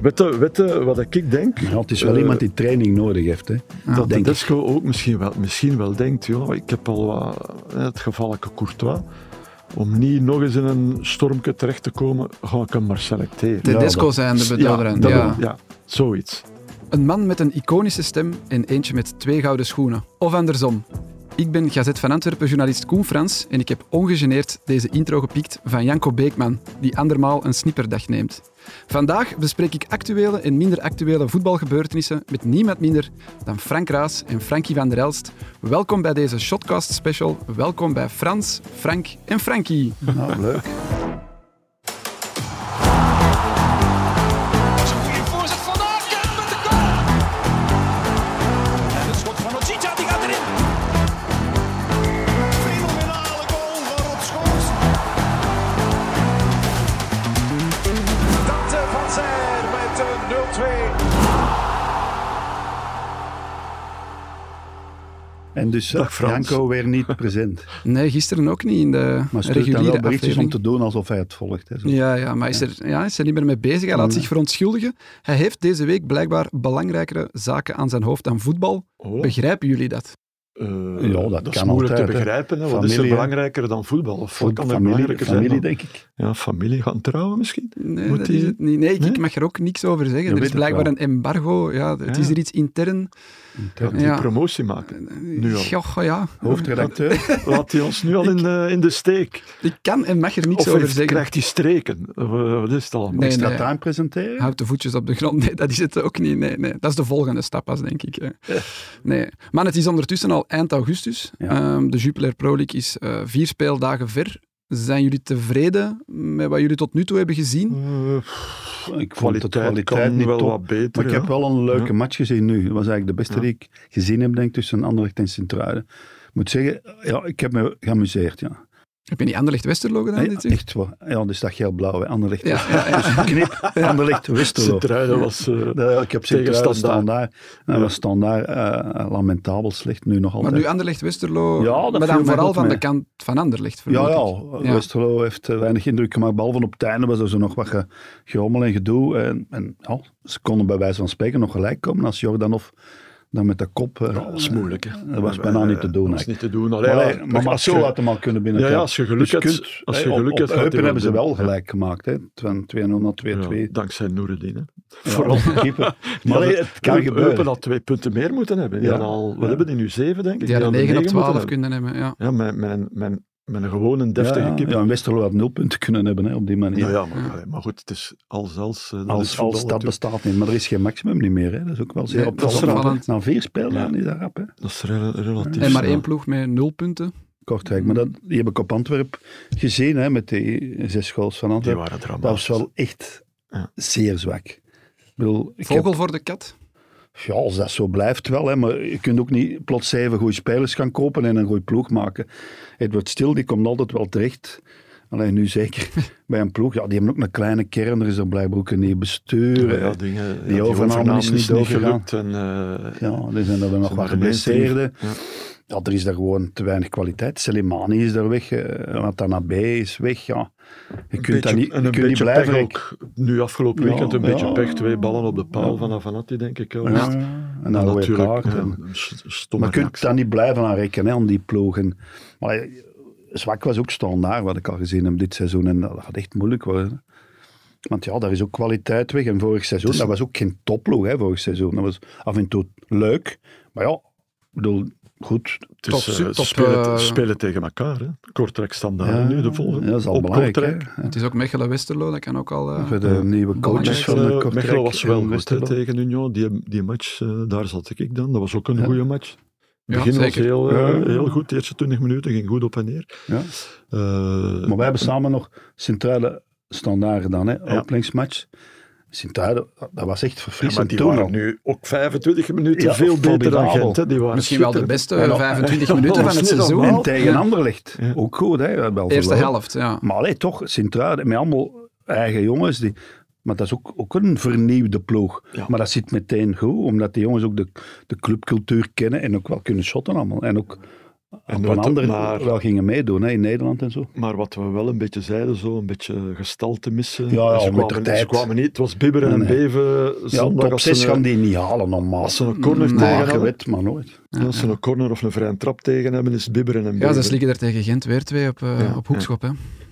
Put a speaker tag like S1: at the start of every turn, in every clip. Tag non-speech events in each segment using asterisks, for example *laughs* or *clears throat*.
S1: Weet je, weet je wat ik denk?
S2: Ja, het is wel
S1: Eh,
S2: iemand die training nodig heeft. Hè.
S1: dat de
S2: denk ik.
S1: Desco ook misschien wel, misschien wel denkt, joh, ik heb al wat, hè, het gevalletje Courtois, om niet nog eens in een stormke terecht te komen, ga ik hem maar selecteren.
S2: Ja,
S3: Tedesco
S2: dat-
S3: zijn de
S1: ja,
S3: bedodderend.
S1: dat-
S3: ja.
S1: ja, zoiets.
S3: Een man met een iconische stem en eentje met twee gouden schoenen. Of andersom. Ik ben Gazet van Antwerpen journalist Koen Frans en ik heb ongegeneerd deze intro gepikt van Janko Beekman, die andermaal een snipperdag neemt. Vandaag bespreek ik actuele en minder actuele voetbalgebeurtenissen met niemand minder dan Frank Raas en Frankie van der Elst. Welkom bij deze Shotcast special. Welkom bij Frans, Frank en Frankie.
S1: Ah,
S2: Nou, leuk.
S4: Goeie voorzet van Aken met de goal. En het schot van Ochita, die gaat erin. Fenomenale goal van Rob Schoors. Dante eh, van Zijl met een 0-2.
S2: En dus
S1: Dag, Frans.
S2: Janko weer niet present.
S3: Nee, gisteren ook niet in de
S2: Maar stuurt dan
S3: reguliere
S2: wel berichtjes om
S3: aflevering.
S2: te doen alsof hij het volgt. Hè, zo.
S3: Ja, ja maar is er, ja, is er niet meer mee bezig. Hij laat zich verontschuldigen. Hij heeft deze week blijkbaar belangrijkere zaken aan zijn hoofd dan voetbal.
S1: Oh,
S3: Begrijpen jullie dat?
S1: eh,
S2: Ja, dat
S1: is
S2: kan
S1: moeilijk
S2: altijd,
S1: te
S2: hè.
S1: begrijpen. Hè. Wat
S2: Familie,
S1: is er
S2: hè.
S1: belangrijker dan voetbal? Of wat kan er
S2: familie,
S1: belangrijker
S2: familie
S1: zijn?
S2: denk ik.
S1: Dan? Ja, familie gaan trouwen misschien?
S3: Nee,
S1: Moet
S3: dat
S1: die-
S3: is het niet. nee ik, ik
S1: Nee?
S3: mag er ook niks over zeggen. er
S2: weet
S3: is
S2: het
S3: blijkbaar
S2: wel.
S3: een embargo. Ja, het
S1: Ja.
S3: is er iets intern.
S1: Gaat die
S3: Ja.
S1: promotie maken? Nu al. Oh.
S3: Goh, goh, ja.
S2: Hoofdredacteur.
S1: Laat die ons nu al in, eh, in de steek?
S3: Ik kan en mag er niks
S1: Of
S3: over
S1: heeft-
S3: zeggen.
S1: krijgt hij streken? Of, eh, wat is het allemaal?
S3: Nee,
S2: Extra
S3: nee.
S2: time presenteren.
S3: Houd de voetjes op de grond. *laughs* Nee, dat is het ook niet. Nee, nee. Dat is de volgende stap pas, denk ik. hè. Nee. Maar het is ondertussen al eind augustus.
S2: Ja.
S3: Ehm, de Jupiler Pro League is eh, vier speeldagen ver. Zijn jullie tevreden met wat jullie tot nu toe hebben
S2: Hm.
S3: gezien?
S1: Eh,
S2: Ik vond de
S1: kwaliteit,
S2: kwaliteit
S1: kan
S2: niet
S1: wel
S2: top.
S1: wat beter.
S2: Maar ik
S1: ja.
S2: heb wel een leuke
S1: Ja.
S2: match gezien nu. Dat was eigenlijk de beste
S1: Ja.
S2: die ik gezien heb, denk ik, tussen Anderlecht en Sint-Truiden. Ik moet zeggen, ja, ik heb me geamuseerd, ja.
S3: Heb je niet Anderlecht-Westerlo gedaan?
S2: Nee,
S3: dit jaar?
S2: echt waar. Ja, dus dat geel-blauw, hè. Anderlecht.
S3: Ja,
S2: *laughs*
S3: ja, ja.
S2: Knip, Anderlecht, Westerlo.
S1: Sint-Truiden was... eh,
S2: Ja, ik
S1: Tegen
S2: heb Sint-Truiden,
S1: Standaard.
S2: Standaard. Dat
S1: Ja.
S2: was Standaard eh, lamentabel slecht, nu nog
S3: Maar
S2: altijd.
S3: nu Anderlecht-Westerlo,
S2: Ja, dat viel
S3: maar dan
S2: mij
S3: vooral
S2: goed
S3: van
S2: mee.
S3: de kant van Anderlecht.
S2: ja,
S3: vermoed
S2: ja,
S3: ik. Ja.
S2: Westerlo heeft eh, weinig indruk gemaakt. Behalve op het einde was er zo nog wat ge- gerommel en gedoe. En, en ja, ze konden bij wijze van spreken nog gelijk komen als Jordanov dan met de kop... eh,
S1: Ja, dat is moeilijk. Hè.
S2: Dat was bijna niet te doen,
S1: Dat was
S2: eigenlijk.
S1: niet te doen. Allee,
S2: Maar,
S1: ja,
S2: hey, maar
S1: als je-
S2: Marceau had hem al kunnen Dus binnen.
S1: Ja, ja, als je geluk hebt- als je geluk
S2: op,
S1: hebt,
S2: op
S1: gaat hij
S2: Eupen hebben ze
S1: wel
S2: wel
S1: binnen.
S2: gelijk gemaakt. Hè. Van 2-0 naar 2-2.
S1: ja,
S2: Ja,
S1: dankzij Noeredin. hè.
S2: vooral de keeper. Maar hey, het kan
S1: Eupen
S2: gebeuren.
S1: Eupen had twee punten meer moeten hebben. Die
S2: Ja.
S1: hadden al, wat
S2: Ja.
S1: hebben die nu? Zeven, denk ik.
S3: Die hadden
S1: Die
S3: 9 op
S1: negen moeten
S3: 12
S1: hebben.
S3: kunnen hebben. Ja.
S1: Ja, mijn, mijn, mijn, mijn gewone
S2: ja,
S1: deftige
S2: ja,
S1: kip.
S2: ja, en Westerlo had nul punten kunnen hebben hè, op die manier.
S1: Nou ja, maar, allee, maar goed, het is als als. eh, dat is
S2: Als,
S1: voetbal
S2: als dat
S1: natuurlijk.
S2: bestaat niet. Maar er is geen maximum niet meer. Hè. Dat is ook wel zeer
S3: Nee, dat is
S2: opvallend.
S3: opvallend.
S2: Na vier speeldagen is dat rap. Hè.
S1: Dat is rel-
S2: Dus,
S1: relatief.
S3: En maar
S1: snel.
S3: één ploeg met nul punten.
S2: Kortrijk. Maar dat, die heb ik op Antwerpen gezien. Hè, met die zes goals van
S1: Die
S2: Antwerpen.
S1: waren dramatisch.
S2: Dat was wel echt
S1: Ja.
S2: zeer zwak. Ik bedoel, ik heb-
S3: Vogel voor de kat.
S2: Ja, als dat zo blijft wel. Hè, maar je kunt ook niet plots zeven goede spelers gaan kopen en een goede ploeg maken. Edward Stil, die komt altijd wel terecht. Alleen nu zeker *laughs* bij een ploeg. Ja, die hebben ook een kleine kern. Er is dan blijkbaar ook een nieuw bestuur.
S1: Ja,
S2: Ja,
S1: ja, dingen, ja,
S2: overname eh, is niet doorgegaan.
S1: gelukt. En, eh,
S2: er zijn er nog
S1: Ze
S2: wat
S1: hebben ineens drie-
S2: geblesseerden.
S1: ja.
S2: Ja, er is daar gewoon te weinig kwaliteit. Selimani is daar weg. eh, Watanabe is weg. Ja. Je kunt dat
S1: beetje-
S2: niet,
S1: en
S2: je
S1: een
S2: kunt niet
S1: beetje
S2: blijven.
S1: pech
S2: rek-
S1: ook. Nu afgelopen
S2: Ja,
S1: weekend een
S2: ja.
S1: beetje pech. Twee ballen op de paal van Avanati, denk ik. wel.
S2: Ja,
S1: En
S2: en dan rode kaart.
S1: ja,
S2: en-
S1: een s- stomme
S2: Maar je kunt
S1: reactie.
S2: daar niet blijven aan rekken, hè, aan die ploegen. Maar eh, zwak was ook standaard, wat ik al gezien heb dit seizoen. En dat gaat echt moeilijk worden. Want ja, daar is ook kwaliteit weg. En vorig seizoen, dat was ook geen topploeg, hè, vorig seizoen. Dat was af en toe leuk. Maar ja, ik bedoel, goed.
S1: Het is,
S3: Top,
S1: eh,
S3: super, top,
S1: spelen,
S3: eh,
S1: spelen tegen elkaar. Hè. Kortrijk standaard
S2: Ja,
S1: Nou, nu, de volgende.
S2: ja, dat is al
S1: op
S2: belangrijk. hè.
S1: Kortrijk.
S3: Het is ook Mechelen-Westerlo, dat kan ook al... eh,
S2: Voor de nieuwe coaches
S3: Belangrijk.
S2: van de
S1: Mechelen,
S2: Kortrijk.
S1: Mechelen eh, was wel
S2: en
S1: goed hè,
S2: Westerlo.
S1: tegen Union. Die, die match, eh, daar zat ik dan. Dat was ook een
S2: Ja.
S1: goede match. Het
S3: Ja,
S1: begin was
S3: zeker.
S1: heel, eh,
S2: Ja.
S1: heel goed. De eerste 20 minuten ging goed op en neer.
S2: Ja.
S1: Eh,
S2: Maar wij hebben samen nog centrale standaard gedaan, hè. Openingsmatch. Sint-Truiden, dat was echt
S1: ja, maar
S2: verfrissend
S1: die
S2: toen al.
S1: waren nu ook 25 minuten
S2: Ja,
S1: veel beter dan
S2: formidabel.
S1: Gent. Hè. Die waren
S3: Misschien wel de
S1: schitterend.
S3: beste
S2: Ja, nou,
S3: 25
S1: ja,
S3: minuten
S1: dat
S3: van het
S1: is niet
S3: seizoen.
S1: normaal.
S2: En tegen
S3: Ja.
S2: Anderlecht.
S1: Ja.
S2: Ook goed, hè? We hebben wel
S3: Eerste
S2: verloren.
S3: helft, ja.
S2: Maar allee, toch, Sint-Truiden, met allemaal eigen jongens. Die, maar dat is ook, ook een vernieuwde ploeg.
S1: Ja.
S2: Maar dat zit meteen goed, omdat die jongens ook de, de clubcultuur kennen en ook wel kunnen shotten allemaal. En ook
S1: En
S2: op een
S1: wat-
S2: ander
S1: maar-
S2: wel gingen meedoen, hè, in Nederland en zo.
S1: Maar wat we wel een beetje zeiden, zo een beetje gestalte missen.
S2: Ja, ja,
S1: ze,
S2: met
S1: kwamen,
S2: de tijd.
S1: ze kwamen niet. Het was bibberen
S2: Nee,
S1: en
S2: nee.
S1: beven.
S2: Ja,
S1: zondag
S2: top
S1: als ze
S2: 6
S1: een-
S2: gaan die niet halen normaal.
S1: Als ze een corner
S3: Maar
S1: tegen
S2: Maar je
S1: hebben,
S2: weet maar nooit.
S1: als ze een corner of een vrije trap tegen hebben, is het bibberen en beven.
S3: Ja, ze slikken er tegen Gent weer twee op, eh,
S1: Ja,
S3: op hoekschop. Hè.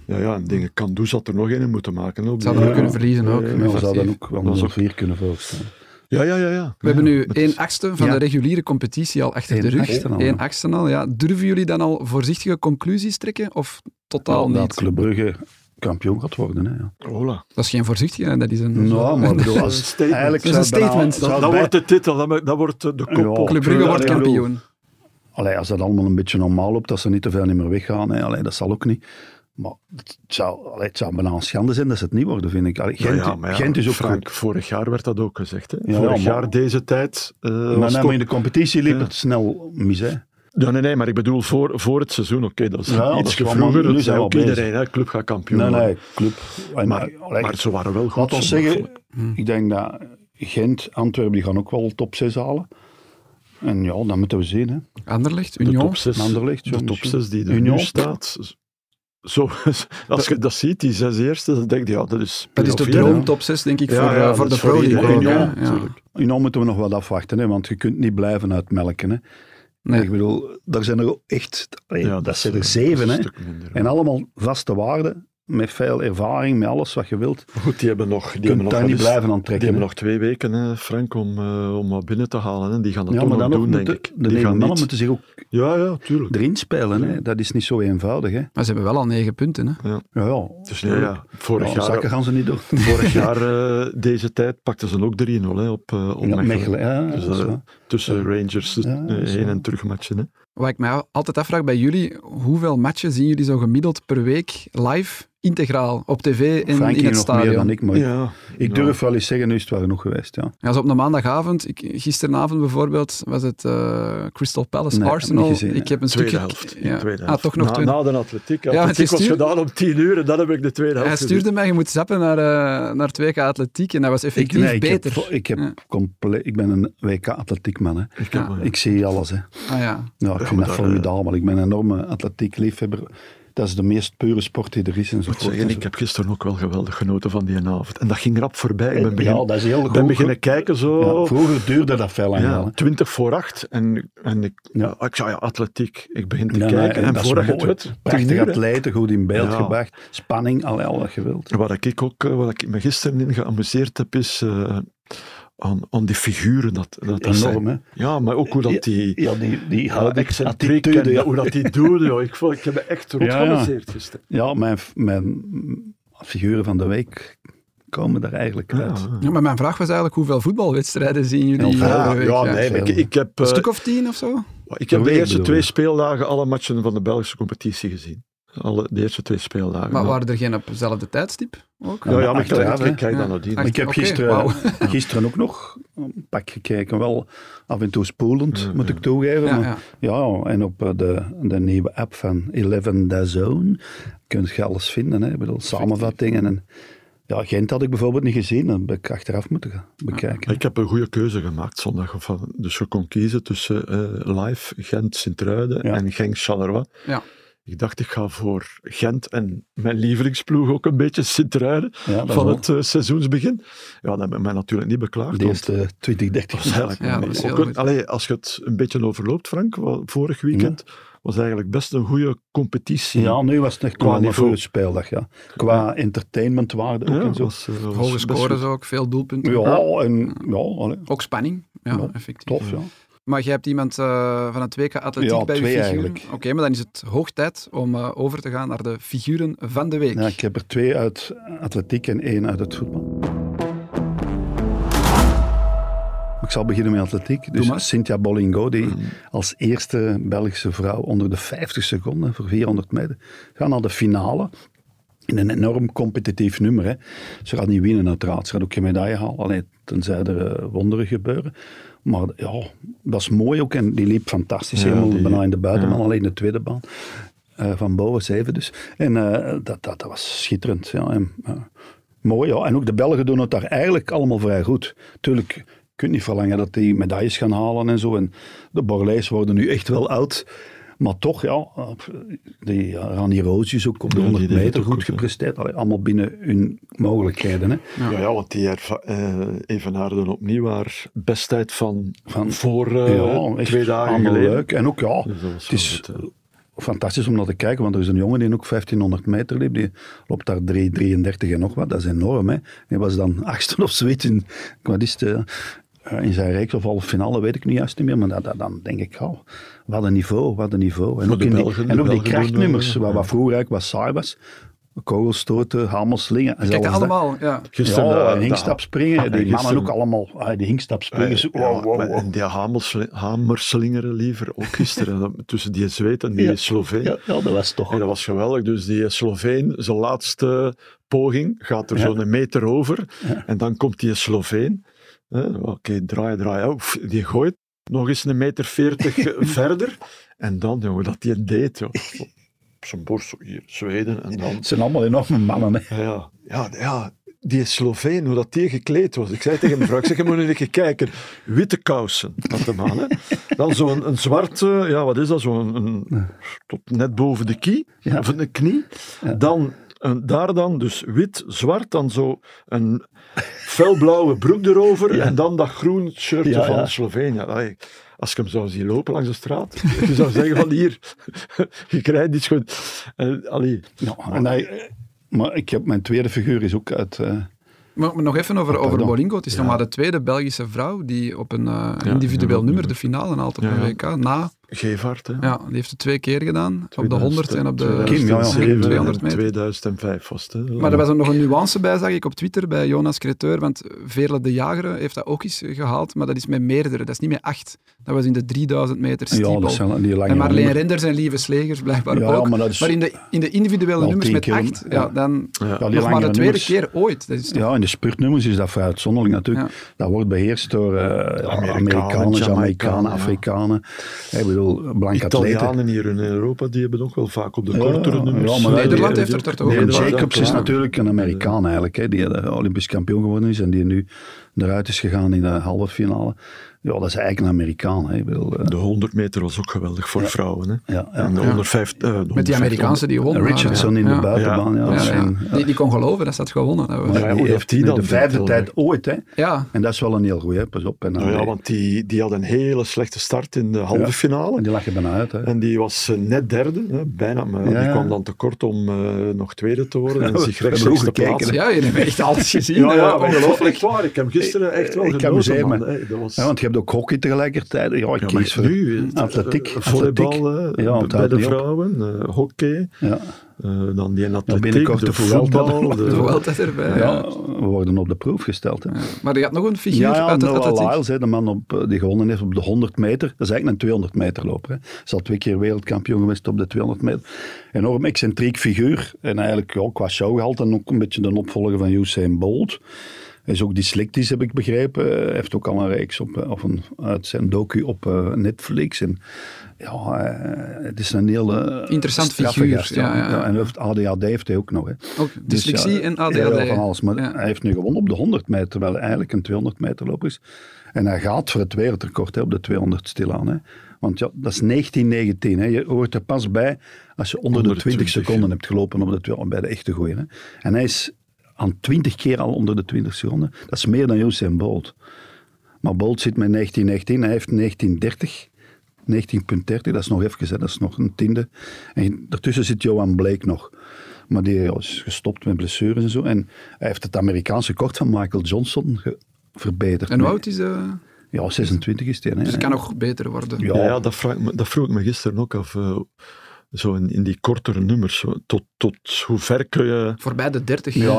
S1: Ja, ja, en dingen. Kandoes had er nog een in moeten maken. hè, op
S3: Ze
S1: die-
S3: hadden ook
S2: Ja.
S3: kunnen verliezen. Ook,
S1: Ja,
S3: met
S1: ja,
S2: Maar we
S3: Fatief.
S2: zouden ook wel
S1: Dat is
S2: nog
S1: ook-
S2: vier kunnen voorstellen.
S1: Ja, ja, ja. ja.
S3: We hebben nu
S1: het
S3: één
S1: is-
S3: achtste van
S2: Ja.
S3: de reguliere competitie al achter
S2: Eén
S3: de rug.
S2: achtste al,
S3: Eén
S2: ja.
S3: achtste al, ja. Durven jullie dan al voorzichtige conclusies trekken of totaal
S2: Nou, dat
S3: niet?
S2: Club Brugge kampioen gaat worden. Hè, ja.
S1: Hola.
S3: Dat is geen voorzichtige, hè. dat is *laughs* een...
S2: Nou, maar ik
S1: Dat
S2: bedoel,
S1: is een
S2: als,
S1: statement.
S2: eigenlijk
S3: Dat is een
S2: zou het bijna-
S3: statement. Dat-
S2: zou
S1: Dat,
S2: het bij-
S1: wordt de titel, dat, ma- dat wordt eh, de kop.
S2: Ja.
S1: op.
S3: Club Brugge
S2: Ja,
S3: wordt
S2: ja, ik bedoel-
S3: kampioen.
S2: Allee, als dat allemaal een beetje normaal loopt, dat ze niet te veel niet meer weggaan, hè. Allee, dat zal ook niet. Maar het zou, allee, het zou bijna een schande zijn dat ze het niet worden, vind ik. Allee,
S1: Ja,
S2: Gent,
S1: Nou ja, maar ja,
S2: Gent is ook
S1: Frank,
S2: goed.
S1: vorig jaar werd dat ook gezegd. Hè?
S2: Ja,
S1: vorig
S2: maar-
S1: jaar deze tijd eh,
S2: Maar
S1: was
S2: nou,
S1: top.
S2: maar in de competitie liep
S1: Ja.
S2: het snel mis. Hè.
S1: Ja, nee, nee, maar ik bedoel voor, voor het seizoen. Oké, dat is
S2: Ja, dat
S1: iets
S2: is wel-
S1: vroeger.
S2: nu
S1: Dat
S2: zijn
S1: zei
S2: we
S1: ook
S2: al bezig.
S1: iedereen, hè, club gaat kampioen
S2: Nee,
S1: worden.
S2: nee, club. En, eh,
S1: Maar,
S2: allee,
S1: maar ze waren wel goed.
S2: laat ons
S1: zondag,
S2: zeggen,
S1: vond ik.
S2: ik denk dat Gent, Antwerpen, die gaan ook wel top 6 halen. En ja, dat moeten we zien. Hè.
S3: Anderlecht,
S1: de
S3: Union.
S1: top 6,
S2: Anderlecht, ja,
S1: de top
S2: misschien.
S1: 6 die er
S2: Union.
S1: nu staat. Zo, *laughs* als je dat ziet, die zes eerste, dan denk je, ja, dat is...
S3: Dat is
S1: play-off
S3: de
S1: hier, hè.
S3: droom top 6, denk ik,
S1: Ja,
S3: voor,
S1: ja,
S3: eh,
S1: dat
S3: voor de
S1: is voor
S3: Pro League.
S1: iedereen,
S3: ook, hè.
S1: ja,
S3: ja.
S1: natuurlijk.
S2: En dan nou moeten we nog wat afwachten, hè, want je kunt niet blijven uitmelken. Hè. Ik
S3: Nee.
S2: bedoel, daar zijn er echt, allee,
S1: Ja,
S2: dat,
S1: is,
S2: zijn
S1: eh,
S2: er zeven.
S1: een
S2: Hè.
S1: stuk minder.
S2: En allemaal vaste waarden, met veel ervaring, met alles wat je wilt.
S1: Goed, die hebben nog... Die hebben
S2: Je kunt
S1: nog
S2: daar
S1: wel
S2: niet
S1: eens-
S2: blijven aan
S1: Die
S2: trekken.
S1: hebben
S2: hè.
S1: nog twee weken, hè, Frank, om, eh, om wat binnen te halen. Hè. Die gaan dat
S2: ja,
S1: toch
S2: maar
S1: nog
S2: dan ook
S1: doen, denk
S2: moeten
S1: ik.
S2: de
S1: Die
S2: negen
S1: gaan
S2: mannen
S1: niet-
S2: moeten zich ook
S1: Ja, ja, tuurlijk.
S2: erin spelen. Hè. Dat is niet zo eenvoudig. Hè.
S3: Maar ze hebben wel al negen punten. Hè.
S2: Ja, ja.
S1: Dus nee, ja, vorig
S2: Ja, zakken
S1: jaar,
S2: gaan ze niet doen.
S1: vorig jaar eh, deze tijd pakten ze ook 3-0 hè, op, eh op
S2: *laughs* Ja,
S1: Mechelen.
S2: Mechelen, ja,
S1: Dus,
S2: dat is
S1: eh,
S2: waar.
S1: Tussen Rangers, dus,
S2: Ja,
S1: eh,
S2: dat is
S1: heen-
S2: waar.
S1: en terugmatchen. Hè.
S3: Wat ik mij altijd afvraag bij jullie, hoeveel matchen zien jullie zo gemiddeld per week live, integraal, op tv
S2: Frankie
S3: en in het
S2: nog meer dan
S3: stadion?
S2: ik, maar ik-
S1: Ja,
S2: ik durf wel eens zeggen, nu is het wel genoeg geweest. Ja.
S3: Ja, zo op een maandagavond, ik, gisterenavond bijvoorbeeld, was het eh, Crystal Palace
S2: Nee,
S3: Arsenal.
S2: heb ik niet gezien,
S3: ik heb een
S1: Tweede
S3: stukje.
S1: helft.
S3: Ja.
S1: Tweede
S3: Ah,
S1: helft.
S3: toch nog
S1: na,
S3: tweede.
S1: na de atletiek.
S3: het
S1: atletiek
S3: is
S1: was
S3: duur.
S1: gedaan om 10 uur en dan heb ik de tweede helft
S3: Hij stuurde mij, je moet zappen naar, eh, naar 2K Atletiek en dat was
S2: Ik,
S3: effectief
S2: nee, ik heb,
S3: beter.
S2: vo- ik, heb
S3: Ja.
S2: compleet, ik ben een WK-atletiekman. hè.
S1: gezien. Ik
S3: Ja,
S1: heb, eh,
S2: Ik zie alles. Hè.
S3: Ah, ja.
S2: Ja, ik
S1: Ja, maar
S2: vind dat
S1: daar, eh,
S2: formidabel. Ik ben een enorme atletiekliefhebber. Dat is de meest pure sport die er is.
S1: ik moet
S2: enzovoort.
S1: zeggen, ik heb gisteren ook wel geweldig genoten van die avond. En dat ging rap voorbij. Ik
S2: Ja,
S1: ben, begin,
S2: dat is heel
S1: ben
S2: goed,
S1: beginnen
S2: goed.
S1: kijken
S2: Ja,
S1: zo.
S2: vroeger duurde dat veel lang.
S1: Oh. Ja,
S2: wel, hè.
S1: 20 voor 8. En, en ik,
S2: Ja.
S1: ik zei, ja, atletiek. Ik begin te
S2: Nee, nee,
S1: kijken. en
S2: dat is
S1: voordat je het
S2: mooi.
S1: weet, tien
S2: Prachtig
S1: uur, hè.
S2: atleten, goed in beeld
S1: Ja.
S2: gebracht. Spanning, allee, al wat je wilt.
S1: Waar ik ook, eh, wat ik me gisteren in geamuseerd heb, is eh, aan, aan die figuren. Dat, dat, dat zijn.
S2: Enorm, hè?
S1: Ja, maar ook hoe dat die...
S2: Ja, die, die
S1: Ja, excentriek
S2: attitude,
S1: en
S2: ja.
S1: hoe dat die doet. joh. Ik, vond- ik heb me echt rot
S2: Ja, ja.
S1: geamuseerd gisteren.
S2: Ja, mijn, mijn figuren van de week komen daar eigenlijk uit.
S1: Ja.
S3: Ja, maar mijn vraag was eigenlijk, hoeveel voetbalwedstrijden zien jullie
S2: Ja,
S3: per
S1: Ja,
S3: week?
S1: ja,
S3: ja.
S1: nee, maar ik, ik heb, eh,
S3: Een stuk of tien of zo?
S1: ik heb
S2: per
S1: de
S2: week
S1: eerste
S2: bedoel
S1: twee
S2: je?
S1: speeldagen alle matchen van de Belgische competitie gezien. Alle, de eerste twee speeldagen.
S3: Maar
S1: Ja.
S3: waren er geen op dezelfde tijdstip? Ook?
S1: Ja, ja, maar ik,
S2: Achteraf,
S1: ik, ik
S2: hè?
S1: kijk
S3: Ja.
S1: dat nadien.
S3: Ach-
S2: Ik heb
S3: Oké,
S2: gisteren,
S3: wauw.
S2: gisteren ook nog een pak gekeken. Wel af en toe spoelend,
S1: Ja,
S2: moet
S1: ja.
S2: ik toegeven.
S3: Ja,
S2: maar-
S3: ja.
S2: Ja, en op eh, de, de nieuwe app van Eleven The Zone kun je alles vinden. Hè? Ik bedoel, samenvattingen. En, ja, Gent had ik bijvoorbeeld niet gezien. Dat heb ik achteraf moeten gaan bekijken.
S1: Ik heb een goede keuze gemaakt zondag. Van, dus je kon kiezen tussen eh, live Gent-Sint-Truiden
S2: Ja.
S1: en Genk-Charleroi.
S3: Ja.
S1: Ik dacht, ik ga voor Gent en mijn lievelingsploeg ook een beetje Sint-Truiden
S2: Ja, dat is
S1: van
S2: wel-
S1: het eh, seizoensbegin. Ja, dat heb ik mij natuurlijk niet beklaagd.
S2: De
S1: want
S2: eerste 20, 30
S1: was eigenlijk
S3: Ja,
S1: een-
S3: dat is
S1: ook
S3: heel
S1: een-
S3: goed.
S1: allee, als je het een beetje overloopt, Frank, wa- vorig weekend was eigenlijk best een goede competitie.
S2: Ja, nu was het echt
S1: Qua
S2: gewoon een
S1: niveau.
S2: goede speeldag. Ja. Qua entertainmentwaarde ook
S1: Ja,
S2: en zo.
S1: was, eh, was
S3: Hoge
S1: best
S3: scores
S1: goed.
S3: ook, veel doelpunten.
S2: Ja, en ja, allee,
S3: Ook spanning, ja,
S2: Ja,
S3: effectief.
S2: tof. Ja.
S3: Maar jij hebt iemand eh, van het WK Atletiek
S2: Ja,
S3: bij je
S2: twee
S3: figuren.
S2: eigenlijk.
S3: Oké, maar dan is het hoog tijd om eh, over te gaan naar de figuren van de week.
S2: Ja, ik heb er twee uit atletiek en één uit het voetbal. Ik zal beginnen met atletiek. Dus
S3: Doe maar. Mm-hmm.
S2: Cynthia Bollingo, die als eerste Belgische vrouw onder de 50 seconden voor 400 meter gaat naar de finale. In een enorm competitief nummer. Hè. Ze gaat niet winnen, uiteraard. Ze gaat ook geen medaille halen. Allee, tenzij er eh, wonderen gebeuren. Maar ja, dat is mooi ook. En die liep fantastisch.
S1: Ja,
S2: helemaal
S1: die-
S2: bijna in de buitenbaan,
S1: ja.
S2: alleen de tweede baan. Eh, van boven zeven dus. En eh, dat, dat, dat was schitterend. Ja. En, eh, mooi, ja. En ook de Belgen doen het daar eigenlijk allemaal vrij goed. Tuurlijk, je kunt niet verlangen dat die medailles gaan halen en zo. En de Borlees worden nu echt wel oud. Maar toch, ja, op- die eh, Rani Roos is ook op de
S1: Ja, die
S2: 100
S1: deed het
S2: meter
S1: ook
S2: goed
S1: goed, hè.
S2: gepresteerd. Allee, allemaal binnen hun mogelijkheden. Hè.
S1: Ja, ja, want die herva- eh, evenaarden opnieuw haar bestijd van,
S2: Van-
S1: voor eh,
S2: ja, echt
S1: twee dagen
S2: allemaal
S1: geleden.
S2: leuk. En ook, ja,
S1: Dus dat was
S2: het
S1: wel
S2: is
S1: vet, hè.
S2: fantastisch om naar te kijken, want er is een jongen die ook 1500 meter liep, die loopt daar 3,33 en nog wat, dat is enorm. Hè? Die was dan *laughs* achtste of zoiets in, wat is het, eh, eh, in zijn reeks of halve finale, weet ik niet juist niet meer, maar dat, dat- dan denk ik, oh, wat een niveau, wat een niveau. En
S1: Maar
S2: ook,
S1: de
S2: in die,
S1: Belgen, de
S2: en ook die
S1: Belgen doen,
S2: krachtnummers,
S1: eh,
S2: wat, wat vroeger eigenlijk wat saai was, kogelstoten, hamelslingen. en
S3: Kijk,
S2: zelfs
S3: allemaal. Ja.
S2: Ja,
S1: Gisteren eh, dat-
S2: en
S1: dat-
S2: hinkstapspringen, die
S1: gisteren-
S2: mannen ook allemaal, ah, die hinkstapspringers,
S1: Eh,
S2: wow,
S1: ja,
S2: wow,
S1: maar-
S2: wow.
S1: En die hamelsli- hamerslingeren liever, ook
S2: *laughs*
S1: gisteren, dat- tussen die Zweed en die
S2: Ja,
S1: Sloveen.
S2: Ja, ja, dat was toch...
S1: En dat was geweldig. Dus die Sloveen, zijn laatste eh, poging, gaat er
S2: Ja.
S1: zo'n meter over. En dan komt die eh, Sloveen. hè, Oké, draai, draai. ja, oef, Die gooit nog eens een meter
S2: *laughs*
S1: veertig eh, verder. En dan, jongen, dat die deed. Joh. Op zijn borst, zo hier, Zweden. En dan...
S2: Het zijn allemaal enorme mannen, hè.
S1: Ja, ja, ja die Sloveen, hoe dat die gekleed was. Ik zei tegen mijn vrouw, ik zeg, je moet nu een keer kijken. Witte kousen had hem aan. Hè. Dan zo'n een zwarte, ja, wat is dat, zo'n een- tot net boven de kie,
S2: Ja.
S1: of een knie. Dan, een, daar dan, dus wit, zwart, dan zo een felblauwe broek erover en dan dat groen shirtje
S2: Ja,
S1: van
S2: ja.
S1: Slovenië. Allee, als ik hem zou zien lopen langs de straat, je zou zeggen van hier, *laughs* je krijgt iets goed. Eh, allee.
S2: Ja, en hij, maar ik heb, mijn tweede figuur is ook uit... eh,
S3: Maar, maar nog even over, over
S2: Oh, pardon.
S3: Bolingo. Het is nog
S1: Ja.
S3: maar de tweede Belgische vrouw die op een eh,
S1: Ja,
S3: individueel
S1: ja,
S3: nummer
S1: ja.
S3: de finale haalt op
S1: Ja,
S3: een
S1: ja.
S3: WK. Na,
S1: Gevaart, hè.
S3: ja, die heeft het twee keer gedaan. Op de 100 en op de...
S1: 2007
S2: Kim, ja, ja.
S1: en
S3: 200 meter.
S1: 2005 was het. hè.
S3: Maar er was ook nog een nuance bij, zag ik op Twitter, bij Jonas Creteur. Want Verle de Jager heeft dat ook eens eh, gehaald, maar dat is met meerdere. Dat is niet met acht. Dat was in de 3000 meter
S2: ja,
S3: stiepel.
S2: dat zijn die lange
S3: en Marleen
S2: mannen.
S3: Renders en Lieve Slegers blijkbaar
S2: Ja, ja,
S3: ook.
S2: maar
S3: maar,
S2: dat is-
S3: in, de, in de individuele
S2: Wel
S3: nummers
S2: tien
S3: met
S2: keer,
S3: acht, ja,
S2: ja.
S3: dan...
S2: Ja, die
S3: Nog maar de
S2: langere
S3: tweede
S2: nummers.
S3: keer ooit. Dat is toch-
S2: Ja, in de spurtnummers is dat vrij uitzonderlijk natuurlijk. Dat wordt beheerst door eh, Amerikanen, Jamaicanen,
S1: Jamaicanen, ja.
S2: Afrikanen. Ik bedoel, blanke atleten.
S1: Italianen hier in Europa, die hebben ook wel vaak op de kortere nummers. eh,
S2: ja, maar Nederland
S3: heeft er toch ook
S2: En
S3: Nederland,
S2: Jacobs
S1: ja,
S2: is
S1: ja.
S2: natuurlijk een Amerikaan eigenlijk, hè, die eh, Olympisch kampioen geworden is en die nu eruit is gegaan in de halve finale. Ja, dat is eigenlijk een Amerikaan. Hè. Ik bedoel, eh,
S1: De 100 meter was ook geweldig voor vrouwen. Hè.
S2: ja, ja.
S1: En de 150, eh, de
S3: Met die
S1: 150
S3: Amerikaanse die won. maar,
S2: Richardson in de
S3: ja.
S2: buitenbaan. Ja,
S1: Ja,
S3: Ja,
S2: dat
S3: ja,
S2: zijn-
S3: ja. Die, die kon geloven dat ze dat gewonnen hebben.
S2: Maar
S1: Ja,
S2: die
S1: hoe
S2: heeft
S1: heeft die
S2: nu
S1: dan
S2: de vijfde
S1: verteld,
S2: tijd ooit, hè?
S3: Ja,
S2: En dat is wel een heel goeie, hè? pas op. En dan,
S1: Nou ja, want die, die had een hele slechte start in de halve
S2: Ja.
S1: finale.
S2: en Oh, die lag je bijna uit, hè?
S1: En die was eh, net derde, hè, bijna. Maar
S2: Ja.
S1: die kwam dan tekort om eh, nog tweede te worden. En
S2: we
S1: zich
S2: hebben
S1: rechtstreeks te
S2: goed gekeken,
S1: plaatsen.
S3: ja je hebt echt alles gezien.
S1: Ja,
S3: eh,
S1: ja,
S3: ongelooflijk.
S1: ongelooflijk waar. Ik heb gisteren echt wel
S2: Ik heb
S1: genoten,
S2: me zeer,
S1: man.
S2: maar-
S1: Hey, dat was...
S2: Ja, want je hebt ook hockey tegelijkertijd. Ja, ik
S1: Ja,
S2: kies
S1: maar
S2: voor Ah,
S1: nu, eh,
S2: atletiek.
S1: eh, volleybal
S2: atletiek.
S1: eh,
S2: Ja, het
S1: bij
S2: houdt
S1: de
S2: niet op.
S1: vrouwen, eh, hockey,
S2: Ja.
S1: eh, dan die in atletiek,
S2: binnenkort
S1: de,
S2: de Vuelta. *laughs*
S1: voetbal.
S2: De
S3: Er was
S1: De,
S3: altijd erbij.
S2: Ja,
S3: ja.
S2: we worden op de proef gesteld. Hè.
S3: Maar je had nog een figuur
S2: Ja, ja
S3: uit het
S2: Noah
S3: atletiek.
S2: Lyles, hè, de man op, eh, die gewonnen heeft op de 100 meter. Dat is eigenlijk een 200 meter loper. Hè. Is al twee keer wereldkampioen geweest op de 200 meter. Enorm excentriek figuur. En eigenlijk ja, qua showgehalte en ook een beetje de opvolger van Usain Bolt. Hij is ook dyslectisch, heb ik begrepen. Hij heeft ook al een reeks op, eh, of een, uit zijn docu op eh, Netflix. En, ja, eh, het is een hele eh,
S3: Interessant
S2: straffe
S3: figuur,
S2: gast,
S3: ja, ja, ja.
S2: En hij heeft ADHD heeft hij ook nog. Hè.
S3: Ook dyslexie
S2: Dus ja,
S3: en ADHD.
S2: Ja, ja, van alles. Maar
S3: Ja.
S2: hij heeft nu gewonnen op de 100 meter, terwijl hij eigenlijk een 200 meter loper is. En hij gaat voor het wereldrecord hè, op de 200 stilaan. Hè. Want ja, dat is 1919. Hè. Je hoort er pas bij als je onder, de 20
S1: 20,
S2: seconden
S1: ja.
S2: hebt gelopen op de 200, bij de echte goeie. Hè. En hij is aan 20 keer al onder de 20 seconden. Dat is meer dan Usain Bolt. Maar Bolt zit met 1919, hij heeft 1930. 19.30, dat is nog even, hè, dat is nog een tiende. En daartussen zit Johan Blake nog. Maar die ja, is gestopt met blessures en zo. En hij heeft het Amerikaanse kort van Michael Johnson ge- verbeterd.
S3: En hoe oud is eh
S2: Ja, 26 is hij.
S3: Dus het kan nog beter worden.
S2: Ja.
S1: ja, ja, dat, vraag, ik me- dat vroeg ik me gisteren ook af. eh, zo in, in die kortere nummers, zo, tot, tot hoe ver kun je...
S3: Voorbij de 30.
S2: Ja, ja,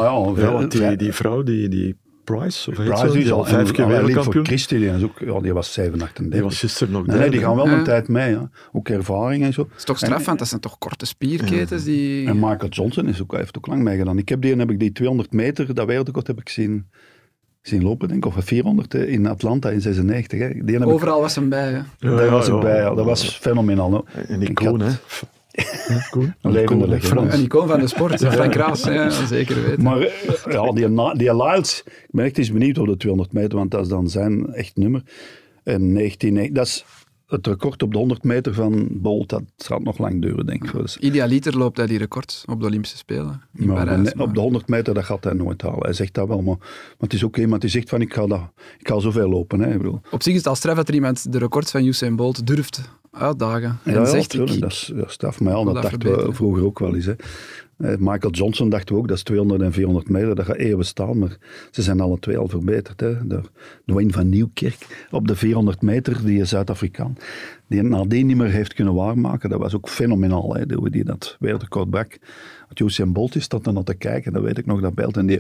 S1: Ja, want die,
S2: vrij-
S1: die vrouw, die, die Price, of heet
S2: Price
S1: ze, die
S2: is al
S1: vijf keer
S2: voor
S1: wereldkampioen,
S2: Christie, die, is ook, ja, die was 37.
S1: die was gisteren nog
S2: nee, nee, die
S1: derde.
S2: gaan wel
S3: Ja.
S2: een tijd mee. Hè. Ook ervaring en zo.
S3: Dat is toch
S2: En-
S3: straf, want dat zijn toch korte spierketens die...
S2: En Michael Johnson is ook, heeft ook lang meegedaan. Ik heb die, heb ik die 200 meter, dat wereldrecord heb ik zien, zien lopen, denk ik. Of 400 in Atlanta in 96. Hè. Die heb ik,
S3: Overal was hem bij. hè.
S1: Ja,
S2: daar
S1: ja,
S2: was ik
S1: ja.
S2: bij. ja. Dat was fenomenaal. hè.
S1: En die
S2: Ik
S1: Koen,
S2: had-
S1: hè.
S2: *laughs*
S1: Koen.
S2: Een levende legende.
S3: Een icoon van de sport, Frank Raas, ja, zeker weten.
S2: Maar eh, ja, die, Na- die Lyles, ik ben echt eens benieuwd op de 200 meter, want dat is dan zijn echt nummer. En 19, nee, dat is het record op de 100 meter van Bolt, dat gaat nog lang duren, denk ik. voor de-
S3: Idealiter loopt hij die record op de Olympische Spelen in
S2: Maar
S3: Parijs.
S2: net
S3: maar-
S2: op de 100 meter, dat gaat hij nooit halen. Hij zegt dat wel, maar, maar het is ook iemand die zegt van ik ga, dat, ik ga zoveel lopen. Hè. Ik bedoel,
S3: Op zich is het al straf dat er iemand de records van Usain Bolt durft uitdagen. En
S2: ja, ja,
S3: zegt, ik,
S2: tuurlijk, dat is dat is straf. Maar ja, dat,
S3: dat
S2: dachten we
S3: verbeteren.
S2: vroeger ook wel eens. Hè. Eh, Michael Johnson dachten we ook, dat is 200 en 400 meter, dat gaat eeuwen staan. Maar ze zijn alle twee al verbeterd. Hè. De Dwayne van Nieuwkerk op de 400 meter, die is Zuid-Afrikaan. Die het nadien niet meer heeft kunnen waarmaken. Dat was ook fenomenaal, hè, hoe die dat wereldrecord brak. Want Usain Bolt is dat dan aan te kijken, dat weet ik nog, dat beeld. En die...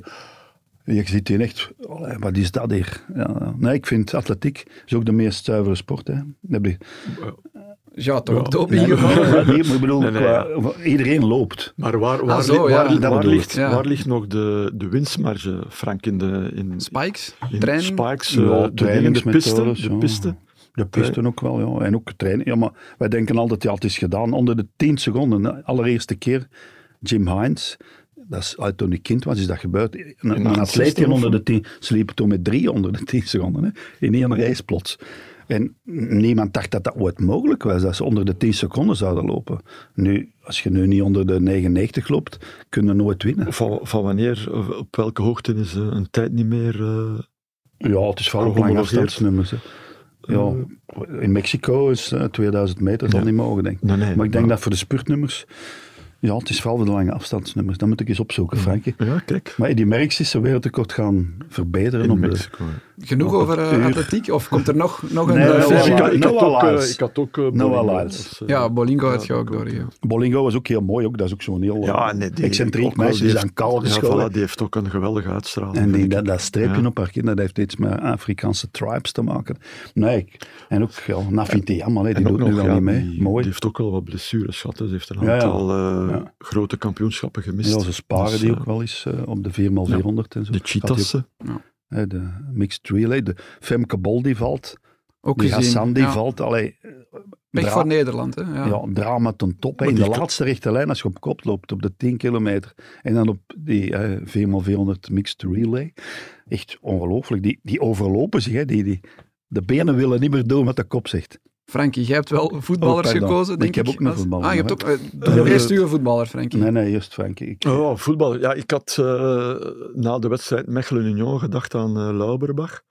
S2: Je ziet hier echt, allee, wat is dat hier? Ja, nee, ik vind atletiek is ook de meest zuivere sport. Hè. Dat heb je-
S3: ja, toch ook doping
S2: Nee,
S3: gevallen.
S2: maar- maar hier- ik bedoel,
S1: *laughs* Nee, nee,
S2: qua- iedereen loopt.
S1: Maar waar, waar,
S3: zo,
S1: li-
S3: ja,
S1: waar,
S3: dat
S1: waar
S2: bedoel
S1: ligt,
S3: ik, ja.
S1: waar ligt nog de, de winstmarge, Frank, in de in,
S3: Spikes,
S1: in
S3: training.
S1: spikes,
S2: Ja,
S1: eh, de
S2: trainingsmethodes,
S1: trainingspisten, de
S2: ja.
S1: piste?
S2: De pisten ook wel, ja. En ook trainen. Ja, maar wij denken altijd, ja, het is gedaan. Onder de 10 seconden, de allereerste keer, Jim Hines, dat is uit toen ik kind was, is dat gebeurd. Een, een
S1: 68
S2: atleet die
S1: of
S2: onder
S1: zo?
S2: de 10, ze liepen toen met drie onder de 10 seconden, hè. in één race plots. En niemand dacht dat dat ooit mogelijk was, dat ze onder de 10 seconden zouden lopen. Nu, als je nu niet onder de 99 loopt, kun je nooit winnen.
S1: Van, van wanneer, eh, op welke hoogte is eh, een tijd niet meer... eh,
S2: Ja, het is vooral op lange
S1: Gehomologeerd.
S2: afstandsnummers. hè. Ja, in Mexico is eh, 2000 meter zal
S1: Ja.
S2: niet mogen, denk ik.
S1: nee, nee,
S2: Maar ik denk dat voor de spurtnummers... Ja, het is vooral voor de lange afstandsnummers. Dat moet ik eens opzoeken, Frankie.
S1: Ja, kijk.
S2: Maar die merks is zijn wereldrecord gaan verbeteren.
S1: In
S2: om de-
S1: Mexico. hè.
S3: Genoeg
S2: Nog
S3: over
S2: het
S3: eh,
S2: uur.
S3: atletiek? Of komt er nog, nog een
S2: Nee,
S3: eh,
S1: Ja,
S2: nee, Noah
S1: dus
S3: fysieke-
S1: ik,
S2: Lyles.
S1: ik, had ook,
S2: Noah
S1: eh, ik had ook... eh,
S2: Lyles.
S1: Bolingo
S2: Lyles.
S1: als, eh,
S3: Ja, Bolingo had je
S1: Ja,
S3: ook
S1: dat
S3: door.
S1: klopt,
S3: ja.
S2: Bolingo was ook heel mooi. Ook. Dat is ook zo'n heel
S1: Ja,
S2: eh,
S1: nee, die,
S2: excentriek
S1: ook wel,
S2: meisje.
S1: die
S2: Die is
S1: heeft-
S2: aan kaal
S1: ja,
S2: geschoren.
S1: voilà, die heeft ook een geweldige uitstraling.
S2: En die,
S1: vind ik.
S2: dat, dat streepje
S1: Ja.
S2: op haar kin, dat heeft iets met Afrikaanse tribes te maken. Nee, ik- en ook ja, Nafitiama, hè, die
S1: En ook
S2: doet nu
S1: nog,
S2: wel
S1: ja,
S2: niet mee.
S1: Die,
S2: Mooi.
S1: die heeft ook wel wat blessures gehad. hè. Ze heeft een
S2: Ja, ja.
S1: aantal eh,
S2: Ja.
S1: grote kampioenschappen gemist.
S2: Ja, ze sparen
S1: Dus,
S2: die
S1: eh,
S2: ook wel eens eh, op de 4x400 en zo.
S1: De
S2: Gaat die
S1: cheetahs. hè.
S2: ook, hè, de mixed relay. De Femke Bol die valt.
S3: Ook
S2: Die
S3: gezien.
S2: Hassan die
S3: ja.
S2: valt. Allee, eh,
S3: Pech
S2: dra-
S3: voor Nederland. Hè? Ja.
S2: ja, drama ten top. hè.
S1: Maar
S2: In de
S1: die-
S2: laatste rechte lijn, als je op kop loopt, op de 10 kilometer. En dan op die eh, 4x400 mixed relay. Echt ongelooflijk. Die, die overlopen zich. Hè. Die, die, de benen willen niet meer doen wat de kop zegt.
S3: Frankie, jij hebt wel voetballers
S2: Oh, pardon.
S3: gekozen,
S2: Ik
S3: denk ik.
S2: heb ook een
S3: Als-
S2: voetballer,
S3: Ah, je hebt ook...
S2: maar-
S3: eh,
S2: Eh,
S3: Eerst uw voetballer, Frankie.
S2: Nee, nee, eerst Frankie. Ik,
S1: Oh, voetbal. Ja, ik had eh, na de wedstrijd Mechelen-Union gedacht aan eh, Lauberbach.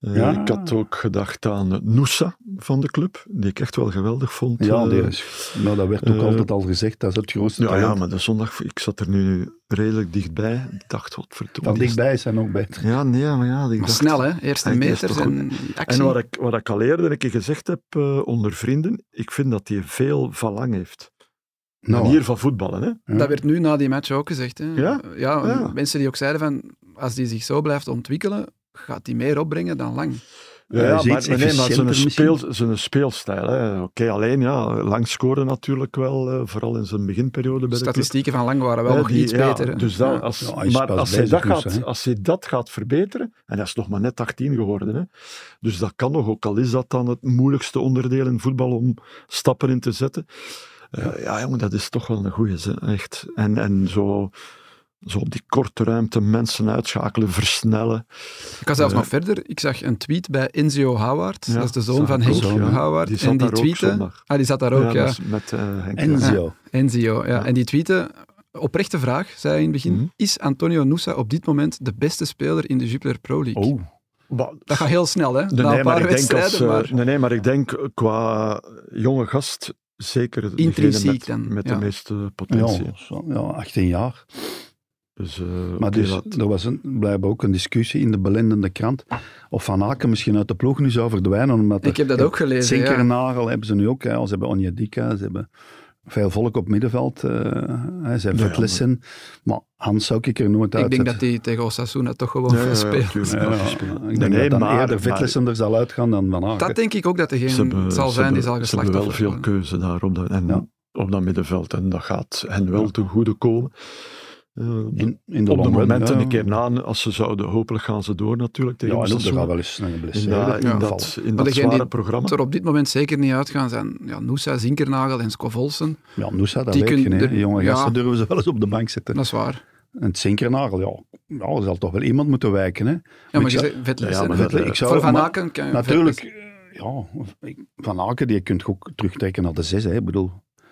S1: Eh,
S2: Ja.
S1: Ik had ook gedacht aan eh, Noosa van de club, die ik echt wel geweldig vond.
S2: ja,
S1: eh.
S2: die is- nou, dat werd ook
S1: eh,
S2: altijd al gezegd. Dat is het grootste
S1: ja, ja,
S2: talent.
S1: maar de zondag, ik zat er nu redelijk dichtbij. Ik dacht, wat verdomme.
S2: Van
S1: die is-
S2: dichtbij zijn ook beter.
S1: Ja, nee, maar ja. Ik
S3: Maar
S1: dacht,
S3: snel, hè? Eerste
S1: Hij is
S3: meters
S1: Ah, toch goed.
S3: en die actie.
S1: En wat ik, wat ik al eerder een keer gezegd heb eh, onder vrienden, ik vind dat hij veel verlang heeft.
S2: Nou,
S1: Manier van voetballen, hè?
S2: Ja.
S3: Dat werd nu na die match ook gezegd. Hè.
S1: Ja? Ja.
S3: mensen die ook zeiden van, als die zich zo blijft ontwikkelen, gaat die meer opbrengen dan lang.
S1: Ja,
S2: Hij is
S1: maar,
S2: iets
S1: maar nee, maar zijn,
S2: Eh, efficiënter
S1: speel,
S2: misschien.
S1: zijn speelstijl. hè. Oké, alleen ja, lang scoren natuurlijk wel, eh, vooral in zijn beginperiode bij de
S3: Statistieken van lang waren wel
S1: club.
S3: nog
S1: Hè, die-
S3: iets
S1: ja,
S3: beter. hè.
S1: dus dat,
S3: Ja.
S1: als,
S2: Ja, hij is
S1: maar
S2: pas
S1: als hij,
S2: bezig
S1: dat
S2: dus,
S1: gaat,
S2: hè.
S1: als hij dat gaat verbeteren, en hij is nog maar net 18 geworden, hè, dus dat kan nog, ook al is dat dan het moeilijkste onderdeel in voetbal om stappen in te zetten. Eh, ja, jongen, dat is toch wel een goeie, hè, echt. En, en zo, zo op die korte ruimte mensen uitschakelen, versnellen.
S3: Ik ga zelfs
S1: Eh.
S3: nog verder. Ik zag een tweet bij Enzio Howard.
S1: Ja,
S3: dat is de zoon
S1: zag
S3: van
S1: ik
S3: Henk
S2: ook, ja.
S3: Howard.
S1: Die zat
S3: en die
S1: daar ook
S3: tweette...
S1: zondag.
S3: Ah, die zat daar ook, ja.
S1: dat is met eh, Henk.
S2: En
S1: ja.
S2: zo.
S3: Enzio, ja.
S1: Ja.
S3: En die tweette... Oprechte vraag, zei hij in het begin.
S1: Mhm.
S3: Is Antonio Nusa op dit moment de beste speler in de Jupiler Pro League?
S2: Oh,
S1: Maar-
S3: Dat gaat heel snel, hè?
S1: Nee,
S3: Na
S1: nee,
S3: een
S1: maar
S3: paar
S1: ik denk
S3: wedstrijden,
S1: als, eh,
S3: maar...
S1: nee, nee, maar ik denk qua jonge gast zeker degene
S3: Intrinsiek
S1: met,
S3: dan,
S1: met
S3: ja.
S1: de meeste potentie.
S2: ja, zo- ja, 18 jaar.
S1: Dus, eh,
S2: Maar
S1: oké,
S2: dus,
S1: dat-
S2: er was een, blijkbaar ook een discussie in de belendende krant of Van Aken misschien uit de ploeg nu zou verdwijnen. Omdat
S3: Ik heb dat ook gelezen, ja.
S2: Zinker Nagel hebben ze nu ook. Hè. Ze hebben Onjedika, ze hebben veel volk op middenveld. eh, hè, ze hebben
S1: Ja,
S2: Vetlessen. Maar... Hans zou ik er nooit uit
S3: Ik denk dat die tegen Osasuna toch gewoon
S1: Ja, ja,
S3: veel
S1: ja,
S3: speelt.
S1: tuurlijk.
S2: Ja,
S1: Ja, spelen.
S2: ik denk
S1: Nee,
S2: dat dan
S1: maar-
S2: eerder
S1: maar-
S2: Vetlessen er zal uitgaan dan Van Aken.
S3: Dat denk ik ook dat degene
S1: ze hebben,
S3: zal
S1: ze
S3: zijn
S1: hebben-
S3: die zal
S1: ze hebben wel
S3: geslachtoffer
S1: veel
S3: worden.
S1: keuze daar op dat, en,
S2: Ja.
S1: op dat middenveld. En dat gaat hen wel ten goede komen. Eh,
S2: in, in de
S1: op de
S2: long run,
S1: momenten
S2: ja.
S1: een keer na, als ze zouden, hopelijk gaan ze door natuurlijk
S2: Ja,
S1: tegen
S2: en ook, er
S1: Osasuna.
S2: gaat wel eens een
S1: in
S2: blessure
S1: dat, in
S3: Ja.
S1: dat, in
S3: Maar
S1: dat
S3: degene die-
S1: zware programma.
S3: Wat er op dit moment zeker niet uitgaan zijn ja, Noosa, Zinkernagel en Scovolsen.
S2: Ja, Noosa, dat
S3: Die
S2: weet je
S3: kunnen
S2: niet. hè.
S3: er-
S2: Jonge
S3: ja.
S2: gasten durven ze wel eens op de bank zetten.
S3: Dat is waar.
S2: En het zinkernagel, ja. ja, er zal toch wel iemand moeten wijken. Hè?
S3: Ja, maar
S2: Want
S3: je
S2: ja,
S3: zegt Vetlis.
S1: Ja,
S3: hè.
S1: maar
S2: Vetlis-
S1: dat, eh,
S2: ik zou,
S3: Voor Van
S2: maar
S3: Aken kan
S2: natuurlijk,
S3: Vetlis-
S2: eh, ja, Van Aken, die kunt je ook terugtrekken naar de zes. Hè. Ik bedoel,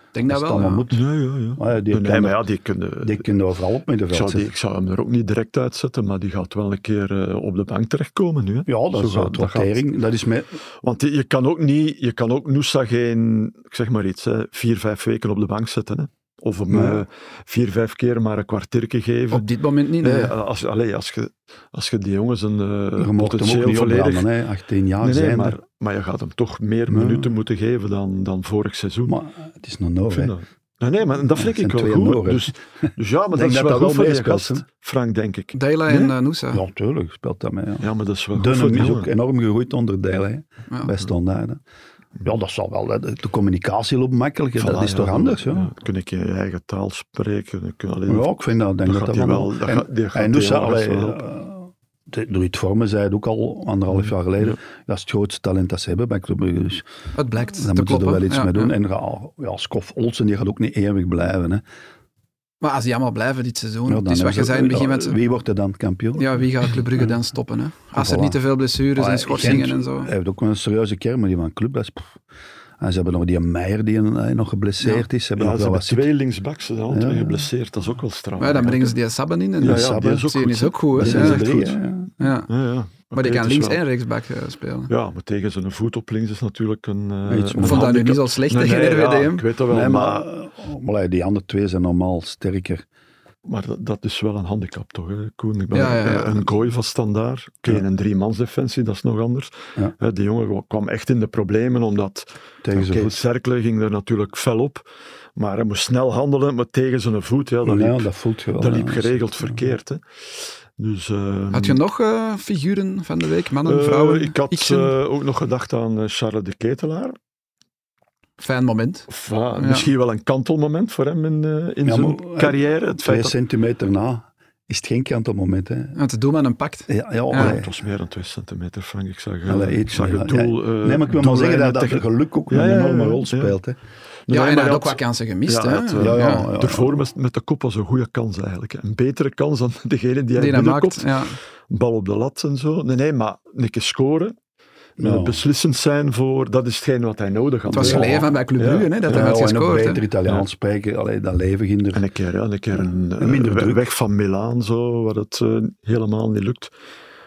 S3: Ik denk dat
S2: als het
S3: wel.
S2: allemaal
S3: ja.
S2: moet,
S1: Ja, ja, ja.
S2: Ah, ja, die
S1: nee,
S2: kan-
S1: maar ja, die kunnen...
S2: die kunnen overal op met de
S1: ik, zou die,
S2: veld zetten.
S1: ik zou hem er ook niet direct uitzetten, maar die gaat wel een keer eh, op de bank terechtkomen nu. Hè.
S2: Ja, dat
S1: Zo
S2: is
S1: gaat- eh,
S2: een
S1: dat gaat-
S2: rotering. Dat is met,
S1: Want je je kan ook niet, je kan ook Noosa geen, ik zeg maar iets, hè, vier, vijf weken op de bank zetten. Hè. Of hem
S2: Nee.
S1: eh, vier, vijf keer maar een kwartiertje geven.
S3: Op dit moment niet.
S1: Nee,
S3: nee.
S1: als, allee, als, je, als je die jongens een eh,
S2: je mocht hem ook
S1: potentieel
S2: niet
S1: volledig...
S2: opbranden, hè. 18 jaar
S1: Nee, nee,
S2: zijn
S1: maar,
S2: er.
S1: maar je gaat hem toch meer
S2: Nee.
S1: minuten moeten geven dan, dan vorig seizoen.
S2: Maar eh, het is nog
S1: Ik
S2: nodig.
S1: vind
S2: hè.
S1: dat- Nee, nee, maar dat
S2: Ja,
S1: vind
S2: het
S1: ik
S2: zijn
S1: wel
S2: twee
S1: goed.
S2: noren.
S1: Dus, dus ja, maar dat
S2: denk
S1: is
S2: dat
S1: wel
S2: dat
S1: goed
S2: wel
S1: voor je
S2: meespeelt,
S1: gast, Frank, denk ik.
S3: Dela en eh, Noosa.
S2: Ja, tuurlijk speelt dat mee. Ja.
S1: Ja, maar dat is wel goed voor
S2: Dunham
S1: die
S2: is ook
S1: jongen.
S2: enorm gegroeid onder Deil, hè,
S3: Ja.
S2: bij standaard. hè. Mhm. Ja, dat zal wel. hè. De de communicatie loopt makkelijk. hè. dat
S1: Voilà,
S2: is toch
S1: ja,
S2: anders,
S1: dan-
S2: ja?
S1: ja, kun ik je eigen taal spreken. dan kun je alleen-
S2: Ja, ik vind dat. ik Denk
S1: Dat
S2: dat,
S1: gaat
S2: dat
S1: hij
S2: wel.
S1: wel- dat
S2: en
S1: gaat- die gaat
S2: en
S1: die
S2: Nusa,
S1: jongens
S2: allee,
S1: wel helpen.
S2: eh, de- door het vormen zei het ook al anderhalf jaar geleden. Dat is het grootste talent dat ze hebben bij Club Brugge. Dus
S3: Het blijkt
S2: daar moeten
S3: te
S2: ze er
S3: kloppen.
S2: wel iets
S3: Ja,
S2: mee doen.
S3: ja.
S2: En ga- ja, Skof Olsen die gaat ook niet eeuwig blijven. Hè.
S3: Maar als die allemaal blijven dit seizoen,
S2: Ja,
S3: het
S2: dan
S3: is wat je
S2: hebben ze-
S3: zei in het begin met...
S2: ja, Wie wordt er dan kampioen?
S3: Ja, wie gaat Club Brugge dan stoppen? Hè? Als er
S2: voilà.
S3: niet te veel blessures
S2: Maar
S3: en
S2: ja,
S3: schorsingen
S2: Gent
S3: en zo.
S2: Hij heeft ook wel een serieuze kern, maar die van club. Dat is, pff. en ze hebben nog die Meijer die eh, nog geblesseerd is. Ze hebben
S1: Ja,
S2: nog
S1: ze
S2: wel
S1: hebben
S2: wat
S1: twee linksbacks, ze zijn altijd
S2: Ja, ja.
S1: geblesseerd. Dat is ook wel straf.
S3: Maar ja, dan brengen ze die Sabben in en
S1: Ja,
S3: ja,
S1: ja, die is ook goed,
S3: is
S1: hè.
S3: ook goed.
S1: Dat
S3: hè.
S1: zijn ze
S3: Ja.
S1: echt
S2: drie,
S1: goed.
S2: hè, ja.
S3: Ja.
S1: Ja, ja.
S3: Maar
S1: Oké,
S3: die kan
S1: het is
S3: links
S1: wel-
S3: en rechtsback eh, spelen.
S1: Ja, maar tegen zijn voet op links is natuurlijk een... eh,
S2: Iets
S1: een
S2: moeilijk.
S3: Ik vond dat nu
S1: handicap.
S3: niet zo slecht
S1: Nee,
S3: tegen
S1: nee, ja,
S3: RWDM.
S1: ik weet dat wel,
S2: Nee, maar, Oh,
S1: maar,
S2: maar ja, die andere twee zijn normaal sterker.
S1: maar dat, dat is wel een handicap toch, hè, Koen? Ik ben
S3: Ja, ja, ja.
S1: eh, een gooi van standaard. Oké,
S2: Ja.
S1: een driemansdefensie, dat is nog anders.
S2: Ja.
S1: Hè, die jongen kwam echt in de problemen, omdat...
S2: Tegen zijn
S1: oké,
S2: voet.
S1: Cercle ging er natuurlijk fel op, maar hij moest snel handelen, maar tegen zijn voet, ja, dat liep,
S2: Ja, dat voelt je wel.
S1: dat
S2: ja.
S1: liep geregeld verkeerd. Hè. Dus, eh,
S3: Had je nog eh, figuren van de week? Mannen,
S1: eh,
S3: vrouwen?
S1: ik had
S3: Iksen?
S1: eh, ook nog gedacht aan eh, Charles de Ketelaar.
S3: Fijn moment.
S1: Of, ah,
S3: Ja.
S1: Misschien wel een kantelmoment voor hem in, eh, in
S2: Ja,
S1: zijn
S2: maar, eh,
S1: carrière. Het
S2: Twee
S1: feit dat,
S2: centimeter na is het geen kant op het moment. Hè. Ja,
S3: Want de doelman hem pakt.
S2: ja,
S1: Ja,
S2: allee.
S1: het was meer dan 2 centimeter, Frank. Ik zag, eh,
S2: Allee,
S1: ik
S2: iets
S1: zag
S2: meer,
S1: het
S2: ja.
S1: doel. eh,
S2: Nee, maar ik wil maar zeggen dat, dat
S1: doellijnen tegen-
S2: geluk ook
S1: Ja, ja,
S2: een
S1: ja,
S2: enorme rol
S1: ja.
S2: speelt. Hè.
S3: Ja,
S1: Nee,
S3: en
S1: maar
S3: hij had ook
S1: had-
S3: wat kansen gemist.
S1: Ja,
S3: hè.
S1: hij had, eh,
S2: Ja, ja, ja.
S1: Ervoor met, met de kop was een goede kans eigenlijk. Een betere kans dan degene die hij
S3: Die hij maakt.
S1: binnenkomt.
S3: Ja.
S1: Bal op de lat en zo. Nee, nee, maar een keer scoren. eh,
S2: Ja.
S1: Beslissend zijn voor... Dat is hetgeen wat hij nodig had.
S3: Het was
S1: Ja.
S3: geleden van bij Club
S1: Ja.
S3: Brugge, hè, dat
S2: Ja,
S3: hij had
S2: en ook
S3: gescoord. hè.
S2: beter Italiaans spreken, allee, dat leven ging er.
S1: En een keer, ja, een, keer een, eh,
S2: minder
S1: we-
S2: druk.
S1: weg van Milaan, zo, waar het eh, helemaal niet lukt.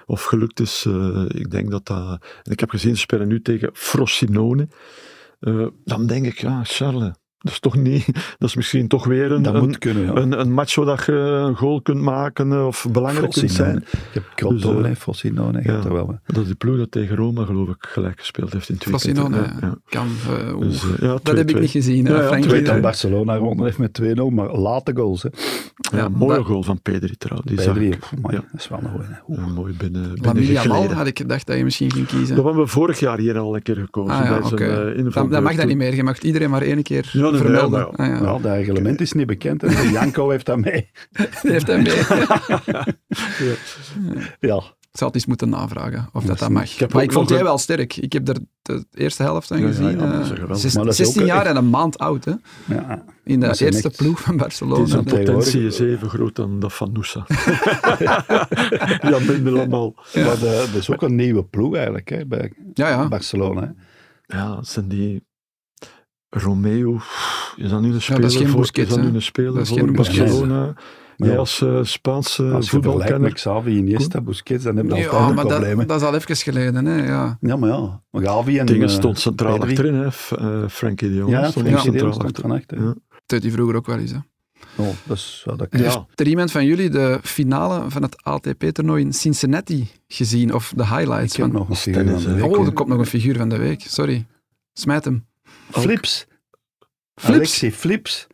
S1: Of gelukt is. eh, ik denk dat dat... En ik heb gezien, ze spelen nu tegen Frosinone. Eh, dan denk ik, ja, Charles, dat is toch niet... *laughs* Dat is misschien toch weer een,
S2: dat
S1: een,
S2: moet kunnen. Ja.
S1: een, een match waar je een goal kunt maken eh, of belangrijk kunt zijn.
S2: Frosinone. Je hebt
S1: Dus,
S2: Crotone,
S1: eh,
S2: hè, Frosinone, je
S1: ja.
S2: hebt er wel. hè.
S1: Dat is de ploeg dat tegen Roma, geloof ik, gelijk gespeeld heeft in twee
S3: Frosinone,
S1: keer. Ja, ja.
S3: Kan, eh, oeh.
S1: Dus, eh, ja,
S3: dat heb ik
S1: 2-2.
S3: niet gezien.
S1: Ja,
S3: hè,
S1: ja,
S3: Frankie.
S2: Ik weet dat
S1: twee.
S2: Barcelona gewonnen heeft met 2-0, maar late goals. Hè.
S1: Ja,
S3: Ja,
S1: een mooie
S3: dat-
S1: goal van Pedri trouwens. Die
S2: Bij
S1: zag
S2: drie.
S1: ik.
S2: Pff, amai,
S1: Ja.
S2: Dat is wel een goeie, hè. Oeh.
S1: Ja, mooi binnen, binnen
S3: Lamine Yamal
S1: gegleden.
S3: had ik gedacht dat je misschien ging kiezen.
S1: Dat hebben we vorig jaar hier al een keer gekozen.
S3: Ah, ja,
S1: bij zijn,
S3: oké.
S1: eh,
S3: Dan,
S1: invalbeurt.
S3: dan mag dat niet meer. Je mag iedereen maar één keer
S1: Ja, nee, nee,
S3: vermelden.
S1: maar
S3: Ah, ja.
S2: Nou, dat reglement is niet bekend. Hè. Janko heeft dat mee.
S3: *laughs* Die heeft hij mee.
S2: *laughs* Ja,
S3: Ik zal het eens moeten navragen of dat, dat mag.
S1: Ik heb
S3: maar
S1: ook
S3: ik vond
S1: nog
S3: jij
S1: een-
S3: wel sterk. Ik heb er de eerste helft van
S1: Ja, ja,
S3: gezien.
S1: ja, maar dat is
S3: eh,
S1: geweldig.
S3: zes-
S2: Maar dat is
S3: 16
S2: ook, eh,
S3: jaar en een maand oud. Hè?
S2: ja.
S3: In de
S2: Dat zijn
S3: eerste
S2: echt-
S3: ploeg van
S1: Die
S3: Barcelona.
S1: zijn
S2: dat-
S1: potentie is
S2: tegenwoordig-
S1: even groot dan dat van
S3: *laughs*
S1: Noosa. ja, minder dan al.
S2: Maar de- dat is ook een nieuwe ploeg eigenlijk hè, bij
S3: Ja, ja.
S2: Barcelona. hè.
S1: Ja, zijn die... Romeo, is dat nu een speler
S3: geen
S1: voor,
S3: Busquets,
S1: is dat
S3: hè.
S1: nu een speler
S3: Dat is geen
S1: voor
S3: Busquets.
S1: Barcelona?
S2: Maar
S1: Jij
S2: ja,
S1: als eh, Spaanse
S2: Als je vergelijkt
S1: voetbalkenner.
S2: met Xavi, Iniesta, Busquets, dan heb je altijd
S3: Ja,
S2: een
S3: maar
S2: probleem. hè.
S3: dat, dat is al even geleden. Hè? Ja.
S2: Ja, maar ja. Maar Gavi en...
S1: Dingen
S2: eh,
S1: stond centraal
S2: Pedri.
S1: achterin, hè. F- eh, Frankie de Jong
S2: Ja,
S1: stond
S2: Frenkie de
S1: centraal
S2: Jong stond
S1: achterin.
S2: van achter.
S1: Ja.
S3: Dat die vroeger ook wel eens. Hè?
S2: Oh, dat is... ja, dat kan.
S1: Ja.
S3: Heeft er iemand van jullie de finale van het ATP-toernooi in Cincinnati gezien? Of de highlights?
S2: Ik heb
S3: van-
S2: nog een figuur
S1: tennis,
S2: van de
S1: hè.
S2: week,
S3: Oh,
S2: hè.
S3: er komt nog een figuur van de week. Sorry. Smijt hem.
S2: Flips.
S3: Flips?
S2: Alexi Flips.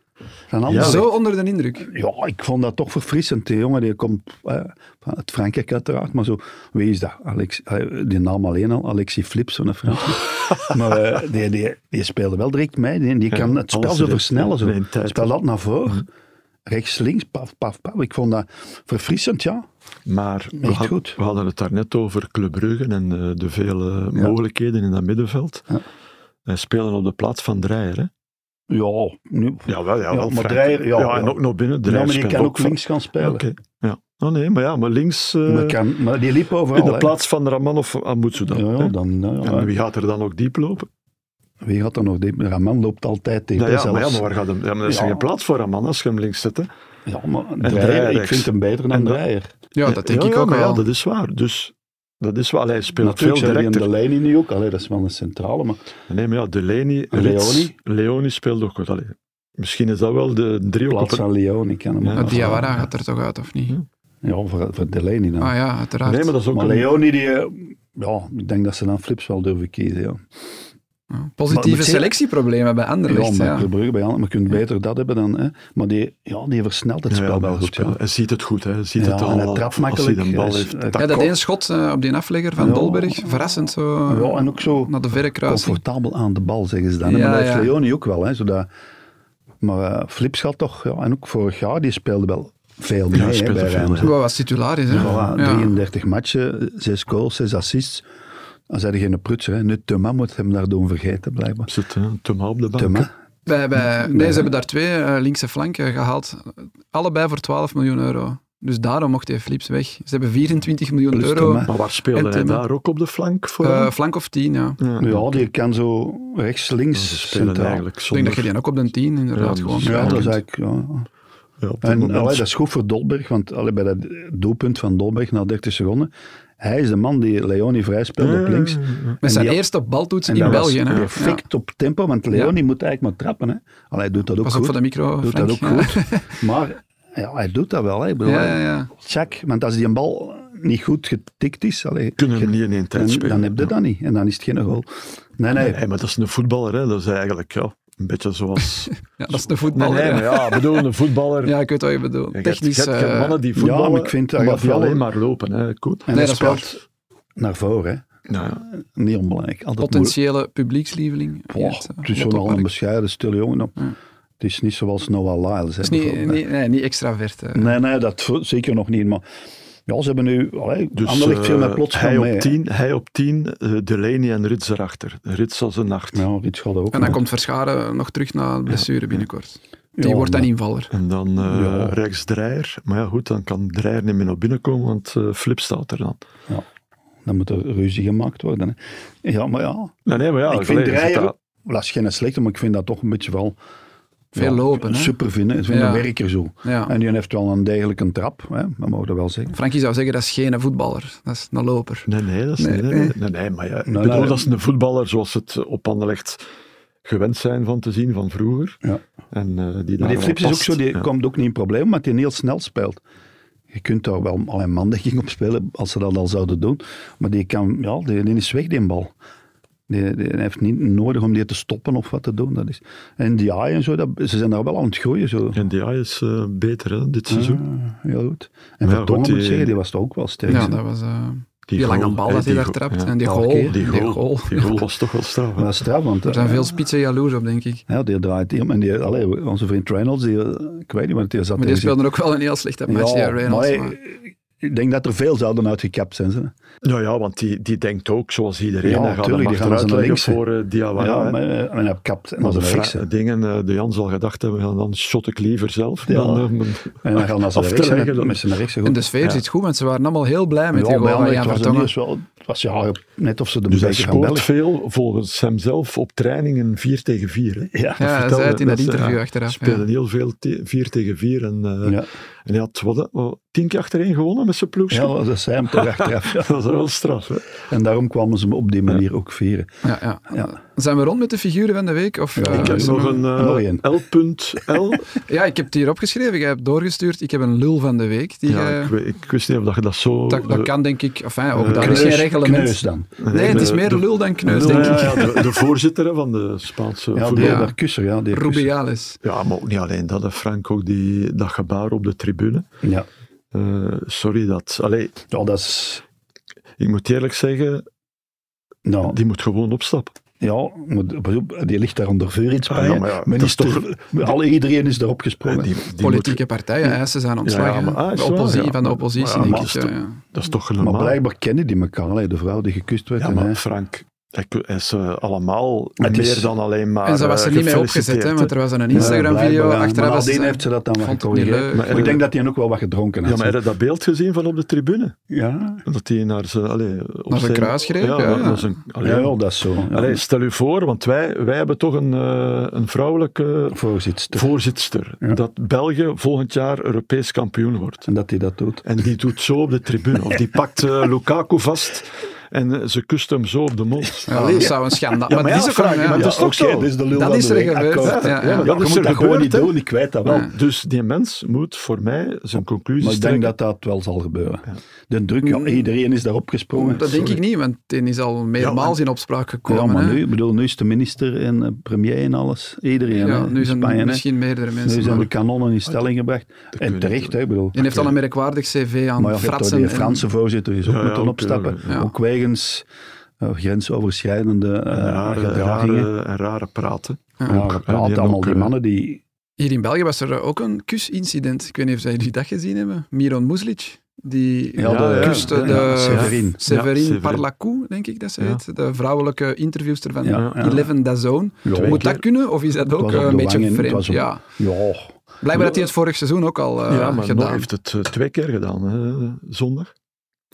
S2: Van
S1: Ja.
S2: Anderlecht.
S3: Zo onder de indruk.
S2: Ja, ik vond dat toch verfrissend. Die jongen die komt eh, van het Frankrijk uiteraard, maar zo, wie is dat? Alex, eh, die naam alleen al, Alexis Flips, zo'n Fransman.
S1: *laughs*
S2: maar eh, die, die, die speelde wel direct mee. Die, die
S1: Ja,
S2: kan het spel
S1: alles
S2: zo
S1: direct,
S2: versnellen. Zo.
S1: ja, in tijd. Mm-hmm.
S2: Spel dat naar voren. Rechts, links, paf, paf, paf. Ik vond dat verfrissend, ja.
S1: Maar we,
S2: Echt
S1: had-
S2: goed.
S1: we hadden het daarnet over Club Brugge en eh, de vele
S2: Ja.
S1: mogelijkheden in dat middenveld.
S2: Ja.
S1: Hij spelen op de plaats van Dreyer, hè?
S2: Ja, nu,
S1: Jawel,
S2: Ja, wel, maar Frank. Dreyer, ja, ja.
S1: en ook nog binnen.
S2: ja
S1: Dreyer
S2: maar die
S1: speelt
S2: kan ook
S1: van-
S2: links gaan spelen.
S1: Oké, ja. Oh nee, maar ja, maar links eh,
S2: Maar, kan, maar die liep overal.
S1: in de
S2: hè.
S1: plaats van Raman of Amutsu dan.
S2: Ja,
S1: hè.
S2: ja, dan, ja, ja.
S1: En wie gaat er dan ook diep lopen?
S2: Wie gaat dan nog diep? Raman loopt altijd diep.
S1: Nou
S2: hè,
S1: ja, maar, ja,
S2: zelfs.
S1: maar waar gaat hem? Ja, maar er is
S2: Ja.
S1: geen plaats voor Raman als je hem links zet. hè.
S2: Ja, maar
S1: Dreyer
S2: Dreyer, ik
S1: rechts.
S2: vind hem beter
S1: En
S2: dan
S1: dat-
S2: Dreyer.
S3: Ja, dat denk
S1: Ja,
S3: ik
S1: ja,
S3: ook
S1: maar
S3: wel.
S1: Ja, dat is waar. Dus dat is wel, hij speelt
S2: Natuurlijk
S1: veel
S2: zijn die in
S1: directer.
S2: de lijn nu ook. Allee, dat is wel een centrale, maar
S1: Nee, maar ja, Delaney,
S2: En
S1: Rits,
S2: Leoni?
S1: Leoni speelt ook goed. Allee, misschien is dat wel de
S2: in
S1: driehoek.
S2: plaats
S1: op een-
S2: van Leon, ik ken hem
S1: Ja.
S3: Maar
S2: ook.
S3: Diawara gaat er toch uit, of niet?
S2: Ja, voor, voor Delaney dan.
S3: Ah ja, uiteraard.
S1: Nee, maar dat is ook
S2: Maar
S1: een-
S2: Leoni, die, eh, ja, ik denk dat ze dan Flips wel durven kiezen. Ja,
S3: Ja.
S2: Maar-
S3: Positieve
S2: maar-
S3: selectieproblemen bij
S2: ja
S3: Anderlecht,
S2: maar
S3: ja.
S2: Club Brugge bij Anderlecht, maar je kunt beter dat hebben dan. Hè. Maar die, ja, die versnelt het
S1: Ja, ja,
S2: spel wel
S1: wel
S2: goed.
S1: spelen.
S2: Ja.
S1: Hij ziet het goed, hè. hij ziet
S2: Ja,
S1: het
S2: en
S1: al. eh,
S2: hij trapt
S1: Als hij
S2: makkelijk.
S1: de bal
S2: Hij
S1: heeft.
S2: is-
S1: Dat
S3: Ja, dat
S1: komt.
S3: één schot eh, op die aflegger van
S2: Ja.
S3: Dolberg, verrassend zo eh,
S2: Ja, en ook zo
S3: naar de verre kruising.
S2: comfortabel aan de bal, zeggen ze dan. hè.
S3: Ja,
S2: maar dat
S3: ja.
S2: heeft Leoni ook wel. Hè, zodat, maar eh, Flips gaat toch, ja, en ook vorig jaar, die speelde wel veel mee
S1: hij
S2: hè,
S1: speelde
S2: bij
S1: veel,
S2: Rijn.
S1: ja.
S3: Wat was titularis, hè?
S2: Voilà,
S3: Ja.
S2: 33 matchen, 6 goals, 6 assists. Dan zijn er geen prutser. Hè. Nu Thuma moet hem daar doen vergeten, blijkbaar.
S1: Zit eh, Tuma op de bank. hè.
S2: Thuma.
S3: Bij, bij, nee, ze hebben daar twee eh, linkse flanken gehaald. Allebei voor 12 miljoen euro. Dus daarom mocht hij Flips weg. Ze hebben 24 miljoen
S2: Plus
S3: euro.
S2: Thomas.
S1: Maar waar speelde
S3: En
S1: hij
S3: Tuma.
S1: daar ook op de flank voor?
S3: eh, flank of 10, ja.
S1: ja,
S2: Ja, die kan zo rechts,
S1: ze
S2: links,
S1: spelen
S2: centraal.
S1: eigenlijk
S3: Ik denk
S1: zonder...
S3: dat je die ook op de 10 inderdaad
S1: Ja,
S3: gewoon.
S1: dus-
S2: Ja,
S3: krijgt.
S2: dat is eigenlijk... Ja.
S1: ja, op dit
S2: En
S1: moment-
S2: allee, dat is goed voor Dolberg, want allee, bij dat doelpunt van Dolberg na 30 seconden, hij is de man die Leoni vrij speelt op
S1: Ja,
S2: links.
S1: ja, ja.
S3: Met
S2: En
S3: zijn
S2: die-
S3: eerste baltoets
S2: en
S3: Eh, in
S2: dat was
S3: België. hè. Ja.
S2: perfect op tempo, want Leoni moet eigenlijk maar trappen. Hè. Allee, hij doet dat ook
S3: Pas op
S2: goed.
S3: voor de micro,
S2: doet
S3: Frank.
S2: dat ook
S3: Ja.
S2: goed.
S3: *laughs*
S2: Maar ja, hij doet dat wel. Hè. Ik bedoel,
S3: Ja, ja, ja.
S2: check, want als die een bal niet goed getikt is, allee,
S1: Kunnen hem niet in één tijd
S2: dan,
S1: spelen.
S2: dan heb je dat niet. En dan is het geen goal. Nee, nee.
S1: Nee, maar dat is een voetballer, hè. dat is eigenlijk ja, een beetje zoals...
S3: Ja, dat is de
S1: nee,
S3: voetballer.
S1: nee, maar
S3: ja.
S1: ja, ik bedoel, een voetballer...
S3: Ja, ik weet wat je bedoelt.
S1: Je
S3: Technisch.
S1: hebt, je hebt
S3: eh,
S1: mannen die
S2: ja,
S1: voetballen,
S2: maar ik vind dat
S1: omdat die
S2: wel-
S1: alleen maar lopen. Hè, goed.
S2: En
S3: Nee,
S2: hij
S3: dat is waar.
S2: speelt naar voren. Hè.
S1: Nou, ja.
S2: Niet onbelangrijk. Altijd moeilijk.
S3: potentiële publiekslieveling.
S2: Boah,
S3: Ja, eh,
S2: het is
S3: Lotto
S2: zo'n al
S3: Park.
S2: een bescheiden, stille jongen. op.
S3: Ja.
S2: Het is niet zoals Noah Lyles. hè,
S3: Het is niet,
S2: bijvoorbeeld, hè.
S3: niet, nee, niet extravert. eh. hè.
S2: Nee, nee, dat vo- zeker nog niet. Maar ja, ze hebben nu... Allee,
S1: Dus,
S2: Anderlecht viel mij
S1: eh,
S2: plots
S1: hij,
S2: van
S1: op
S2: mee. hè.
S1: tien, hij op tien, eh, Delaney en Rits erachter. Rits als een nacht.
S2: Ja, Rits gaat ook.
S3: En dan
S2: nog.
S3: komt Verscharen nog terug naar blessure binnenkort. Die
S2: Ja,
S3: wordt dan
S2: maar-
S3: invaller.
S1: En dan eh,
S2: Ja.
S1: rechts Dreyer. Maar ja, goed, dan kan Dreyer niet meer naar binnen komen, want eh, Flip staat er dan.
S2: Dan moet er ruzie gemaakt worden. Hè. Ja, maar ja.
S1: Nee, nee, maar ja,
S2: ik vind
S1: allee, je zit
S2: Dreyer...
S1: daar-
S2: Dat is geen slechte, maar ik vind dat toch een beetje wel...
S3: Veel
S2: ja,
S3: lopen, hè?
S2: Super vinden. Ik vind
S3: Ja.
S2: een werker zo.
S3: Ja.
S2: En die heeft wel een degelijke trap. Hè. Dat mogen we wel zeggen.
S3: Frankie zou zeggen, dat is geen voetballer. Dat is een loper.
S1: Nee, nee, dat is niet-
S3: Nee,
S1: nee,
S3: nee.
S1: nee, nee, nee, maar ja, ik
S2: Nee, Nou,
S1: bedoel,
S2: nee.
S1: dat is een voetballer zoals het eh, op Anderlecht gewend zijn van te zien van vroeger.
S2: Ja.
S1: En, eh, die daar
S2: Maar die
S1: wel
S2: Flips is ook
S1: past.
S2: zo, die
S1: Ja.
S2: komt ook niet in probleem, omdat die heel snel speelt. Je kunt daar wel alleen mandekking op spelen, als ze dat al zouden doen. Maar die, kan, ja, die, die is weg, die bal. Die, die heeft niet nodig om die te stoppen of wat te doen. Dat is. En die AI en zo, dat, ze zijn daar wel aan het groeien. Zo.
S1: En die is eh, beter hè,
S2: Ah.
S1: dit seizoen.
S2: Ja, heel goed. En
S1: Maar ja,
S2: Vertongen
S1: goed,
S2: moet
S1: die-
S2: ik zeggen, die was toch ook wel sterk.
S3: Ja,
S2: hè.
S3: dat was eh, die,
S1: goal,
S3: lange bal
S1: hè,
S3: dat
S1: die
S3: hij daar
S1: go-
S3: trapt.
S1: ja.
S3: En die
S2: Elke
S3: goal.
S2: keer.
S1: Die
S3: die
S1: goal,
S3: goal.
S1: die goal was toch wel straf. hè.
S2: Dat is straf, want
S3: Er zijn
S2: eh,
S3: veel spitsen jaloers op, denk ik.
S2: ja, die draait hem. En die, allee, onze vriend Reynolds, die, eh, ik weet niet, maar die zat
S3: Maar die
S2: tegen-
S3: speelde ook wel een heel slechte match, ja, Reynolds.
S2: maar, eh,
S3: maar-
S2: Ik denk dat er veel zouden uitgekapt zijn. Ze.
S1: Nou ja, want die, die denkt ook zoals iedereen.
S2: Ja,
S1: hij gaat hem
S2: tuurlijk, die gaan
S1: achteruit
S2: ze naar
S1: leggen
S2: links, hè.
S1: voor eh, Diawara.
S2: ja,
S1: hè.
S2: maar, eh, men heeft kapt en
S1: Maar
S2: dat
S1: de
S2: is rechts.
S1: fra-
S2: hè.
S1: dingen, eh, de Jan zal gedacht hebben, ja, dan shot ik liever zelf.
S2: Ja. Dus
S1: Dan, eh, mijn-
S2: En dan gaan ze
S1: af
S2: naar
S1: te
S2: rechts
S1: leggen,
S2: en
S1: dan-
S2: met z'n rechts.
S3: En de sfeer
S1: Ja.
S3: zit goed, want ze waren allemaal heel blij met die
S2: ja, bij
S3: goal van Jan
S2: Anderlecht was het
S3: Vertongen.
S2: nieuws wel... Het was ja, net of ze de
S1: dus hij
S2: beker van
S1: scoort
S2: België...
S1: veel, volgens hem zelf, op trainingen 4 tegen 4. hè.
S2: Ja.
S3: Ja, hij
S1: vertelde
S3: zei het in dat
S1: ze,
S3: interview
S1: ja,
S3: achteraf. ja.
S1: speelden heel veel 4 tegen 4. En, eh,
S2: Ja.
S1: en hij had wat, eh, wat, tien keer achtereen gewonnen met zijn ploegje.
S2: ja, dat zei hem toch achteraf. ja.
S1: *laughs* Dat was wel straf. Hè?
S2: *laughs* En daarom kwamen ze me op die manier ook vieren.
S3: Ja, ja.
S2: Ja.
S3: Zijn we rond met de figuren van de week? Of, eh,
S1: ik heb
S3: is er
S1: nog een eh,
S2: nog één.
S3: *laughs*
S1: L.L.
S3: Ja, ik heb het hier opgeschreven. Jij hebt doorgestuurd. Ik heb een lul van de week. Die
S1: ja,
S3: jij-
S1: ik, weet- ik wist niet of dat je dat zo...
S3: dat, dat
S1: eh,
S3: kan denk ik... Enfin, ook
S1: eh,
S3: daar is geen
S2: Kneus-
S3: reglement.
S2: Kneus dan.
S3: Nee, het is
S1: de-
S3: meer
S1: de-
S3: lul dan kneus,
S1: Ja,
S3: denk
S1: ja,
S3: ik.
S1: ja, de, de voorzitter hè, van de Spaanse
S2: Ja, die
S1: voetbal.
S2: daar kusser. Ja, die kusser.
S3: Rubiales.
S1: Ja, maar ook niet alleen dat, hè, Frank, ook die, dat gebaar op de tribune.
S2: Ja.
S1: Eh, sorry dat. Allee,
S2: ja, dat is...
S1: ik moet eerlijk zeggen,
S2: Nou,
S1: die moet gewoon opstappen.
S2: ja, maar pas op, die ligt daar onder vuur in Spanje.
S1: Ah, ja, maar ja,
S2: Men
S1: dat
S2: is
S1: is toch-
S2: te- alle, iedereen is erop gesprongen.
S1: Die, die
S3: Politieke partijen eisen zijn ontslag.
S1: Ja, ja,
S3: hè.
S1: maar- ah, is
S3: de
S1: waar,
S3: opposi-
S1: ja.
S3: Van de oppositie,
S1: Maar ja,
S3: denk
S1: maar
S3: ik.
S1: dat is
S3: ja, ja.
S1: moet- dat is toch
S2: Maar
S1: normaal.
S2: blijkbaar kennen die elkaar, hè, de vrouw die gekust werd.
S1: Ja,
S2: en hij.
S1: maar Frank, Hij, ku- hij is eh, allemaal
S2: Het
S1: meer
S2: is-
S1: dan alleen maar.
S3: en ze was
S1: eh,
S3: er niet mee opgezet,
S1: gefeliciteerd,
S3: hè, want eh, er was dan een
S2: Ja,
S3: Instagram-video.
S2: blijkbaar, ja.
S3: Achteraf
S2: Maar
S3: was
S2: nadien
S3: ze-
S2: heeft ze dat dan wat
S3: vond het niet
S2: gecorrigeerd.
S3: leuk.
S1: Maar
S2: Maar ik denk dat hij ook wel wat gedronken had.
S1: Ja, maar heb je dat beeld gezien van op de tribune?
S2: ja.
S1: Dat hij naar zijn, allee, op
S3: Naar zijn kruis greep,
S1: Ja,
S3: ja.
S1: naar zijn- allee,
S2: Ja, ja, dat is zo. Ja.
S1: allee, stel u voor, want wij, wij hebben toch een, eh, een vrouwelijke
S2: Voorzitster.
S1: voorzitster.
S2: Ja.
S1: Dat België volgend jaar Europees kampioen wordt.
S2: En dat hij dat doet.
S1: En die doet zo op de tribune. Of die pakt eh, Lukaku vast en eh, ze kust hem zo op de mond.
S3: Ja, dat zou een schandaal.
S1: Ja,
S3: maar
S1: maar
S3: het
S1: ja,
S3: is ook
S1: vraag
S3: wel-
S1: je,
S3: ja.
S1: maar dat is toch
S2: oké,
S1: zo?
S2: Dit is de lul
S3: Dat
S2: van
S3: is
S2: de
S3: er
S2: week,
S3: gebeurd,
S2: akkoord.
S3: ja,
S2: maar
S3: ja.
S1: Dat
S2: je
S1: is
S2: moet
S1: er
S2: dat gewoon
S1: gebeurd,
S2: niet
S1: hè.
S2: doen, ik kwijt dat wel.
S3: Ja.
S1: Dus die mens moet voor mij zijn
S2: Maar
S1: conclusies
S2: ik denk
S1: trekken.
S2: dat dat wel zal gebeuren. De druk, ja, iedereen is daarop gesprongen.
S3: Mm. Dat denk ik
S2: Sorry.
S3: niet, want die is al meermaals in opspraak gekomen.
S2: Ja, maar
S3: hè.
S2: nu, ik bedoel, nu is de minister en eh, premier en alles, iedereen.
S3: Ja,
S2: hè,
S3: nu
S2: in
S3: zijn
S2: Spanje, hè.
S3: misschien meerdere
S2: Nu
S3: mensen. Oh,
S2: zijn
S3: maar-
S2: de kanonnen in stelling gebracht. En
S1: kunnen
S2: terecht,
S1: toch.
S2: hè, ik bedoel.
S3: Die heeft al een merkwaardig cv aan
S2: Maar ja, je hebt
S3: fratsen.
S2: daar die
S3: en-
S2: Franse voorzitter die is ook
S1: Ja, ja,
S2: moeten
S1: ook, eh,
S2: opstappen.
S1: ja,
S3: ja.
S2: Ook wegens eh, grensoverschrijdende eh,
S1: En rare,
S2: gedragingen.
S1: rare, en rare praten.
S3: Ja.
S2: Ja,
S1: ook, hè,
S2: we
S1: die
S2: praten
S1: hebben
S2: allemaal
S1: ook,
S2: die
S1: eh,
S2: mannen die...
S3: Hier in België was er ook een kusincident. Ik weet niet of jullie dat gezien hebben. Miron Muslic, die
S1: Ja, ja,
S3: kuste
S1: ja,
S3: de
S1: ja,
S2: Severin.
S1: Ja,
S3: Severin
S1: Severin.
S3: Parlacou, denk ik dat ze
S1: Ja.
S3: heet. De vrouwelijke interviewster van
S2: Ja, ja.
S3: Eleven Dazone.
S2: Ja,
S1: Twee
S3: Moet
S1: keer.
S3: dat kunnen, of is dat ook
S2: was op
S3: eh, een
S2: de
S3: beetje
S2: wangen, het
S3: vreemd?
S2: was op-
S3: Ja.
S2: Ja,
S3: Blijkbaar dat hij het vorig seizoen ook al eh,
S1: ja, maar nog
S3: gedaan
S1: heeft het eh, twee keer gedaan, hè, zondag.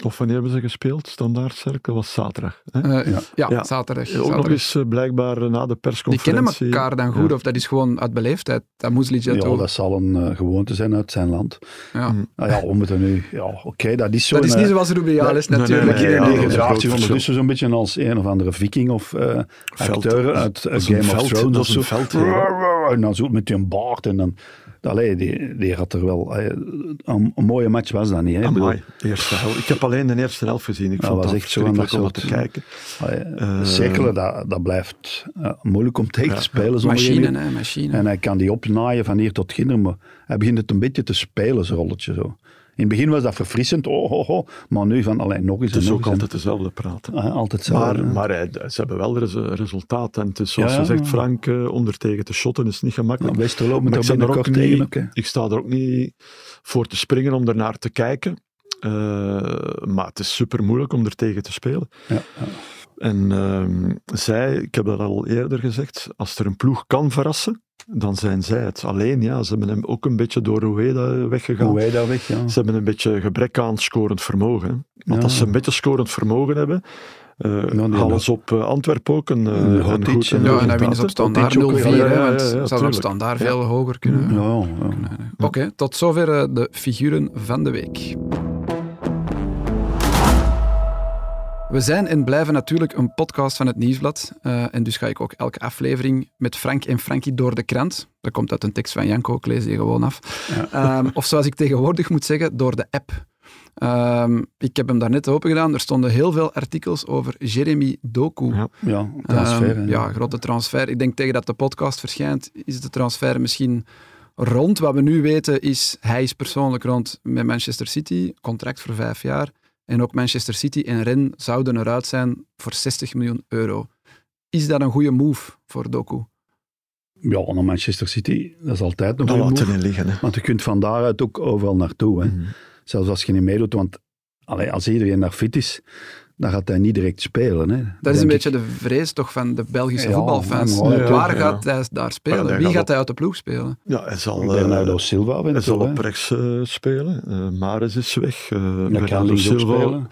S1: Of wanneer hebben ze gespeeld? Standaard Cerkel was zaterdag. Hè?
S3: Eh, ja.
S2: Ja.
S1: Ja.
S3: zaterdag.
S1: ook
S3: zaterdag.
S1: nog eens eh, blijkbaar eh, na de
S3: Die kennen
S1: persconferentie.
S3: elkaar dan goed,
S1: Ja.
S3: of dat is gewoon uit beleefdheid. Dat Muslic dat
S2: ja,
S3: ook.
S2: dat zal een eh, gewoonte zijn uit zijn land.
S3: Ja.
S1: Mm.
S2: Nou ja, we moeten nu... Ja, oké, dat is eh, zo.
S3: dat is niet zoals Rubial is
S1: eh, nee, nee,
S3: natuurlijk.
S1: nee,
S2: Die
S1: ja, dat is een groot
S2: gedraagt zich
S1: verschil.
S2: ondertussen zo'n beetje als een of andere viking of eh
S1: Veld.
S2: acteur uit eh,
S1: Dat is een
S2: Game of
S1: veld,
S2: Thrones
S1: dat
S2: of
S1: is
S2: zo.
S1: een veld, ja.
S2: En dan zo met die baard en dan... Allee, die, die had er wel... eh, een, een mooie match was dat niet, hè? Ik bedoel,
S1: Amai, eerste helft. Ik heb alleen de eerste helft gezien. Ik
S2: Ja,
S1: vond
S2: Nou, was
S1: dat
S2: echt zo
S1: verschrikkelijk om
S2: aan
S1: naar
S2: dat
S1: te
S2: soort-
S1: kijken.
S2: allee,
S1: Eh,
S2: cirkelen, dat, dat blijft eh, moeilijk om tegen
S1: Ja.
S2: te spelen. zonder
S3: Machine,
S2: iemand.
S3: hè, machine.
S2: En hij kan die opnaaien van hier tot ginder, maar hij begint het een beetje te spelen, zijn rolletje zo. In het begin was dat verfrissend, oh, oh, oh, maar nu van, alleen nog eens
S1: Het is
S2: en nog
S1: ook
S2: eens en-
S1: altijd dezelfde praten.
S2: Ah, altijd zo.
S1: Maar,
S2: hè.
S1: maar hij- ze hebben wel res- resultaat. En het is zoals
S2: Ja,
S1: je zegt,
S2: ja.
S1: Frank, eh, om er tegen te shotten is niet gemakkelijk.
S2: Nou, Westerlo moet
S1: Maar
S2: er
S1: ik, sta er ook
S2: binnenkort tegen,
S1: niet,
S2: ook, hè.
S1: ik sta er ook niet voor te springen om ernaar te kijken. Eh, maar het is super moeilijk om er tegen te spelen.
S2: Ja,
S1: En ehm, zij, ik heb dat al eerder gezegd, als er een ploeg kan verrassen, dan zijn zij het. Alleen ja, ze hebben hem ook een beetje door Rueda weggegaan.
S2: Hoe wij daar weg, ja.
S1: Ze hebben een beetje gebrek aan scorend vermogen. hè. Want
S2: Ja. Nou,
S1: als ze een beetje scorend vermogen hebben, eh
S2: die
S1: halen
S2: hebben-
S1: ze op eh, Antwerpen ook een, eh,
S2: Een
S1: een
S2: hot
S1: goed
S2: iets,
S1: een
S2: hè.
S3: ja,
S1: goed
S3: en dan winnen ze op
S1: resultaat, hè.
S3: standaard 0-4,
S2: Dit ook weer,
S1: ja,
S3: hè,
S1: ja,
S3: want
S1: ja,
S3: ze
S1: ja,
S3: zouden op
S1: tuurlijk.
S3: standaard
S1: Ja.
S3: veel hoger kunnen.
S2: Ja, ja.
S3: Oké, tot zover eh, de figuren van de week. We zijn en blijven natuurlijk een podcast van het Nieuwsblad. eh, en dus ga ik ook elke aflevering met Frank en Frankie door de krant. Dat komt uit een tekst van Janko, ik lees die gewoon af. Ehm, of zoals ik tegenwoordig moet zeggen, door de app. Ehm, ik heb hem daarnet open gedaan. Er stonden heel veel artikels over Jeremy Doku.
S1: Ja.
S2: ja transfer.
S3: Ehm,
S2: hè.
S3: ja, grote transfer. Ik denk tegen dat de podcast verschijnt, is de transfer misschien rond. Wat we nu weten is, hij is persoonlijk rond met Manchester City, contract voor vijf jaar. En ook Manchester City en Ren zouden eruit zijn voor 60 miljoen euro. Is dat een goede move voor Doku?
S2: Ja, naar Manchester City, dat is altijd een
S1: Dan
S2: goede
S1: laat ze
S2: move.
S1: erin liggen. Hè.
S2: Want je kunt van daaruit ook overal naartoe. Hè.
S1: Mhm.
S2: Zelfs als je niet meedoet, want allee, als iedereen daar fit is, dan gaat hij niet direct spelen. Hè.
S3: Dat is
S2: Denk
S3: een
S2: ik.
S3: beetje de vrees toch van de Belgische
S2: Ja,
S3: voetbalfans.
S2: ja,
S1: ja.
S3: Waar
S1: Ja.
S3: gaat hij daar
S1: Ja,
S3: spelen?
S1: hij
S3: Wie
S1: gaat
S3: gaat
S1: op-
S3: hij uit de ploeg spelen?
S1: Ja, hij zal, eh,
S2: Bernardo Silva
S1: hij
S2: wint
S1: zal
S2: toch, hè.
S1: op rechts eh, spelen. Eh Maris is weg. eh
S2: Dat kan
S1: Bernardo
S2: links ook
S1: Silva-
S2: spelen.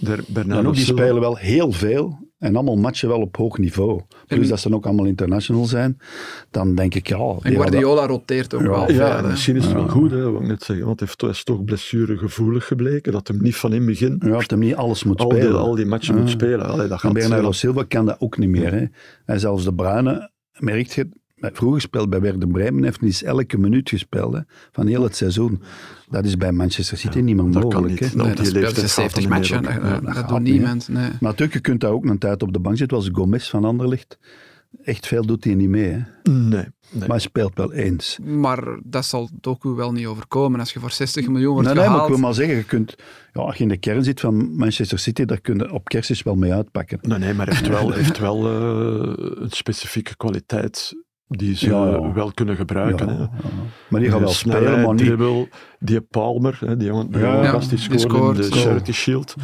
S1: Der- Bernardo
S2: En ook die
S1: Silva.
S2: spelen wel heel veel. En allemaal matchen wel op hoog niveau. Plus
S3: En-
S2: dat ze dan ook allemaal international zijn. Dan denk ik, ja... die
S3: En
S2: hadden-
S3: Guardiola roteert ook
S2: Ja,
S3: wel
S1: Ja,
S3: veel.
S1: en
S3: hè.
S1: misschien is het wel goed, hè, wat ik net zeggen. Want hij heeft- hij is toch blessuregevoelig gebleken. Dat hem niet van in het begin
S2: Ja, dat hem niet alles moet
S1: al,
S2: spelen.
S1: die, al die matchen moet spelen. Allee, dat
S2: En
S1: gaat
S2: Bernardo Silva kan dat ook niet meer. Hè. En zelfs de Bruyne, merkt je, hij heeft vroeger speelde bij Werder Bremen, heeft niet eens elke minuut gespeeld hè, van heel het seizoen. Dat is bij Manchester City niet meer
S1: dat kan
S2: mogelijk.
S1: niet.
S2: hè.
S1: Nou,
S3: Nee,
S1: op
S3: dat
S1: die
S3: speelt
S1: leeftijd
S3: ze
S1: gaat
S3: 70
S1: dat niet
S3: matchen.
S1: meer
S3: Dat,
S1: ook. Ja,
S3: dat
S2: dat
S3: doet
S2: gaat niet, hè.
S3: niemand. Nee.
S2: Maar natuurlijk, je kunt daar ook een tijd op de bank zitten, als Gomez van Anderlicht. Echt veel doet hij niet mee, hè.
S1: Nee, nee.
S2: maar hij speelt wel eens.
S3: Maar dat zal Doku wel niet overkomen. Als je voor 60 miljoen wordt
S2: Nee, nee, maar ik
S3: gehaald...
S2: wil maar zeggen, je kunt, ja, als je in de kern zit van Manchester City, daar kun je op kerstjes wel mee uitpakken.
S1: Nee, nee, maar hij heeft
S2: *laughs*
S1: wel, heeft wel eh, een specifieke kwaliteit die ze
S2: Ja, ja.
S1: eh, wel kunnen gebruiken.
S2: Ja,
S1: hè.
S2: ja. Maar die gaat wel
S1: snelheid,
S2: spelen, maar niet
S1: dribbel, die Palmer, hè, die jongen, die
S2: Ja,
S1: jongen
S2: ja.
S1: gast die
S3: Die
S1: scoorde in
S3: scoort.
S1: de
S3: Ja.
S1: Charity Shield.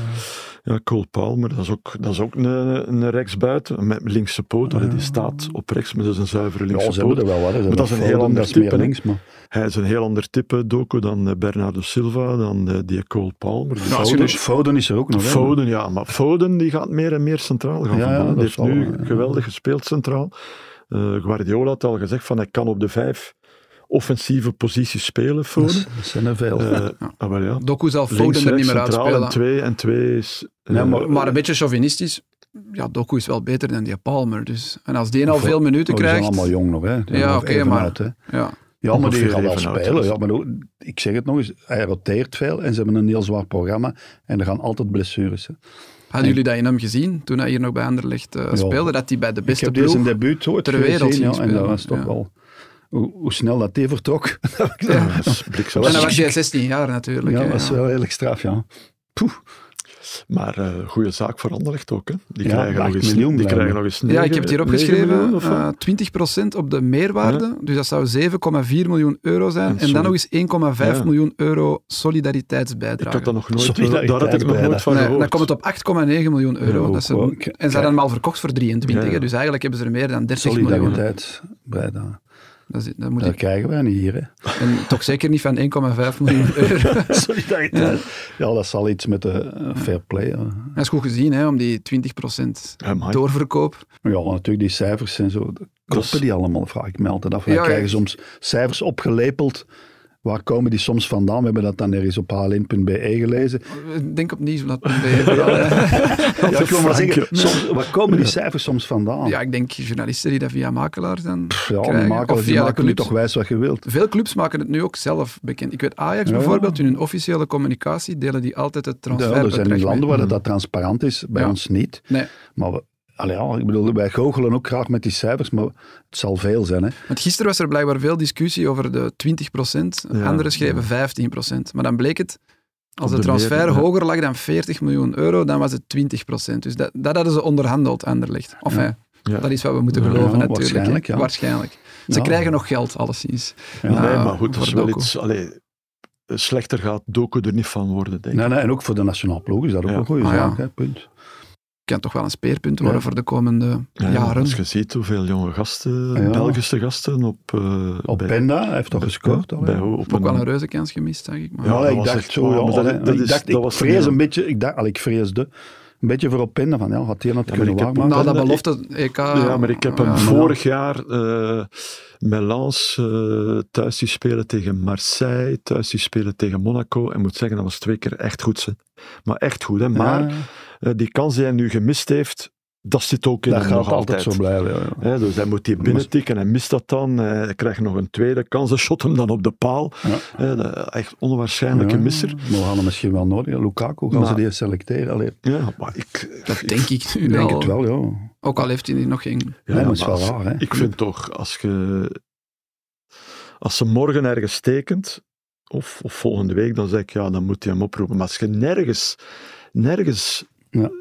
S1: Ja, Cole Palmer, dat is ook, dat is ook een, een rechtsbuiten met linkse poot. Allee, Die staat op rechts, maar dat is een zuivere
S2: Ja,
S1: linkse
S2: ze
S1: poot.
S2: hebben er wel wat. hè. Ze
S1: Maar dat is
S2: hebben
S1: een heel
S2: Foden,
S1: ander
S2: dat is meer
S1: type, hè.
S2: links, maar...
S1: Hij is een heel ander type doco dan eh, Bernardo Silva, dan eh, die Cole Palmer. Dus
S3: als je
S2: Foden,
S3: dus-
S2: Foden is er ook nog. hè.
S1: Foden, ja, maar Foden die gaat meer en meer centraal gaan.
S2: Ja,
S1: voetballen.
S2: ja, dat
S1: die heeft
S2: zal
S1: nu
S2: wel, ja.
S1: geweldig gespeeld centraal. Eh, Guardiola had al gezegd van hij kan op de vijf offensieve posities spelen,
S2: *laughs*
S1: Foden.
S2: Dat zijn er veel. *laughs*
S1: Eh, ah, wel ja.
S3: Doku zal Foden
S1: Links,
S3: er
S1: rechts,
S3: niet meer
S1: centraal en
S3: uitspelen.
S1: twee, en twee is... eh, *clears throat*
S2: Ja, maar-
S3: Maar een beetje chauvinistisch. Ja, Doku is wel beter dan die Palmer. Dus. En als die al
S2: Voor-
S3: veel minuten
S2: Maar oh, die zijn
S3: krijgt...
S2: allemaal jong nog, hè. Die zijn
S3: Ja,
S2: nog
S3: oké,
S2: even
S3: maar-
S2: oud, hè.
S3: Ja.
S2: Ja, maar die
S1: Ongeveer
S2: gaan wel
S1: even oud,
S2: spelen.
S1: dus.
S2: Ja, maar ook- ik zeg het nog eens, hij roteert veel en ze hebben een heel zwaar programma en er gaan altijd blessures. Hè.
S3: Hadden jullie dat in hem gezien, toen hij hier nog bij Anderlecht eh, speelde? Dat hij bij de
S2: Ik
S3: beste
S2: heb deze
S3: ploeg...
S2: in debuut ooit
S3: ter wereld
S2: gezien, ja,
S3: zien
S2: en dat
S3: spelen,
S2: was toch
S3: ja.
S2: wel... Hoe, hoe snel dat die vertrok, *laughs*
S3: Ja.
S1: dat is bliksems.
S3: En dan was hij 16 jaar natuurlijk.
S2: ja,
S3: hè,
S2: dat is
S3: ja.
S2: wel redelijk straf, ja. Poeh,
S1: Maar eh goede zaak voor Anderlecht ook. Hè? Die,
S2: Ja,
S1: krijgen, nog
S2: 8
S1: eens,
S2: miljoen
S1: die krijgen
S2: blijven.
S1: nog eens
S3: Ja, ik
S1: negen-
S3: heb het hier
S1: negen
S3: opgeschreven.
S1: miljoen of wat?
S3: eh, 20% op de meerwaarde. Dus dat zou 7,4 miljoen euro zijn. En,
S1: En
S3: dan
S1: soli-
S3: nog eens 1,5
S1: Ja.
S3: miljoen euro
S1: ik
S3: solidariteitsbijdrage.
S1: had dat nog nooit,
S2: Solidariteit
S1: daar had ik nog
S2: bij,
S1: nooit
S2: hè.
S1: van
S3: Nee,
S1: gehoord.
S3: dan komt het op 8,9 miljoen euro.
S2: Ja, ook
S3: dat is een-
S2: wel.
S3: en ze hadden hem al verkocht voor 23.
S1: Ja, ja.
S3: hè, Dus eigenlijk hebben ze er meer dan 30 miljoen.
S2: solidariteit. Bij dat.
S3: Dat, is- dat moet
S2: dat
S3: ik,
S2: krijgen wij niet hier, hè. *laughs*
S3: en toch zeker niet van 1,5 miljoen euro.
S2: solidariteit. Ja, dat zal iets met de eh, fair play. hè.
S3: dat is goed gezien, hè, om die 20%
S1: Ja, amai.
S3: doorverkoop.
S2: Maar ja, natuurlijk die cijfers en zo. dat Kloppen die allemaal, vraag ik me altijd af. Wij
S3: Ja, ja.
S2: krijgen soms cijfers opgelepeld. Waar komen die soms vandaan? We hebben dat dan ergens op hln.be E gelezen.
S3: Denk opnieuw zo dat. Ja.
S2: Ja, ik wil maar
S1: Frank,
S2: zeggen,
S1: joh.
S2: soms, waar komen die cijfers soms vandaan?
S3: ja, ik denk journalisten die dat via makelaars dan.
S2: Pff, ja,
S3: krijgen,
S2: die maken,
S3: of
S2: die
S3: via de
S2: maken nu
S3: clubs.
S2: toch wijs wat je wilt.
S3: Veel clubs maken het nu ook zelf bekend. Ik weet Ajax
S2: Ja.
S3: bijvoorbeeld, in hun officiële communicatie delen die altijd het
S2: Ja, er
S3: transferbedrag
S2: zijn
S3: mee.
S2: landen
S1: Mm.
S2: waar dat, dat transparant is, bij
S3: Ja.
S2: ons niet.
S3: Nee,
S2: Maar we, allee, ja, ik bedoel, wij goochelen ook graag met die cijfers, maar het zal veel zijn. Hè.
S3: want gisteren was er blijkbaar veel discussie over de 20%.
S1: Ja,
S3: Anderen schreven 15%. Maar dan bleek het, als
S1: Op
S3: de
S1: de
S3: transfer
S1: meer, ja.
S3: hoger lag dan 40 miljoen euro, dan was het 20%. Dus dat, dat hadden ze onderhandeld, Anderlecht. Of ja.
S1: Ja.
S3: dat is wat we moeten
S1: Ja,
S3: geloven natuurlijk. hè.
S2: waarschijnlijk, ja.
S3: Waarschijnlijk. Ze
S2: Ja.
S3: krijgen nog geld, alleszins.
S2: Ja.
S3: Ah,
S1: eh, nee, maar goed, dat is
S3: voor
S1: wel
S3: Doku.
S1: iets... Allee, slechter gaat Doku er niet van worden, denk ik.
S2: Nee, nee, en ook voor de nationaal ploeg is dat ook
S1: Ja.
S2: een goede
S3: Ah, ja.
S2: zaak. Hè, punt.
S3: Kan toch wel een speerpunt worden
S2: Ja.
S3: voor de komende
S1: Ja,
S3: jaren.
S1: Als je ziet hoeveel jonge gasten,
S2: Ja.
S1: Belgische gasten, op... eh,
S2: Op
S1: bij-
S2: Penda, hij heeft toch
S1: bij-
S2: gescoord? al, hè?
S1: bij- op
S3: Ook wel
S1: een-
S3: een reuze kans gemist, zeg ik. Maar.
S1: Ja,
S2: Ja,
S1: dat
S2: ik
S1: was
S2: dacht
S1: echt
S2: zo,
S1: waar,
S2: ja,
S1: maar dat-
S2: allee,
S1: dat
S2: ik
S1: is-
S2: dacht,
S1: dat
S2: ik
S1: was
S2: vrees
S1: niet-
S2: een beetje, ik dacht, allee, ik vreesde een beetje voor Openda van, ja, gaat hij dat
S1: Ja, maar
S2: kunnen
S1: ik heb-
S2: waarmaken?
S3: Na
S1: Maar
S3: dat
S1: dan-
S3: belofte EK...
S1: Ja, maar ik heb hem
S3: Ja.
S1: vorig jaar eh met Lens eh, thuis die spelen tegen Marseille, thuis die spelen tegen Monaco. En moet zeggen, dat was twee keer echt goed. ze. Maar echt goed, hè. Maar
S2: Ja,
S1: eh, die kans die hij nu gemist heeft, dat zit ook in
S2: dat
S1: hem
S2: gaat
S1: nog
S2: altijd zo blijven. Ja, ja.
S1: Hè, dus hij moet die binnentikken en mist dat dan. Eh, Hij krijgt nog een tweede kans. Hij shot hem dan op de paal.
S2: Ja.
S1: Hè, dat- echt onwaarschijnlijke
S2: Ja,
S1: misser.
S2: maar we gaan hem misschien wel nodig. Lukaku, gaan
S1: Maar-
S2: ze die selecteren? Allee, ik
S1: Ja, maar ik...
S3: Dat
S1: ik-
S3: denk ik nu
S2: denk
S3: wel.
S2: het wel, ja.
S3: Ook al heeft hij nog geen...
S1: Ja,
S2: Nee, maar het is wel
S1: als-
S2: raar, hè.
S1: Ik vind toch, als, je, als ze morgen ergens tekent, of, of volgende week, dan zeg ik, ja, dan moet je hem oproepen. Maar als je nergens, nergens...
S2: De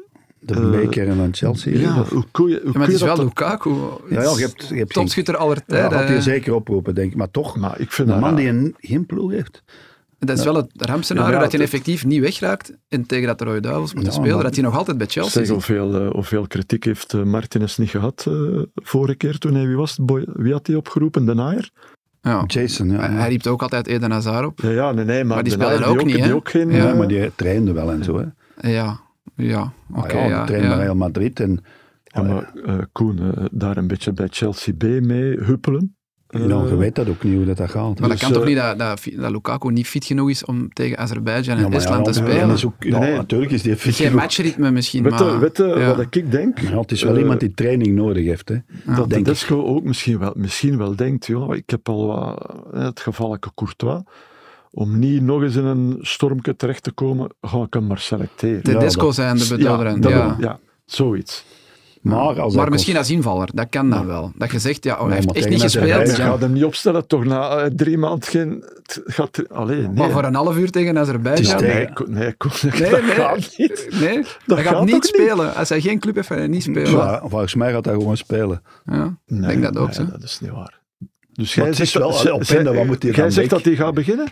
S1: Eh,
S2: beker en dan Chelsea.
S1: ja,
S2: Ja,
S1: hoe kun je, hoe
S3: Ja, maar
S1: kun
S3: het
S1: je
S3: is wel
S1: dat... dan-
S3: Lukaku.
S2: ja, je hebt, je hebt geen-
S3: Topschutter aller
S2: ja,
S3: tijden.
S2: had hij
S3: hè.
S2: zeker oproepen, denk ik. Maar toch,
S1: Maar ik vind
S2: een
S1: dat
S2: man
S1: raar.
S2: die een, geen ploeg heeft.
S3: dat is wel het rampscenario,
S1: Ja, maar ja,
S3: dat hij
S1: het-
S3: effectief niet wegraakt en tegen dat de Rode Duivels moeten
S2: Ja,
S3: spelen,
S2: maar-
S3: dat hij nog altijd bij Chelsea
S1: Zeg,
S3: zit.
S1: hoeveel, eh, hoeveel kritiek heeft eh, Martinez niet gehad eh, vorige keer toen hij, wie was het, Boy- wie had hij opgeroepen? De Naaier?
S3: Ja.
S2: Jason, ja.
S3: Hij hij riep ook altijd Eden Hazard op.
S1: Ja, ja, nee, nee, maar,
S3: Maar die
S1: De
S3: speelde
S1: Naaier
S3: ook niet, hè?
S1: die ook geen...
S3: Ja,
S2: Ja,
S1: eh,
S2: maar die trainde wel en zo. Hè.
S3: Ja, ja. Oké,
S2: Ah ja,
S3: ja,
S2: die trainde
S3: ja.
S2: bij Real Madrid. En,
S1: ja, maar eh, Koen, eh, daar een beetje bij Chelsea B mee huppelen. Eh,
S2: nou, je weet dat ook niet hoe dat, dat gaat.
S3: Maar dat
S1: Dus,
S3: kan toch
S1: eh,
S3: niet dat, dat, dat Lukaku niet fit genoeg is om tegen Azerbeidzjan en
S2: Ja, maar ja,
S3: Estland te
S2: ja,
S3: spelen?
S2: dat is ook- ja,
S1: Nee, nee.
S2: natuurlijk is die fit.
S3: Geen
S2: genoeg.
S3: matchritme misschien,
S1: Weet je
S3: maar...
S1: weet je
S3: ja.
S1: wat ik denk?
S2: Ja, het is wel
S1: Eh,
S2: iemand die training nodig heeft. Hè.
S1: dat
S2: denk ik.
S1: Tedesco ook misschien wel, misschien wel denkt, joh, ik heb al wat, hè, het gevalletje Courtois, om niet nog eens in een stormke terecht te komen, ga ik hem maar selecteren.
S3: Tedesco
S2: dat-
S3: zijn de bedoderen.
S1: dat-
S3: ja.
S1: ja, zoiets.
S2: Maar, als
S3: maar
S2: dat
S3: misschien
S2: kost-
S3: als invaller, dat kan dan wel. Dat je zegt, ja, oh, hij
S2: Ja,
S3: heeft
S2: maar
S3: echt niet
S2: tegen
S1: Ja,
S3: gespeeld.
S1: je
S2: Azerbeidzjan-
S3: ja.
S1: gaat hem niet opstellen, toch na eh, drie maanden geen... Het gaat, allee, nee.
S3: Maar voor een half uur tegen
S1: Ja,
S3: Azerbeidzjan...
S2: Het is
S1: nee,
S2: tegen-
S1: Koen, nee, Koen, *laughs*
S3: Nee,
S1: dat
S3: nee.
S1: gaat niet.
S3: Nee,
S1: Dat
S3: hij gaat,
S1: gaat
S3: niet
S1: ook niet.
S3: spelen. Als hij geen club heeft, gaat hij niet spelen. Ja.
S2: Ja, volgens mij gaat hij gewoon spelen.
S3: Ik denk dat ook,
S1: nee,
S3: zo.
S1: dat is niet waar. Dus
S2: Maar het is wel-
S1: dat-
S2: op
S1: zij-
S2: Ende, wat moet hij
S1: jij
S2: dan
S1: zegt dat
S2: denken?
S1: hij gaat beginnen?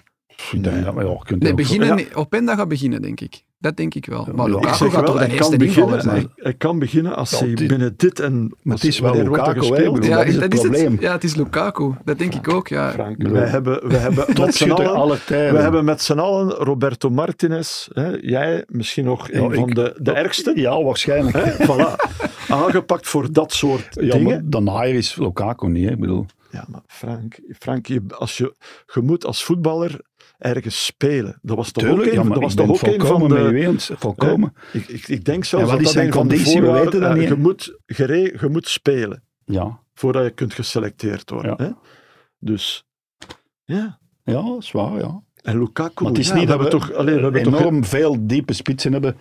S2: Nee, ja, maar ja, je kunt
S3: Nee,
S2: ook-
S3: beginnen,
S1: Ja.
S3: niet. Openda gaat beginnen, denk ik. Dat denk ik wel.
S2: Ja,
S3: Maar
S2: ja.
S1: Ik
S3: Lukaku
S1: zeg
S3: gaat
S1: wel,
S3: toch de
S1: hij
S3: eerste
S1: kan
S3: invaller
S1: beginnen,
S3: zijn?
S1: hij, hij kan beginnen als
S2: Ja,
S1: hij
S2: het is-
S1: binnen dit en...
S2: Maar het is
S1: als-
S2: wel
S1: wanneer wordt er
S2: Lukaku, hè,
S1: gespeeld?
S2: bedoel, dat is het probleem.
S3: Ja, het is Lukaku. Dat denk ik ook, ja.
S1: Frank,
S2: bedoel-
S1: wij hebben, wij
S2: *laughs*
S1: hebben met z'n
S2: Topschutter
S1: allen...
S2: aller tijden.
S1: We hebben met z'n allen Roberto Martinez, hè, jij misschien nog
S2: Ja,
S1: een van
S2: ik-
S1: de, de ergste,
S2: Ja, waarschijnlijk.
S1: hè,
S2: *laughs*
S1: voilà, aangepakt voor dat soort
S2: Ja,
S1: dingen.
S2: maar dan Nair is Lukaku niet, hè. Ik bedoel,
S1: Ja, maar Frank, Frank je, als je, je moet als voetballer ergens spelen. Dat was toch ook
S2: tuurlijk,
S1: een,
S2: ja,
S1: dat
S2: maar ik
S1: was
S2: ben
S1: toch ook een van
S2: volkomen met u
S1: de...
S2: eens. Volkomen.
S1: Ik, ik, ik denk zelfs
S2: En wat
S1: dat dat
S2: is zijn
S1: een van de
S2: conditie? We
S1: voorwaarden...
S2: weten dat
S1: eh,
S2: niet,
S1: je,
S2: hè?
S1: moet gere, je moet spelen
S2: Ja,
S1: voordat je kunt geselecteerd worden.
S2: Ja.
S1: Hè? Dus, ja.
S2: ja, dat is waar, ja.
S1: En Lukaku,
S2: Maar het is
S1: ja,
S2: niet dat we,
S1: toch, alleen, we hebben
S2: enorm
S1: toch...
S2: veel diepe spitsen hebben.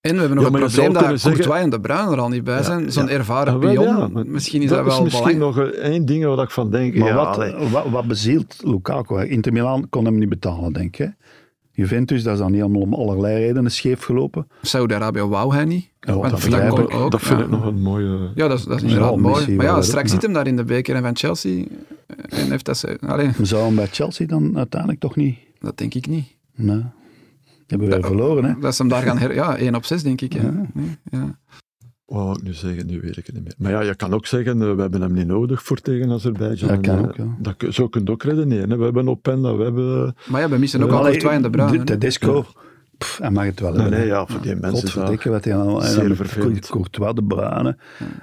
S3: En we hebben nog
S1: Ja, maar
S3: het
S1: je zou
S3: probleem dat
S1: kunnen zeggen-
S3: Courtois en De Bruyne er al niet bij
S1: Ja,
S3: zijn. Zo'n
S1: ja.
S3: ervaren
S1: Ah, wel,
S3: pion,
S1: ja, maar
S3: misschien is dat,
S1: dat
S3: wel
S1: is misschien
S3: belangrijk.
S1: nog eh, één ding waar ik van denk.
S2: Maar
S1: ja,
S2: wat,
S1: allee.
S2: wat, wat bezielt Lukaku? hè? Inter Milan kon hem niet betalen, denk ik. hè. Juventus, dat is dan niet allemaal om allerlei redenen scheef gelopen.
S3: Saudi-Arabië wou hij niet.
S2: Ja,
S3: Want
S2: dat
S3: Vlak
S2: begrijp
S3: kon
S2: ik.
S3: ook.
S1: dat vind
S3: ja.
S1: ik nog een mooie...
S3: Ja, dat is, dat is
S2: Ja,
S3: inderdaad mooi.
S2: Messi
S3: Maar ja,
S2: wel,
S3: straks
S2: hè.
S3: zit hem daar in de beker en van Chelsea. eh, En heeft dat... ze- Allee,
S2: Maar Zou hem bij Chelsea dan uiteindelijk toch niet?
S3: dat denk ik niet.
S2: Nee. Hebben we weer verloren, hè?
S3: Dat ze hem daar gaan her... Ja, 1 op 6 denk ik. hè.
S2: Ja.
S3: Nee, ja.
S1: Wat wou ik nu zeggen? Nu weet ik het niet meer. Maar ja, je kan ook zeggen, eh, we hebben hem niet nodig voor tegen Azerbeidzjan.
S2: Dat kan
S1: Eh,
S2: ook, ja.
S1: dat kun- zo kun je ook redeneren. hè. We hebben Openda, we hebben...
S3: Maar ja, we missen ook al
S2: Allee,
S3: Courtois en De
S2: de-
S3: Bruyne. hè.
S2: De disco, pff, hij mag het wel
S1: Nee,
S2: hebben.
S1: nee, ja, voor die mensen is dat...
S2: Godverdikke wat hij al... en
S1: zeer
S2: dan
S1: vervelend.
S2: Courtois, De Bruyne,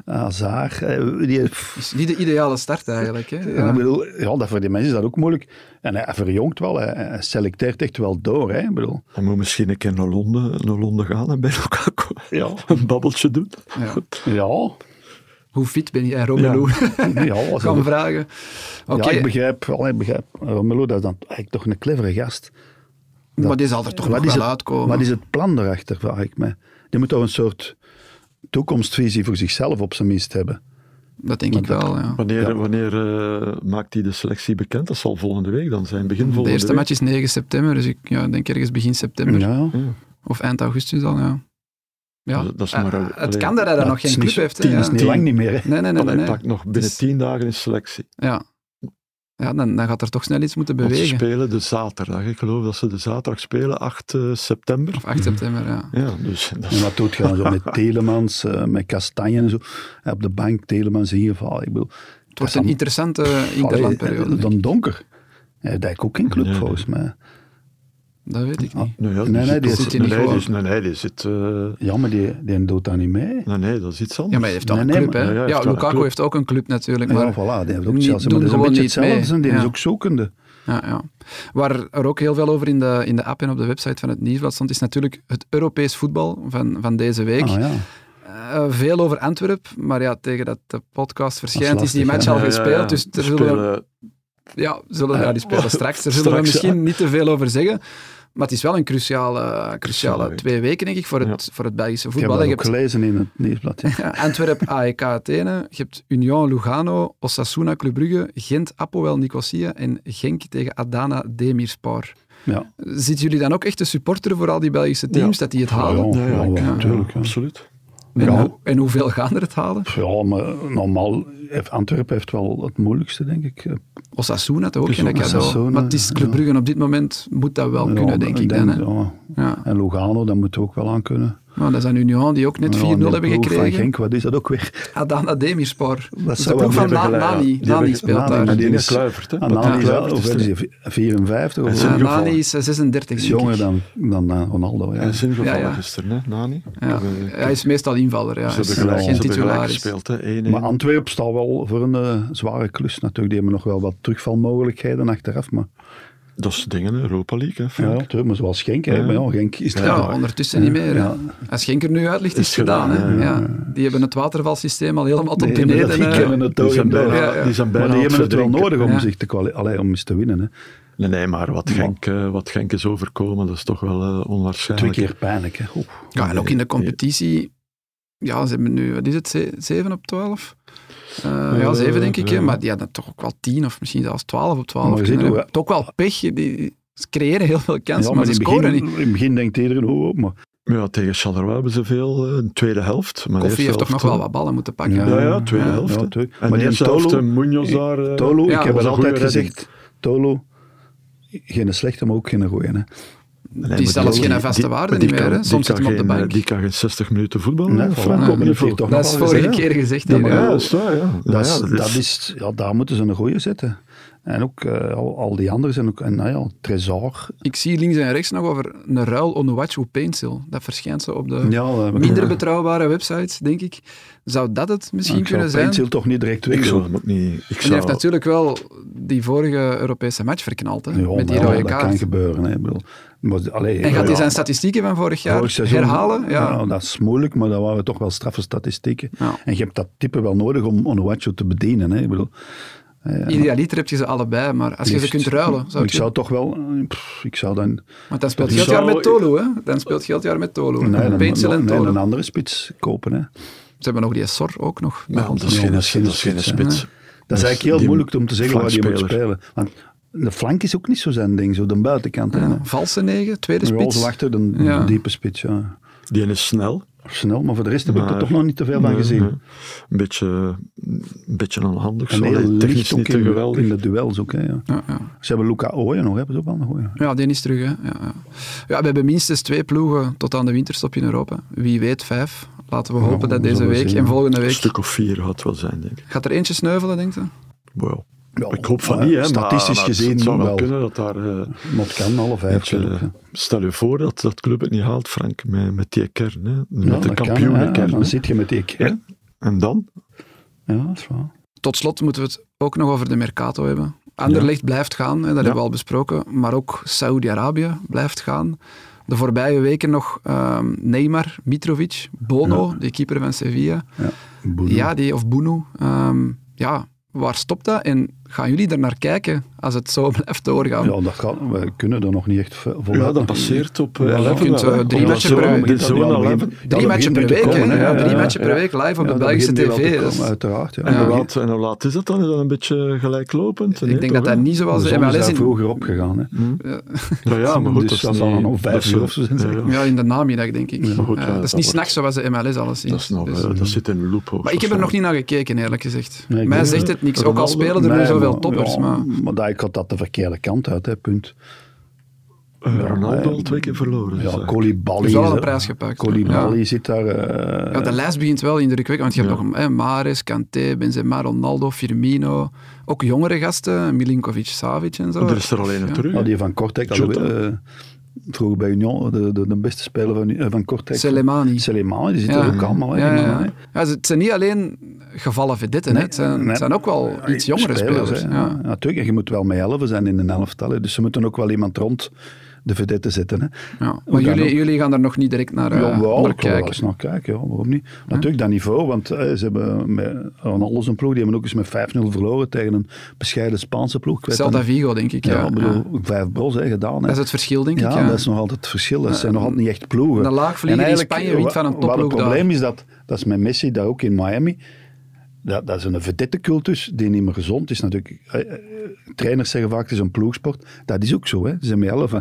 S2: Hazard. eh, Die,
S3: Dat is niet de ideale start eigenlijk. Hè. Eh,
S2: Ja.
S3: Ja.
S2: Ik bedoel, ja, dat voor die mensen is dat ook moeilijk. En hij hij verjongt wel, hij- hij selecteert echt wel door. Hè? Ik bedoel,
S1: Hij moet misschien een keer naar Londen, naar Londen gaan en bij Lukaku *laughs*
S2: Ja.
S1: een babbeltje doen.
S3: Ja.
S2: ja,
S3: Hoe fit ben jij, Romelu? *laughs*
S2: ja, als
S3: Gaan
S2: dat-
S3: vragen. Oké,
S2: ja ik begrijp, wel, ik begrijp. Romelu, dat is dan eigenlijk toch een clevere gast.
S3: maar die zal er toch
S2: Wat
S3: nog
S2: is,
S3: wel
S2: het,
S3: uitkomen.
S2: wat is het plan erachter, vraag ik me. Die moet toch een soort toekomstvisie voor zichzelf op zijn minst hebben.
S3: Dat denk ik wel, ja.
S1: Wanneer,
S2: Ja.
S1: wanneer eh, maakt hij de selectie bekend? Dat zal volgende week dan zijn, begin
S3: De
S1: volgende
S3: eerste
S1: week.
S3: match is 9 september, dus ik ja, denk ergens begin september.
S2: Ja,
S3: Of eind augustus al, ja. ja.
S1: Dat- dat is
S3: Eh,
S1: maar-
S3: het
S1: alleen-
S3: kan dat hij
S2: ja,
S3: daar nog
S2: het is
S3: geen club
S2: niet-
S3: heeft. hè,
S2: tien is
S3: ja.
S2: niet
S1: Tien.
S2: lang niet meer. Hè?
S3: Nee, nee, nee.
S1: Want
S3: nee,
S1: hij
S3: nee.
S1: pakt nog binnen
S3: is-
S1: tien dagen een selectie.
S3: Ja, ja dan, dan gaat er toch snel iets moeten
S1: Want ze
S3: bewegen.
S1: spelen de zaterdag. Ik geloof dat ze de zaterdag spelen, 8 eh, september.
S3: Of 8 september, ja.
S1: Ja, dus *laughs* dat
S2: En
S1: is
S2: wat doet je dan zo met Telemans, eh, met Kastanje en zo. Eh, Op de bank, Telemans hier, van, ik bedoel...
S3: Het wordt een interessante interlandperiode.
S2: Allee, eh,
S3: denk ik.
S2: Dan donker. Eh, Hij heeft eigenlijk ook geen club,
S1: Nee, nee.
S2: volgens mij.
S3: Dat weet ik niet.
S1: Nou ja,
S2: Nee, nee, die
S1: ook-
S3: zit hier
S1: nee,
S3: niet
S1: nee,
S3: voor.
S1: die is- Nee, nee, die zit... eh,
S2: Ja, maar die, die doet dat niet mee.
S1: nee, nee, dat is iets anders.
S3: Ja, maar hij heeft al
S2: Nee,
S3: een
S2: nee,
S3: club,
S2: maar-
S3: hè.
S1: Ja, ja, hij
S3: Ja,
S1: heeft wel een
S3: Lukaku
S1: club.
S3: heeft ook een club natuurlijk,
S2: Maar,
S3: maar...
S2: ja, voilà, die heeft ook
S3: niet-
S2: Chelsea.
S3: doen
S2: Maar dat is een
S3: gewoon
S2: beetje
S3: niet
S2: hetzelfde.
S3: mee.
S2: zijn. Die
S3: Ja.
S2: is ook zoekende.
S3: Ja, ja. Waar er ook heel veel over in de, in de app en op de website van het Nieuwsblad stond, is natuurlijk het Europees voetbal van, van deze week.
S2: Ah, ja.
S3: Eh, veel over Antwerp, maar ja, tegen dat de podcast verschijnt
S2: lastig,
S3: is die match
S2: hè?
S3: al
S1: Ja, ja,
S3: gespeeld,
S1: ja.
S3: dus
S1: Ze
S3: er zullen, we-
S1: spelen-
S3: ja, zullen, ja, die spelen straks. Daar zullen we
S1: Straks,
S3: misschien niet te veel over zeggen, maar het is wel een
S1: Cruciale
S3: cruciale, cruciale
S1: week.
S3: twee weken, denk ik, voor het, voor het Belgische
S2: Ik heb
S3: voetbal.
S2: dat
S3: Je
S2: ook
S3: hebt
S2: gelezen in het nieuwsblad. *laughs* ja.
S3: Eh, Antwerp AEK Athene, je hebt Union Lugano, Osasuna Club Brugge, Gent Apoel Nicosia en Genk tegen Adana Demirspor.
S2: Ja,
S3: Zitten jullie dan ook echt te supporteren voor al die Belgische teams, dat die het halen?
S2: Ja, ja, ja, natuurlijk, ja.
S1: absoluut.
S3: En,
S2: Ja.
S3: hoe- en hoeveel gaan er het halen?
S2: ja maar normaal, heeft- Antwerpen heeft wel het moeilijkste, denk ik. Eh,
S3: Osasuna toch ook
S1: Dus
S3: geen cadeau.
S2: Osasuna,
S3: maar het is Club
S2: ja.
S3: Brugge op dit moment moet dat wel
S2: ja,
S3: kunnen, denk ik dan. hè.
S2: ja.
S3: Ja.
S2: En Lugano, dat moet ook wel aan kunnen.
S3: Nou, dat is aan Union die ook net 4-0
S2: Ja, en de
S3: hebben
S2: ploeg Van
S3: gekregen.
S2: Genk, wat is dat ook weer?
S3: Adana Demirspor. Dat is de
S2: zou
S3: ploeg
S2: wel
S3: van
S1: die
S3: Na-
S1: hebben gelijk, ja.
S3: Nani.
S1: Die hebben
S3: Nani speelt
S2: Nani,
S3: daar.
S2: maar
S1: En
S2: die
S1: die
S2: is-
S1: is Kluivert, hè?
S2: En
S1: Wat
S2: dan
S1: die
S2: is dat,
S1: Kluivert
S2: of
S1: is
S2: is
S1: er-
S2: die v- 54 of
S1: Hij is
S2: zo?
S3: Ja,
S1: ingevallen.
S3: Nani is eh, 36.
S2: is
S3: denk ik.
S2: jonger dan, dan eh, Ronaldo. Ja.
S1: Hij is ingevallen
S3: Ja, ja.
S1: gisteren, hè, Nani?
S3: Ja.
S2: eh,
S3: Hij is meestal invaller. Ja.
S1: Ze
S3: Hij
S1: hebben
S3: is
S1: gelijk, ze
S3: geen
S1: hebben gelijk
S3: titularis.
S1: gespeeld, hè. 1-1.
S2: Maar Antwerpen staat wel voor een eh, zware klus natuurlijk. Die hebben nog wel wat terugvalmogelijkheden achteraf. Maar,
S1: Dat is dingen, hè, Europa League, hè,
S2: ja,
S1: Frank?
S2: natuurlijk, maar zoals Genk. hè.
S1: Ja.
S2: Maar ja, Genk is daar.
S3: Ja, ondertussen niet meer. hè.
S2: Ja.
S3: Als Genk er nu uit ligt, is het
S1: Is
S3: gedaan.
S1: gedaan,
S3: hè.
S1: ja,
S3: Ja. Die hebben het watervalsysteem al helemaal tot
S2: Die hebben dat-
S3: beneden.
S2: die
S3: hè.
S2: kennen het
S1: Die
S2: ook
S1: zijn
S2: en door.
S1: bijna,
S3: Ja, ja.
S1: Die zijn bijna
S2: Maar
S1: aan
S2: die
S1: het
S2: hebben het wel
S1: verdrinken.
S2: nodig om,
S3: Ja.
S2: zich te kwali- allee, om eens te winnen. Hè.
S1: Nee, nee, maar wat Genk, eh, wat Genk is overkomen, dat is toch wel eh,
S2: Twee
S1: onwaarschijnlijk.
S2: keer pijnlijk. Hè. Oeh.
S3: Ja, en ook in de competitie. Ja, ze hebben nu, wat is het, 7 op 12? Eh, ja, 7 denk ik, hè,
S1: ja.
S3: maar die hadden toch ook wel 10 of misschien zelfs 12 op 12.
S2: Maar je
S3: kunnen
S2: ziet hoe-
S3: hebben. Het is ook wel pech. hè, Die, ze creëren heel veel
S2: Ja,
S3: kansen, maar,
S2: maar in,
S3: ze
S2: het
S3: scoren
S2: begin,
S3: niet.
S2: in het begin denkt iedereen, oh, oh, maar
S1: Ja, tegen Charleroi hebben ze veel, eh, in de tweede helft. Maar de
S3: Koffie heeft
S1: eerste
S3: toch nog
S1: helft,
S3: wel wat ballen moeten pakken.
S1: Ja, ja, tweede
S3: Ja,
S1: helft.
S2: ja,
S1: hè.
S2: tuurlijk.
S1: En
S2: Maar
S1: de
S2: die
S1: eerste
S2: Tolo-
S1: helft, eh, Munoz daar... eh,
S2: Tolo,
S3: ja,
S2: ik
S1: dat
S2: heb
S1: was
S2: het
S1: een
S2: altijd
S1: goede redding.
S2: gezegd, Tolo, geen slechte, maar ook geen goeie. Hè.
S1: Nee,
S3: Die
S1: maar
S3: zelfs
S1: die-
S3: geen vaste
S1: die-
S3: waarde
S1: maar die
S3: niet meer.
S1: kan-
S3: hè.
S1: die
S3: Soms
S1: kan
S3: zit hem op de
S1: geen, eh,
S3: bank.
S1: Die kan geen 60 minuten voetballen.
S2: Nee,
S1: hè,
S2: voilà,
S1: Frank,
S2: maar
S1: op
S2: dat
S1: niveau.
S2: heeft toch
S1: Ja,
S3: Dat is
S2: Nog wel
S3: vorige
S2: eens,
S3: keer gezegd.
S2: Ja,
S3: hier,
S2: maar
S3: hè.
S1: dat is waar, ja.
S2: Dat
S1: Ja,
S2: is,
S1: ja,
S2: dat
S1: dat is-
S2: is, ja, daar moeten ze een goeie zetten. En ook eh, al, al die anderen zijn ook... En nou ja, Trezor.
S3: Ik zie links en rechts nog over een ruil Onuwachu Pencil. Dat verschijnt zo op de
S2: Ja, eh, we-
S3: minder betrouwbare websites, denk ik. Zou dat het misschien
S2: Ik zou
S3: kunnen zijn?
S2: Pencil toch niet direct weg
S1: Ik
S2: doen.
S1: zou hem ook niet... Ik
S3: En die heeft
S1: zou,
S3: natuurlijk wel die vorige Europese match verknald, hè,
S2: Ja,
S3: met die
S2: maar ja,
S3: rode
S2: dat kan
S3: kaart.
S2: gebeuren. Hè. Ik bedoel, maar, allee,
S3: En gaat
S2: ja,
S3: hij zijn statistieken van vorig jaar
S2: vorig seizoen-
S3: herhalen? Ja.
S2: Nou, dat is moeilijk, maar dat waren toch wel straffe statistieken.
S3: Ja.
S2: En je hebt dat type wel nodig om Onuachu te bedienen. Hè. Ik bedoel,
S3: Idealiter heb je ze allebei, maar als je ze
S2: liefst-
S3: kunt ruilen, zou
S2: ik
S3: ik
S2: zou toch wel... eh, pff, ik zou dan...
S3: Want dan speelt
S1: Ik
S3: je het jaar
S1: zou-
S3: met Tolu, hè? Dan speelt je het jaar met Tolu. hè.
S2: Nee, dan,
S3: Pencil en
S2: nee,
S3: Tolu.
S2: een andere spits kopen. Hè.
S3: Ze hebben nog die Sor ook nog.
S1: maar dat is
S2: Ja,
S1: geen-
S2: dat is geen
S1: dat is geen
S2: spits, hè.
S1: spits.
S2: Dat is
S1: Dus
S2: eigenlijk heel
S1: die
S2: moeilijk om te zeggen waar je moet
S1: flankspeler.
S2: spelen. Want de flank is ook niet zo zijn ding, zo de buitenkant. hè.
S3: Ja, valse negen, tweede
S2: Een roze
S3: spits.
S2: achter, een
S3: Ja.
S2: diepe spits. Ja.
S1: Die is snel.
S2: Snel, maar voor de rest heb ik er
S1: Maar-
S2: toch nog niet te veel van
S1: Nee,
S2: gezien.
S1: nee. Een beetje, een beetje onhandig.
S2: En
S1: Zo.
S2: heel
S1: Allee,
S2: licht
S1: Technisch
S2: ook
S1: niet te
S2: in, de-
S1: geweldig.
S2: in de duels ook. Hè, ja.
S3: Ja, ja.
S2: Ze hebben Luca Ooyen nog, hebben ze ook wel nog. Ooyen.
S3: ja, die is terug. Hè. Ja, ja. ja, we hebben minstens twee ploegen tot aan de winterstop in Europa. Wie weet vijf. Laten we hopen
S2: we
S3: dat deze
S2: zullen
S3: week
S2: zien.
S3: en volgende
S1: Een
S3: week...
S1: stuk of vier gaat wel zijn, denk ik.
S3: Gaat er eentje sneuvelen, denk je?
S1: Wow.
S2: Ja,
S1: Ik hoop van
S2: maar
S1: niet, hè, maar-
S2: Statistisch
S1: maar
S2: gezien
S1: het zou wel
S2: wel.
S1: kunnen dat daar... eh,
S2: Maar het kan, alle vijf.
S1: weet je,
S2: natuurlijk, hè.
S1: stel je voor dat dat club het niet haalt, Frank, met, met die kern. Hè. Met
S2: Ja,
S1: de
S2: dat kan,
S1: kampioenenkern.
S2: hè.
S1: hè.
S2: Dan zit je met die kern.
S1: En dan?
S2: Ja, dat is waar.
S3: Tot slot moeten we het ook nog over de Mercato hebben. Anderlecht blijft gaan, hè, dat hebben we al besproken. Maar ook Saudi-Arabië blijft gaan. De voorbije weken nog ehm, Neymar, Mitrovic, Bono, de keeper van Sevilla.
S2: Boedoe.
S3: Ja, die, of Bono. Ehm, ja, waar stopt dat? En gaan jullie er naar kijken als het zo *laughs* blijft doorgaan?
S2: Ja, dat kan, we kunnen er nog niet echt vo- voluit
S1: Ja, dat
S2: naar-
S1: passeert op eh,
S2: Ja, je
S1: 11
S3: kunt,
S1: wel, hè.
S3: eh, drie
S1: Op
S3: matchen
S1: zo'n-
S3: per week.
S1: dit
S2: Dat
S1: zo'n
S2: begint-
S1: 11.
S2: dat
S3: Drie
S2: begint
S3: matchen
S2: nu
S3: per
S2: te
S3: week, hè?
S2: komen,
S3: Ja, drie
S2: Ja,
S3: matchen per
S2: ja.
S3: week live op
S2: Ja, dat
S3: de Belgische
S2: begint nu wel te
S3: tv.
S2: komen,
S3: dus
S2: Uiteraard, ja.
S1: En
S3: Ja.
S1: hoe laat- en hoe laat is dat dan? Is dat een beetje gelijklopend?
S3: ik denk dat dat niet zoals
S2: De
S3: de
S2: zon is
S3: MLS
S2: daar
S3: in,
S2: vroeger opgegaan. Hè.
S1: Ja, ja, maar goed, dat
S2: Dus dat
S1: is
S2: zal
S1: niet-
S2: dan om vijf
S1: dat is
S2: uur
S1: wel-
S2: of zo zijn,
S1: Ja,
S2: zeg
S1: ja.
S3: ja, in de namiddag, denk ik.
S1: Maar goed,
S3: Eh,
S1: ja, dat
S3: dat is niet
S1: wordt-
S3: s'nachts zoals de MLS alles
S1: Dat, is
S3: is.
S1: nog,
S3: Dus-
S1: eh, dat zit in een loop.
S3: Maar ik heb er nog niet naar gekeken, eerlijk gezegd.
S2: Nee, ik
S3: Mij
S2: niet.
S3: zegt het niks, ook al
S1: Ronaldo?
S3: spelen er nu
S2: Nee, Oh.
S3: zoveel
S2: maar-
S3: toppers.
S2: ja,
S3: Maar...
S2: maar dat, ik had dat de verkeerde kant uit, hè, punt.
S1: Eh, Ronaldo
S2: Ja,
S1: al twee keer verloren.
S2: Ja,
S1: zeg.
S2: Koulibaly...
S3: Heeft wel
S2: is
S3: een
S2: er-
S3: prijs gepakt,
S2: Koulibaly
S3: ja.
S2: zit daar... eh,
S3: Ja, de lijst begint wel indrukwekkend, want je hebt
S1: Ja.
S3: nog hè, Mares, Kanté, Benzema, Ronaldo, Firmino. Ook jongere gasten, Milinkovic, Savic en zo.
S1: er is er alleen een
S3: Ja.
S1: terug.
S2: nou,
S1: hè.
S2: die van Kortrijk, dat
S1: Jota.
S2: eh, vroeger bij Union, de, de, de beste speler van, eh, van Kortrijk.
S3: Selemani.
S2: Selemani, die zit
S3: Ja.
S2: er ook allemaal. Hè,
S3: Ja,
S2: die
S3: ja, ja.
S2: mannen, hè.
S3: Ja, ze- het zijn niet alleen gevallen vedetten, hè. het, zijn,
S2: nee.
S3: het zijn ook wel iets jongere spelers.
S2: Spelers, hè, ja.
S3: ja.
S2: Natuurlijk, en je moet wel met helven zijn in een elftal. hè. Dus ze moeten ook wel iemand rond de vedette zetten. Hè.
S3: Ja.
S2: Hoe
S3: Maar
S2: dan
S3: jullie,
S2: ook.
S3: jullie gaan er nog niet direct naar, eh,
S2: Ja, wel,
S3: naar
S2: ik wil wel
S3: kijken.
S2: eens naar kijken, ja, waarom niet? Natuurlijk dat niveau, want eh, ze hebben met, aan alles een ploeg, die hebben ook eens met 5-0 verloren tegen een bescheiden Spaanse ploeg. Ik weet
S3: Celta
S2: dat niet.
S3: Vigo, denk ik. Ja.
S2: Ja, ik bedoel,
S3: Ja.
S2: vijf bros hè, gedaan. Hè.
S3: Dat is het verschil, denk ik.
S2: ja,
S3: ja.
S2: dat is nog altijd het verschil. Dat zijn nog altijd niet echt ploegen.
S3: Een laagvlieger
S2: En
S3: in
S2: eigenlijk,
S3: Spanje wint van een
S2: wa- wat
S3: topploeg
S2: Het
S3: daar.
S2: probleem is dat, dat is met Messi, daar ook in Miami, dat, dat is een vedette cultus die niet meer gezond is natuurlijk. Eh, eh, Trainers zeggen vaak, het is een ploegsport. Dat is ook zo, hè. Ze zijn met elf. hè.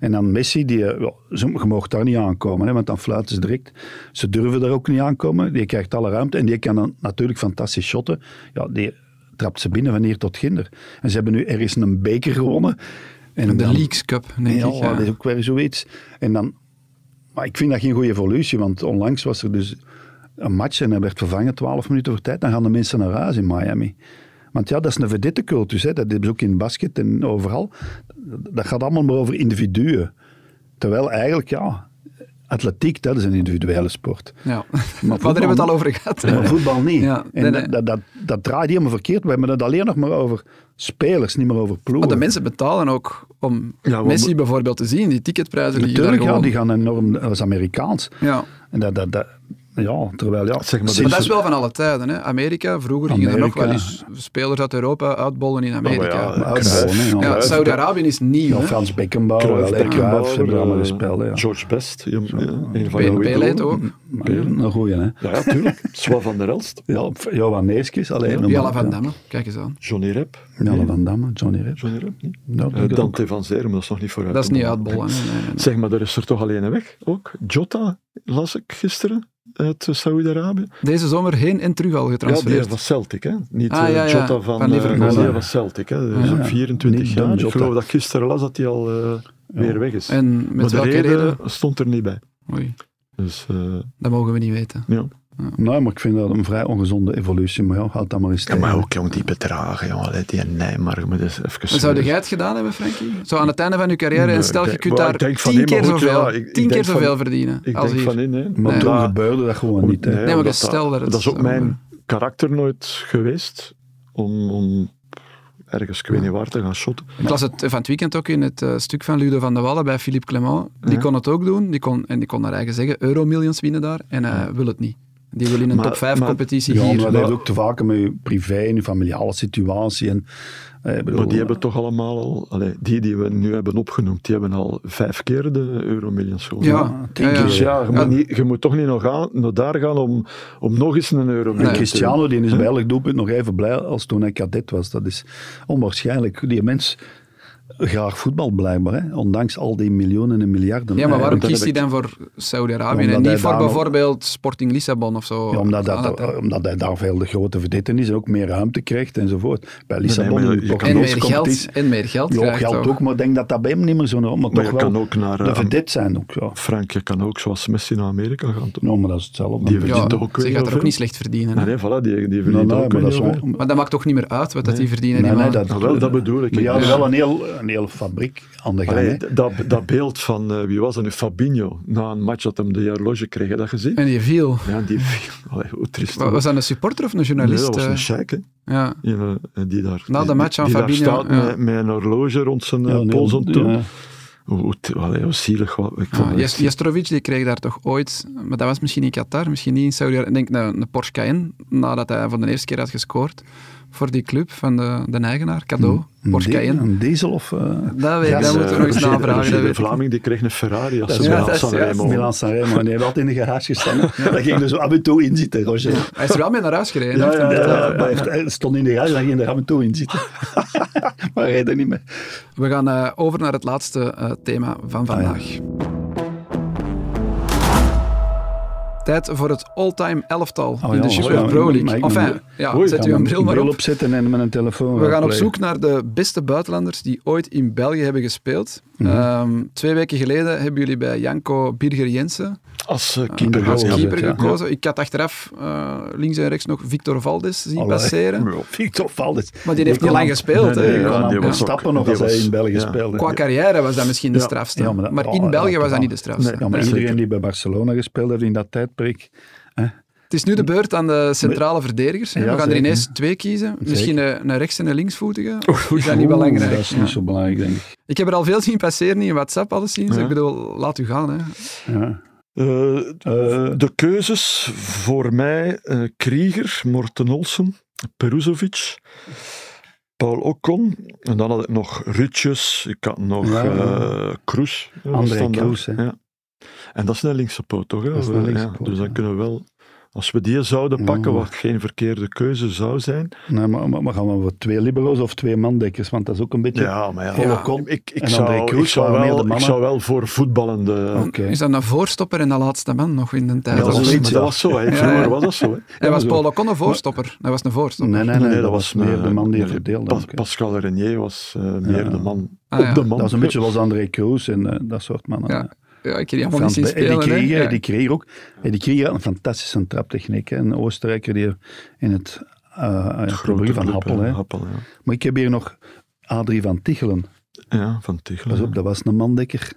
S2: En dan Messi, die, eh, wel, ze- je mag daar niet aankomen, hè, want dan fluiten ze direct. Ze durven daar ook niet aankomen. Die krijgt alle ruimte en die kan dan natuurlijk fantastisch shotten. Ja, die trapt ze binnen van hier tot ginder. En ze hebben nu ergens een beker gewonnen. En
S3: De
S2: dan-
S3: Leaks Cup, denk
S2: ja,
S3: ik. ja.
S2: dat is ook weer zoiets. En dan, maar ik vind dat geen goede evolutie, want onlangs was er dus een match en hij werd vervangen 12 minuten voor tijd. Dan gaan de mensen naar huis in Miami. Want ja, dat is een vedette cultus. Hè. Dat is ook in basket en overal. Dat gaat allemaal maar over individuen. Terwijl eigenlijk, ja, atletiek, dat is een individuele sport.
S3: Ja, *laughs* maar
S2: voetbal-
S3: daar hebben we het al over gehad.
S2: Maar voetbal niet.
S3: Ja,
S2: en
S3: nee,
S2: dat-
S3: nee.
S2: Dat, dat, dat draait helemaal verkeerd. We hebben het alleen nog maar over spelers, niet meer over
S3: Maar
S2: ploegen.
S3: de mensen betalen ook om
S1: Ja, want-
S3: Messi bijvoorbeeld te zien. Die ticketprijzen liggen
S2: Natuurlijk,
S3: daar
S2: ja,
S3: gewoon.
S2: die gaan enorm, dat is Amerikaans.
S3: Ja.
S2: En dat, dat, dat, ja, terwijl ja,
S1: Zeg maar,
S2: sinds-
S3: Maar dat is wel van alle tijden. Hè. Amerika, vroeger gingen er nog wel
S2: Amerika.
S3: eens spelers uit Europa uitbollen in Amerika.
S1: Ja, maar ja,
S3: ja,
S2: Uitbollen, ja. Kruijff.
S3: Saudi-Arabië is nieuw.
S2: ja,
S3: hè.
S2: Frans Beckenbauer,
S1: Cruyff,
S2: Allee, Cruijff, ze hebben er allemaal
S1: eh,
S2: gespeeld. hè, Ja.
S1: George Best. Ja, ja, een van jouw
S3: Pe- Pele
S1: idolen.
S3: toch ook.
S2: Maar ja, Een goeie, hè.
S1: Ja, ja, tuurlijk. Swa van der Elst.
S2: Ja, Johan Neeskis, alleen. nog
S3: Jelle
S2: maar,
S3: van
S2: ja.
S3: Damme, kijk eens aan.
S1: Johnny Rep.
S2: Jelle van Damme, Johnny Rep.
S1: Johnny Rep, niet?
S2: Ja,
S1: Eh, Dante van Zeer, maar dat is nog niet vooruit.
S3: Dat is niet
S1: Nee.
S3: uitbollen. hè. Nee, nee, nee.
S1: Zeg maar, er is er toch alleen een weg ook. Jota las ik gisteren uit Saudi-Arabië.
S3: Deze zomer heen en terug al
S1: Ja, die
S3: getransfereerd.
S1: was Celtic, hè? Niet
S3: Ah,
S1: eh,
S3: ja, ja.
S1: Jota van,
S3: Van Liverpool,
S1: eh,
S3: hè?
S1: die was Celtic, hè? Dus
S2: Ja, ja.
S1: 24
S2: Niet
S1: jaar.
S2: Dan
S1: Ik
S2: Jota.
S1: geloof dat ik gisteren las dat hij al eh, weer weg is.
S3: En met
S1: maar de
S3: welke
S1: reden,
S3: reden?
S1: stond er niet bij.
S3: Oei,
S1: Dus eh,
S3: dat mogen we niet weten.
S1: ja.
S2: Nee, maar ik vind dat een vrij ongezonde evolutie. Maar ja, houd dat maar eens
S1: ja, maar
S2: tegen.
S1: ook jong, die bedragen, jongen, allee, die Nijmark, maar dat is even...
S3: En zou jij het gedaan hebben, Frankie? Zo aan het einde van je carrière,
S1: Nee,
S3: en stel,
S1: Nou, ik
S3: je
S1: denk-
S3: kunt
S1: maar
S3: daar
S1: ik denk van
S3: tien
S1: in, maar
S3: keer
S1: goed,
S3: zoveel,
S1: ja, ik- ik
S3: tien keer
S1: denk van-
S3: zoveel verdienen
S1: Ik
S3: als
S1: denk
S3: hier.
S1: van in, hè.
S2: Maar
S3: Nee.
S2: toen
S1: Ja.
S2: gebeurde dat gewoon niet. Hè.
S1: Nee,
S3: maar
S1: omdat
S3: dus stel dat het
S1: Dat is ook
S3: zou
S1: mijn
S3: gebeuren.
S1: karakter nooit geweest, om, om ergens, ik weet niet waar, te gaan shotten.
S3: Ik las het van het weekend ook in het eh, stuk van Ludo van de Wallen bij Philippe Clement. Die
S1: Ja.
S3: kon het ook doen. Die kon, en die kon naar eigen zeggen, euromillions winnen daar. En hij wil het niet. Die wil in een
S1: Maar-
S3: top 5
S1: maar-
S3: competitie
S2: Ja, maar
S3: hier.
S2: dat heeft ook te maken met je privé en je familiale situatie. En, eh, ik bedoel,
S1: Maar die hebben toch allemaal al, allee, die die we nu hebben opgenoemd, die hebben al vijf keer de Euromillions gewonnen.
S3: Ja,
S2: tien
S3: ja, ja.
S2: keer.
S1: Dus ja, je,
S3: Ja.
S1: Moet, niet, je moet toch niet nog gaan, naar daar gaan om, om nog eens een euro
S2: En
S1: mee te doen.
S2: Cristiano die is bij elk doelpunt nog even blij als toen hij kadet was. Dat is onwaarschijnlijk. Die mens graag voetbal blijkbaar, hè? ondanks al die miljoenen en miljarden.
S3: Ja, maar waarom
S1: dat
S3: kiest hij
S1: heb ik-
S3: dan voor Saudi-Arabië
S2: Omdat
S3: en niet
S2: hij
S3: voor
S2: daar nog-
S3: bijvoorbeeld Sporting Lissabon of zo?
S2: Ja, omdat,
S3: Kan
S2: dat,
S1: eh,
S3: hè?
S2: omdat hij daar veel de grote verdette is en ook meer ruimte krijgt enzovoort. Bij Lissabon
S1: maar je-
S2: in de
S1: je kan
S3: en
S2: Portugese
S3: meer geld.
S2: competitie-
S3: En meer geld
S2: Ja,
S3: krijgt
S2: geld
S3: ook.
S2: ook, maar ik denk dat dat bij hem niet meer zo'n rol Maar
S1: Maar
S2: toch
S1: je
S2: wel
S1: kan ook naar...
S2: de
S1: eh,
S2: vedette zijn ook. Ja.
S1: Frank, je kan ook zoals Messi naar Amerika gaan. toch?
S2: Nou, maar dat is hetzelfde.
S1: Die
S3: Ja,
S1: verdient toch ook
S3: ze
S1: weer
S3: gaat er ook
S1: veel?
S3: niet slecht verdienen. hè.
S1: Nee, voilà, die, die
S2: Nee,
S1: verdient
S2: nee,
S1: ook
S2: maar
S1: weer
S2: dat is
S1: heel
S2: wel-
S1: veel.
S3: Maar dat maakt toch niet meer uit wat dat die verdienen.
S2: Nee,
S3: die
S2: nee,
S3: mannen.
S2: dat,
S1: Ah, wel, dat bedoel ik.
S2: Maar ja,
S1: Ja.
S2: wel een heel, een heel fabriek aan de gang.
S1: Allee,
S2: hè.
S1: d- dat, dat beeld van, eh, wie was dat nu, Fabinho, na een match dat hem de horloge kreeg, heb je dat gezien?
S3: En die viel.
S1: Ja, die... *laughs* Allee, hoe triest.
S3: Wa- Was dat een supporter of een
S1: Nee,
S3: journalist?
S1: dat was
S3: eh?
S1: een sheik, hè.
S3: ja.
S1: Die, eh, die daar,
S3: Na de
S1: die-
S3: match aan
S1: die daar
S3: Fabinho,
S1: staat
S3: ja.
S1: met, met een horloge rond zijn eh,
S2: Ja, een heel-
S1: pols om toe.
S2: ja.
S1: Hoe, hoe, allee, hoe zielig. Wat, ik vond
S3: Ja,
S1: het
S3: Ah, Jes-
S1: echt-
S3: Jestrovic die kreeg daar toch ooit, maar dat was misschien in Qatar, misschien niet in Saudi-Arabië, ik denk een, een Porsche Cayenne, nadat hij voor de eerste keer had gescoord voor die club van de, de eigenaar, cadeau,
S2: Een
S3: Porsche
S2: di-
S3: Cayenne.
S2: Een diesel of... eh
S3: Dat, weet,
S2: Ja,
S3: dat
S2: ze-
S3: moeten we nog eens
S1: Roger-
S3: navragen.
S1: Roger
S3: dat
S1: de
S3: weet ik.
S1: Vlaming die kreeg een Ferrari als
S2: Dat
S1: ze
S2: is
S1: bij
S3: ja, dat is
S1: San
S3: juist.
S1: Remo.
S2: Milan Sanremo, en die heeft altijd in de garage gestaan. Daar ging dus af en toe in zitten, Roger.
S3: Hij is er wel mee naar huis gereden.
S2: Ja,
S3: hè.
S2: ja, ja, maar hij heeft- hij stond in de garage, dan ging hij er af en toe in zitten. *laughs* maar hij er niet mee.
S3: We gaan eh, over naar het laatste eh, thema van
S2: Ah,
S3: vandaag. Tijd voor het all-time elftal in
S2: ja,
S3: de Super
S2: oh ja,
S3: Pro
S2: maar-
S3: League.
S2: maar ik-
S3: enfin, ja,
S1: Oei,
S3: zet
S2: Kan
S3: u een
S2: hem
S3: bril maar op.
S2: opzetten en met een telefoon.
S3: We gaan op
S2: raadplegen.
S3: zoek naar de beste buitenlanders die ooit in België hebben gespeeld.
S2: Mhm.
S3: Ehm, twee weken geleden hebben jullie bij Janko Birger Jensen
S1: Als eh,
S2: de
S1: keeper.
S3: als
S2: goal,
S3: keeper
S2: Oh, ja.
S3: gekozen. Ik had achteraf eh, links en rechts nog Victor Valdes zien
S2: Allee.
S3: passeren.
S2: Ja, Victor Valdes.
S3: Maar die heeft niet
S2: kon
S3: lang
S2: aan-
S1: Nee,
S3: gespeeld. hè.
S1: nee,
S2: Die kon
S1: Ja,
S2: aan
S1: die
S2: het
S1: was ook-
S2: stappen nog
S1: die
S2: als hij
S1: was-
S2: in België
S1: ja.
S2: speelde.
S3: Qua carrière was dat misschien de strafste.
S2: ja,
S3: maar,
S2: maar dat- Oh, ja,
S3: in
S2: ja,
S3: België was dat
S2: totaal.
S3: niet de strafste.
S2: Ja, maar
S3: Nee.
S2: iedereen die bij Barcelona gespeeld heeft in dat tijdperk.
S3: Het is nu de beurt aan de centrale verdedigers. hè.
S2: Ja,
S3: We gaan er
S2: zeker.
S3: ineens twee kiezen. Misschien een, een rechts- en een linksvoetige. Is dat niet
S2: Oeh,
S3: belangrijk?
S2: Dat is
S3: Ja.
S2: niet zo belangrijk, denk ik.
S3: Ik heb er al veel zien passeren in WhatsApp, alleszins.
S1: Ja.
S3: Ik bedoel, laat u gaan. Hè.
S2: Ja.
S1: Eh,
S2: Eh,
S1: de keuzes voor mij: eh Krieger, Morten Olsen, Peruzovic, Paul Okon. En dan had ik nog Rutjes, ik had nog
S2: Ja, ja.
S1: eh, Kroes. eh,
S2: André
S1: standaard.
S2: Kroes, hè.
S1: Ja. En dat is een linkse poot, toch? Hè?
S2: Dat is een
S1: Eh,
S2: linkse
S1: ja,
S2: poot,
S1: dus dan
S2: ja.
S1: kunnen we wel, als we die zouden
S2: Ja.
S1: pakken, wat geen verkeerde keuze zou zijn.
S2: Nee, maar, maar, maar gaan we voor twee libero's of twee mandekkers? Want dat is ook een beetje...
S1: Ja, maar ja.
S2: Paul
S3: Ja.
S2: Ocon.
S1: Ik, ik,
S2: En André
S1: zou,
S2: Kroes
S1: ik, zou
S2: waren heel de
S1: wel, ik
S2: mannen.
S1: zou wel voor voetballende.
S2: Oké.
S3: Is dat een voorstopper en de laatste man nog in de tijd?
S1: Ja, dat,
S2: dat
S1: was,
S2: was-
S1: dat was zo, hè.
S3: Ja,
S1: vroeger
S3: ja.
S1: was dat zo. Hè.
S3: Hij was
S2: zo.
S3: Paul Ocon een voorstopper. Hij was een
S2: Nee,
S3: voorstopper.
S2: nee, nee, dat, was meer de man die het verdeelde.
S1: eh, Pas,
S2: ook, hè.
S1: Pascal Renier was eh, meer de man
S3: Ah, ja.
S1: op de man.
S2: Dat was een beetje zoals André Kroes en eh, dat soort mannen.
S3: Ja, ja ik heb die allemaal niet
S2: Frans
S3: zien
S2: Be- Eddie
S3: spelen. hè.
S2: Krieger,
S3: Ja.
S2: Eddie Krieger ook. Eddie Krieger had een fantastische traptechniek. hè. Een Oostenrijker die in het, eh het
S1: grote
S2: van
S1: club,
S2: Happel.
S1: hè.
S2: hè.
S1: Happel, ja.
S2: Maar ik heb hier nog Adrie van Tichelen.
S1: Ja, van Tichelen.
S2: Pas op, dat was een mandekker.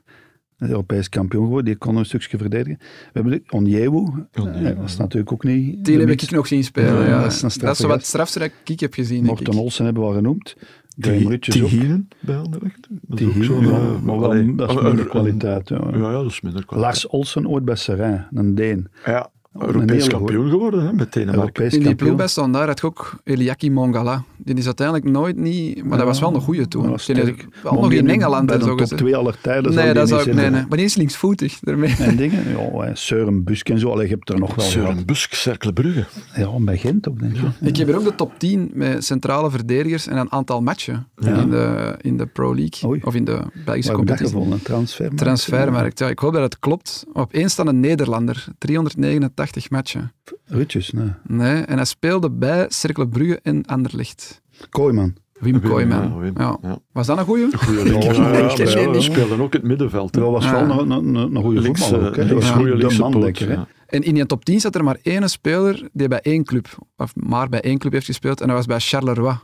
S2: Eh, Europees kampioen geworden, die kon een stukje verdedigen. We hebben de- Onyewu,
S1: Onyewu,
S2: eh, dat is natuurlijk ook niet...
S3: Die
S2: de
S3: heb
S2: mix.
S3: ik nog zien spelen.
S2: Ja,
S3: ja.
S2: dat is een straffe
S3: zo wat
S2: gast.
S3: strafste dat ik heb gezien. denk
S2: Morten
S3: ik.
S2: Olsen hebben we al genoemd. Graham
S1: Ti-
S2: Rutjes ook.
S1: Tihielen bij Anderlecht. Dat is ook
S2: Tihielen,
S1: zo'n,
S2: ja,
S1: eh,
S2: maar wel,
S1: allee,
S2: dat is
S1: een-
S2: minder
S1: een-
S2: kwaliteit. ja.
S1: Ja, ja, dat is minder kwaliteit.
S2: Lars Olsen ooit bij Serrain, een Deen.
S1: Ja,
S2: een
S1: Europees
S2: hele
S1: kampioen geworden hè, met Denemarken.
S2: Europees
S3: In die ploeg
S2: kampioen.
S3: bij Standaard had ik ook Eliaki Mongala. Die is uiteindelijk nooit niet... Maar dat was wel een goede toen.
S2: Ja,
S3: Die
S2: dat is sterk.
S3: is
S2: Maar
S3: wel nog
S2: die
S3: in
S2: nu
S3: Engeland
S2: bij
S3: en
S2: de
S3: zo
S2: top
S3: gezet.
S2: 2 aller tijden
S3: Nee, dat zou ik... Nee,
S2: niet
S3: nee.
S2: zitten.
S3: Maar die is linksvoetig. Daarmee.
S2: En dingen, ja, hè, Søren Busk en zo. Allee, je hebt er nog wel
S1: Søren
S2: Søren.
S1: Busk, Cercle Brugge.
S2: Ja, bij Gent ook, denk ik.
S3: Ik heb hier ook de top 10 met centrale verdedigers en een aantal matchen in, de, in de Pro League.
S2: Oei.
S3: Of in de Belgische
S2: Wat heb ik dat
S3: competitie.
S2: gevonden? Een transfer.
S3: Transfermarkt. Ja, ik hoop dat het klopt. Op één staat een Nederlander. 389 matchen.
S2: Rutjes, nee.
S3: Nee, en hij speelde bij Cercle Brugge en Anderlecht.
S2: Kooiman.
S3: Wim
S1: Ja,
S3: Kooijman.
S1: Wim,
S3: Ja.
S1: ja.
S3: Was dat een goeie?
S1: Goeie
S2: Ja,
S1: linker.
S2: ja,
S1: maar
S2: ja, ja.
S1: die speelden ook in het middenveld. hè.
S2: Dat was wel
S3: Ah.
S2: een, een, een, een goede
S1: Links,
S2: voetballer ook.
S1: eh,
S2: hè. Dat
S1: links,
S2: was
S1: goeie
S2: de
S1: linkse
S2: man,
S1: poot,
S2: denk ik, hè.
S1: ja.
S3: En in die top 10 zat er maar één speler die bij één club, of maar bij één club heeft gespeeld, en dat was bij Charleroi.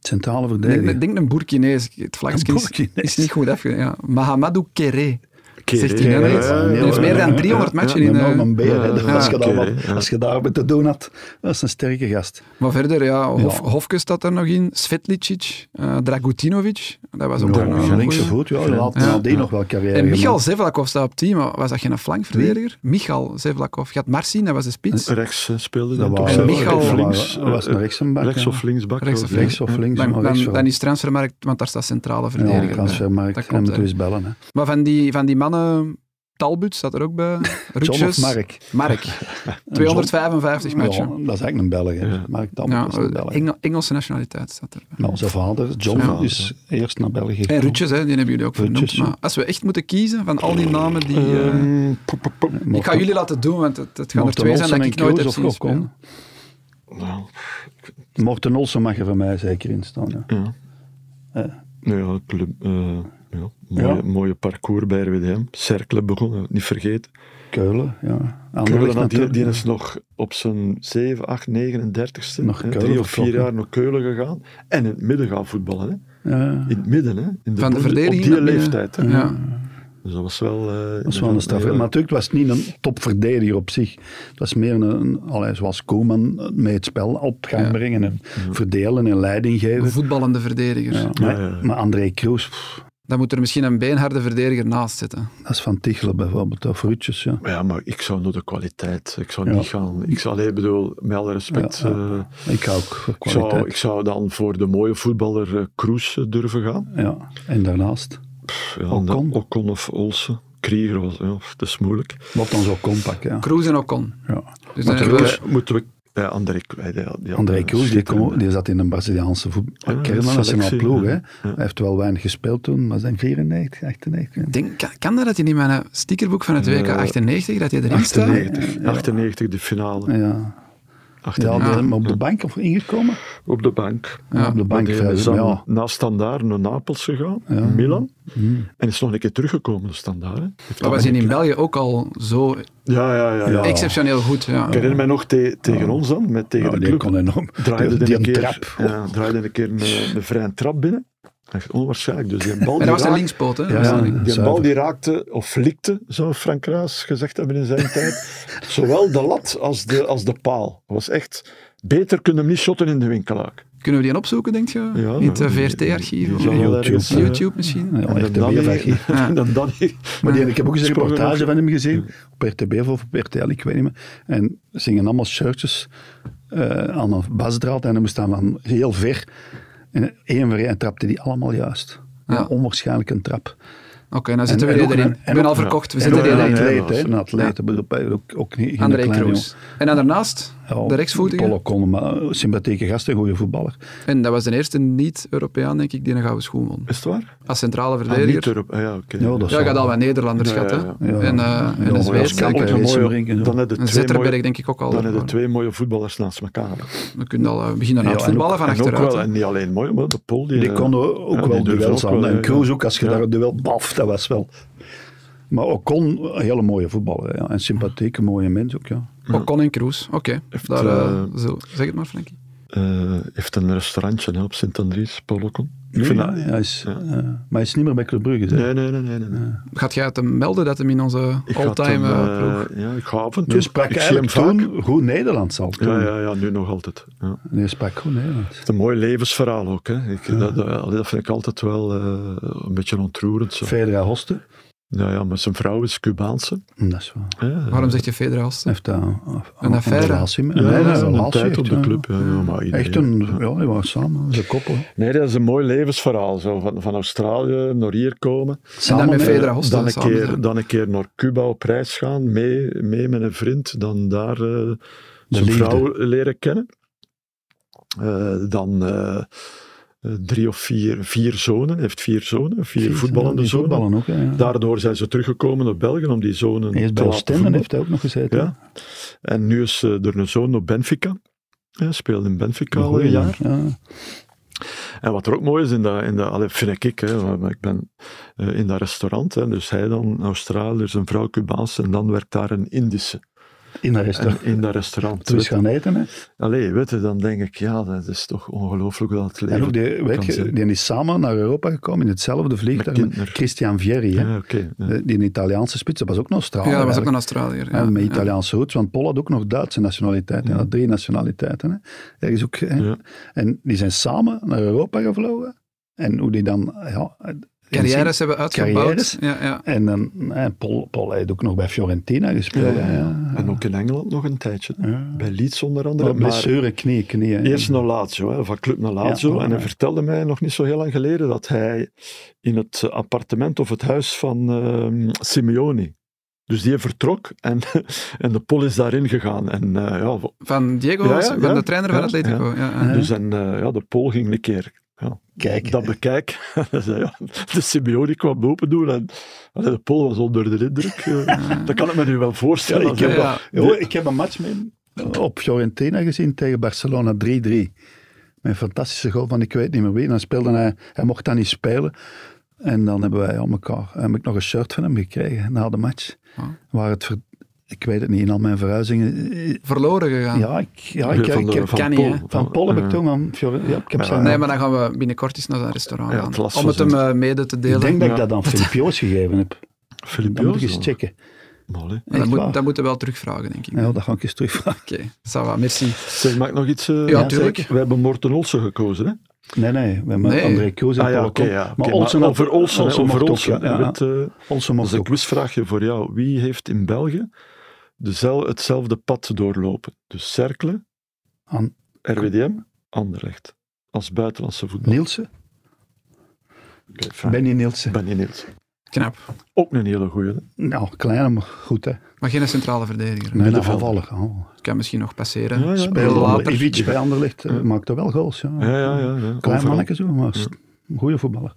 S2: Centrale
S3: Ik
S2: verdediger.
S3: denk, denk een Boerkinees. Het vlaggetje is,
S2: Burkinees.
S3: is niet goed afge... Ja. Mahamadou Kéré.
S1: Kéré,
S3: Zegt hij
S1: ja,
S3: nou
S1: ja,
S3: iets?
S1: ja,
S3: Die
S1: ja,
S3: heeft
S1: ja,
S3: meer
S1: ja,
S3: dan
S1: ja,
S3: 300
S1: ja,
S3: matchen
S1: ja.
S3: in...
S2: Een
S3: eh,
S2: enorme beer, hè.
S1: ja,
S2: als, je daar
S1: oké,
S2: wat-
S1: ja.
S2: als je daar met te doen had, dat is een sterke gast.
S3: Maar verder, ja, Hof,
S2: Ja.
S3: Hofkes staat er nog in. Svetlicic, eh, Dragutinovic. Dat was ook
S2: Ja,
S3: daar nog
S2: ja,
S3: een
S2: linkse
S3: goeie.
S2: voet, ja, die had
S3: Ja.
S2: die nog wel carrière
S3: En Michal
S2: gemaakt.
S3: Zevlakov staat op team. maar Was dat geen flankverdediger? Michal Zevlakov. Je had Marcin, dat was de spits.
S1: Rechts eh, speelde
S2: Dat
S1: hij toch
S2: was-
S1: zelf?
S3: Michal-
S1: Of
S3: dat
S1: links,
S2: was- dat was
S1: eh,
S2: een rechtsenbak,
S1: Rechts
S2: hè.
S1: of linksbak.
S3: Rechts of
S1: ja.
S2: Links of links,
S3: Dan,
S2: maar
S3: dan,
S2: rechts wel.
S3: dan is transfermarkt, want daar staat centrale
S2: Ja,
S3: verdediger. bij. Dat
S2: transfermarkt. Dan
S3: klopt,
S2: moeten we
S3: hè.
S2: eens bellen. Hè.
S3: Maar van die, van die mannen, Talbut staat er ook bij.
S2: *laughs* John of
S3: Rutjes.
S2: Mark? *laughs*
S3: Mark. 255
S2: Ja, dat is
S3: matchen.
S2: eigenlijk een Belg. hè.
S1: Ja.
S2: Mark Damme
S3: Ja,
S2: is een Belg.
S3: Engel- Engelse nationaliteit staat er.
S2: Nou, zijn vader, John,
S1: Zijn vader,
S2: is eerst naar België
S3: En
S2: gekomen.
S3: Rutjes, hè, die hebben jullie ook
S2: Rutjes,
S3: vernoemd.
S2: ja.
S3: Maar als we echt moeten kiezen van al die namen die... eh,
S1: Ehm, pop, pop, pop.
S2: Mocht-
S3: ik ga jullie laten doen, want het, het gaan er
S2: Morten
S3: twee zijn dat
S2: Olsen
S3: ik
S2: en
S3: nooit heb
S2: Kroos
S3: zien
S2: of Kokon?
S3: spelen.
S1: Nou,
S2: Morten Olsen mag er van mij zeker in staan. Ja.
S1: ja.
S2: Eh.
S1: Nou ja, club, eh, ja, mooie,
S2: Ja.
S1: mooie parcours bij RWDM. Cercle begonnen, niet vergeten.
S2: Keulen, ja.
S1: Keulen,
S2: Anderlecht
S1: had- die,
S2: natuurlijk.
S1: die is nog op zijn 7, 8, 39ste,
S2: Nog
S1: hè,
S2: Keulen
S1: drie of vier
S2: vertrokken.
S1: jaar naar Keulen gegaan. En in het midden gaan voetballen. Hè.
S2: Ja,
S1: In het midden, hè. In
S3: Van de
S1: op
S3: verdediging
S1: Op die
S3: naar midden.
S1: leeftijd. Hè.
S3: Ja.
S1: Dus dat was wel... eh,
S2: dat is wel een straf. Maar natuurlijk was het niet een topverdediger op zich. Het was meer een, een allee, zoals Koeman, mee het spel op gang
S3: Ja.
S2: brengen en verdelen en leiding
S3: Een
S2: geven.
S3: voetballende verdediger.
S2: Ja,
S1: Ja, ja, ja.
S2: maar, maar André Kroos, pff,
S3: Dan moet er misschien een beenharde verdediger naast zitten.
S2: dat is van Tichelen bijvoorbeeld, of Rutjes. Ja.
S1: Maar ja, maar ik zou naar de kwaliteit. Ik zou
S2: Ja.
S1: niet gaan. Ik zou, alleen bedoel, met alle respect.
S2: Ja, ja.
S1: eh,
S2: Ik hou ook voor
S1: ik, zou, ik
S2: kwaliteit.
S1: zou dan voor de mooie voetballer eh, Kroes eh, durven gaan.
S2: Ja. En daarnaast,
S1: Pff, ja,
S2: Ocon.
S1: dan Ocon of Olsen. Krieger was, ja, dat is moeilijk.
S2: wat dan zo kon pakken. Ja.
S3: Kroes en Ocon.
S2: Ja.
S3: Dus dan hebben
S1: Moeten
S3: we
S1: we- moeten we... Ja, André, K- die had- die had
S2: André
S1: een
S2: Kroes, die, kon-
S1: schitterende-
S2: die zat in een Braziliaanse
S1: Ja,
S2: voetbal. Kernationaal
S1: selectie,
S2: ploeg. Hè.
S1: ja.
S2: Hij heeft wel weinig gespeeld toen, maar zijn 94, 98.
S3: Ik Denk, kan, kan dat dat hij in mijn stickerboek van het WK
S1: Eh,
S3: 98 dat hij erin staat?
S1: 98, 98 de finale.
S2: Ja, ja,
S1: 98.
S2: ja. maar op de bank of ingekomen?
S1: Op de bank.
S2: Ja, op de bank.
S1: Want hij is
S2: vrij-
S1: dan
S2: Ja.
S1: na Standaard naar Napels gegaan, Milan.
S2: Mm.
S1: En is nog een keer teruggekomen naar Standaard. hè.
S3: Dat was hij in België ook al zo
S2: Ah.
S1: Ja, ja, ja. ja.
S2: Ja.
S3: exceptioneel goed. Ja.
S1: Ik herinner mij nog te- tegen ons dan, met, tegen
S2: Oh. Ja,
S1: de
S2: die
S1: club.
S2: kon enorm.
S1: draaide
S2: Die,
S1: die,
S2: die
S1: een
S2: een
S1: keer,
S2: trap.
S1: Ja, draaide een keer een, een vrije trap binnen. Echt onwaarschijnlijk. Dus die bal die,
S3: En dat was een
S1: raak-
S3: linkspoot, hè? Dat
S2: Ja,
S3: was een
S2: ja.
S3: link-
S1: die, bal
S2: Zuiver.
S1: die raakte, of flikte, zou Frank Raas gezegd hebben in zijn
S2: *laughs*
S1: tijd, zowel de lat als de, als de paal. Dat was echt... Beter kunnen hem niet shotten in de winkelaak.
S3: Kunnen we die opzoeken, denk je? eh,
S1: Ja,
S3: in het
S1: ja, die-
S3: VRT-archief?
S1: die
S3: of
S1: zal wel
S2: YouTube.
S1: ergens, eh,
S3: YouTube misschien?
S2: Ja,
S1: en
S2: echt
S1: dan
S2: een
S1: die-
S2: beervijg.
S1: *laughs* en dan die-
S2: Maar die, ik heb ook eens een
S1: Sprongen
S2: reportage
S1: nog.
S2: van hem gezien, op RTB of op RTL, ik weet niet meer. En ze gingen allemaal shirtjes eh, aan een basdraad en dan moest dan van heel ver. En één voor één trapte die allemaal juist. Ja.
S3: Ja.
S2: onwaarschijnlijk een trap.
S3: Oké, dan zitten
S2: En-
S3: we
S2: en
S3: weer
S2: ook-
S3: erin.
S2: en-
S3: Ik
S2: en
S3: ben
S2: ook-
S3: al verkocht, we
S2: en ook
S3: zitten
S1: ja,
S2: een
S1: ja,
S3: erin.
S1: ja.
S2: atleet, hè. Een atleet, ik bedoel, ook, ook niet geen
S3: André
S2: kleine
S3: Kroes. En dan daarnaast,
S2: jongen. Ja,
S3: de rechtsvoetige.
S2: Polo kon, maar eh, sympathieke gast, een goede voetballer.
S3: En dat was de eerste niet-Europeaan, denk ik, die een gouden schoen won.
S1: Is het waar?
S3: Als centrale
S1: Ah, niet
S3: verdediger.
S1: erop. Ah, ja, oké.
S2: Ja, dat is
S3: Ja, ik had al wat Nederlanders
S1: Ja, ja,
S3: gehad, hè.
S1: ja.
S2: Ja.
S3: En, eh,
S2: Ja,
S3: en een
S2: maar
S3: Zweed,
S2: als
S1: Dan
S3: zeker.
S1: heb
S2: kampioen-
S1: je
S2: Kees
S1: mooie-
S2: Brinken, ja.
S1: dan heb je
S3: Een
S1: twee
S3: Zetterberg,
S1: mooie,
S3: denk ik ook al.
S1: dan heb je
S3: wel.
S1: twee mooie voetballers naast elkaar.
S3: We kunnen al eh, beginnen aan het
S2: Ja, en ook-
S3: voetballen van
S1: En ook
S3: achteruit.
S1: wel,
S3: hè.
S1: en niet alleen mooi, maar de Pool die...
S2: Die
S1: eh,
S2: kon ook
S1: ja,
S2: wel
S1: die durfde
S2: duels
S1: ook
S2: aan.
S1: wel,
S2: En
S1: ja.
S2: Kroos ook, als je
S1: Ja.
S2: daar een duel baf, dat was wel... Maar Ocon, een hele mooie voetballer. Ja. En sympathieke, mooie mens ook, ja.
S3: Ocon en Kroes, oké.
S1: Heeft,
S3: Daar, eh,
S1: eh,
S3: zo- Zeg het maar, Frankie.
S1: eh, heeft een restaurantje hè, op Sint-Andries, Polokon.
S2: Nee,
S1: vind
S2: ja,
S1: dat-
S2: hij is, eh, maar hij is niet meer bij Club Brugge. zeg.
S1: Nee, nee, nee, nee. nee, nee.
S3: Gaat jij het hem melden dat hem in onze
S1: Ik had
S3: all-time
S1: hem,
S3: eh,
S1: eh,
S3: ploeg?
S1: Ja, ik ga af en toe.
S2: Je Dus sprak
S1: ik zie
S2: eigenlijk
S1: hem vaak.
S2: toen goed Nederlands al. Toen.
S1: Ja, ja, ja, nu nog altijd. Ja. Het
S2: Je sprak goed Nederlands.
S1: is een mooi levensverhaal ook. Hè. Ik, dat, dat, dat vind ik altijd wel eh, een beetje ontroerend. Zo.
S2: Fedra Hoste.
S1: Ja, ja, maar zijn vrouw is Cubaanse.
S2: Dat is waar. Hij
S1: Hè.
S3: Waarom zeg je Fedra Hosten?
S2: heeft daar een,
S3: affaire.
S2: relatie mee.
S1: Ja,
S2: Nee,
S1: ja, een
S2: relatie
S1: tijd op
S2: echt,
S1: de
S2: ja.
S1: club. Ja, ja, maar iedereen-
S2: Echt een... Ja, die waren samen. Ze koppel.
S1: Nee, dat is een mooi levensverhaal. Zo. Van, van Australië naar hier komen.
S2: Samen
S3: met
S2: met-
S3: Fedra Hoste
S1: dan, een
S3: samen
S1: keer,
S3: zijn.
S1: dan een keer naar Cuba op reis gaan, mee, mee met een vriend. Dan daar eh zijn
S2: liefde.
S1: vrouw leren kennen. Eh, dan eh, eh, drie of vier, vier zonen. Hij heeft vier zonen, vier, voetballende
S2: Die
S1: zonen.
S2: voetballen ook, ja, ja.
S1: Daardoor zijn ze teruggekomen naar België om die zonen
S2: Eerst bij
S1: te laten
S2: Oostende
S1: voetballen.
S2: heeft hij ook nog gezeten.
S1: Ja. En nu is eh, er een zoon naar Benfica. Hij speelde in Benfica
S2: Een
S1: al
S2: goeie
S1: een jaar.
S2: Ja.
S1: En wat er ook mooi is, in dat, in dat, allee, vind ik, hè, want ik ben eh, in dat restaurant, hè, dus hij dan een Australiër, zijn vrouw Cubaans, en dan werkt daar een Indische
S2: In dat
S1: en,
S2: restaurant.
S1: in dat restaurant.
S2: Toen
S1: Weet
S2: is
S1: je.
S2: gaan eten, hè.
S1: Allee, weet je, dan denk ik, ja, dat is toch ongelooflijk hoe dat het
S2: En
S1: leven
S2: ook die, weet
S1: kan
S2: je,
S1: zijn.
S2: die is samen naar Europa gekomen in hetzelfde vliegtuig
S1: Met
S2: met
S1: Kindner.
S2: Christian Vieri, hè.
S1: Ja, oké. ja.
S2: Die een Italiaanse spits, dat was ook nog straal.
S3: Ja, dat was ook een Australiër. Ja,
S2: En met
S3: ja.
S2: Italiaanse roots, want Pol had ook nog Duitse nationaliteit. En had drie nationaliteiten. Hè. Er is ook, hè.
S1: Ja.
S2: En die zijn samen naar Europa gevlogen. En hoe die dan... Ja, in
S3: Carrières
S2: zin-
S3: hebben uitgebouwd.
S2: Carrières.
S3: Ja, ja.
S2: En dan, hè, Pol, Pol heeft ook nog bij Fiorentina gespeeld.
S1: Ja, ja,
S2: hè,
S1: ja. En ook in Engeland nog een tijdje.
S2: Ja.
S1: Bij Leeds onder andere.
S2: Maar
S1: Maar
S2: blessure, knie, knie. hè.
S1: eerst naar Lazio, hè, van club naar Lazio.
S2: Ja.
S1: en hij vertelde mij nog niet zo heel lang geleden dat hij in het appartement of het huis van ehm Simeoni. Dus die vertrok en, *laughs* en de pol is daarin gegaan. En eh, ja, v-
S3: Van Diego,
S1: Ja, ja,
S3: was- van
S1: ja.
S3: de trainer van
S1: Ja,
S3: Atletico. Ja, ja.
S1: dus en, eh, ja, de pol ging een keer
S2: Kijk, eh.
S1: dat bekijk. *laughs* Hij zei, ja, de Simeoni kwam open doen en allee, de pol was onder de indruk. eh. dat kan ik me nu wel voorstellen.
S2: Ja, ik heb
S1: Zo,
S3: wel-
S2: Joh, ik heb een match mee op Fiorentina gezien tegen Barcelona 3-3. Met een fantastische goal van ik weet niet meer wie. En dan speelde hij, hij mocht dan niet spelen. En dan hebben wij aan elkaar, heb ik nog een shirt van hem gekregen na de match.
S3: Ah.
S2: Waar het, ver- ik weet het niet, in al mijn verhuizingen. eh,
S3: Verloren gegaan.
S2: Ja, ik, ja, ik,
S1: van,
S2: ik,
S1: de-
S2: ik-
S1: van
S3: Kenny,
S1: Pol.
S3: hè.
S2: van Pol heb ik
S1: eh,
S2: toen aan Fiore- ja, ik heb
S1: Ja,
S2: zijn
S3: Nee, maar dan gaan we binnenkort eens naar zijn restaurant
S1: Ja,
S3: gaan.
S1: het last
S3: Om
S1: zo
S3: het hem
S1: zijn.
S3: eh, mede te
S2: Ik
S3: delen.
S2: denk dat ik
S1: Ja.
S2: dat aan Filip Joos gegeven heb.
S1: Filip
S2: Dan moet ik
S1: Joos,
S2: eens
S1: hoor.
S2: checken.
S1: Mooi, hè.
S3: Maar dat,
S2: Echt
S3: moet,
S2: waar.
S3: dat moeten we wel terugvragen, denk ik.
S2: Ja, dat ga ik eens terugvragen.
S3: Oké, ça va, merci.
S1: Zeg, mag ik nog iets? eh,
S3: Ja,
S1: zeggen?
S3: tuurlijk.
S1: We hebben Morten Olsen gekozen, hè?
S2: Nee, nee, we hebben
S3: Nee.
S2: André Koos en
S1: Ah ja,
S2: Paul
S1: oké.
S2: Kop.
S1: ja.
S2: Maar
S1: Oké,
S2: Olsen had-
S1: over Olsen, hè,
S2: Olsen
S1: over
S2: mocht ook,
S1: Olsen.
S2: ja, ja,
S1: hè, weet, eh,
S2: Olsen
S1: dat is
S2: mocht
S1: een
S2: ook.
S1: quizvraagje voor jou. Wie heeft in België dezel, hetzelfde pad doorlopen? Dus Cercle,
S2: Aan
S1: RWDM, Anderlecht. Als buitenlandse voetbal.
S2: Nielsen.
S1: Oké, fijn.
S2: Benny Nielsen.
S1: Benny Nielsen.
S3: Knap.
S1: Ook een hele goeie.
S2: Nou, klein, maar goed hè.
S3: Maar geen centrale verdediger.
S2: Nee, dat
S1: middenvelder.
S2: aanvallig. Oh.
S3: Kan misschien nog passeren.
S1: Ja, ja,
S2: Bij
S1: die-
S3: later.
S2: Ivic bij Anderlecht eh, maakte wel goals. Ja.
S1: Ja, ja, ja. ja.
S2: Klein
S1: Overal.
S2: mannetje zo, maar st- goede voetballer.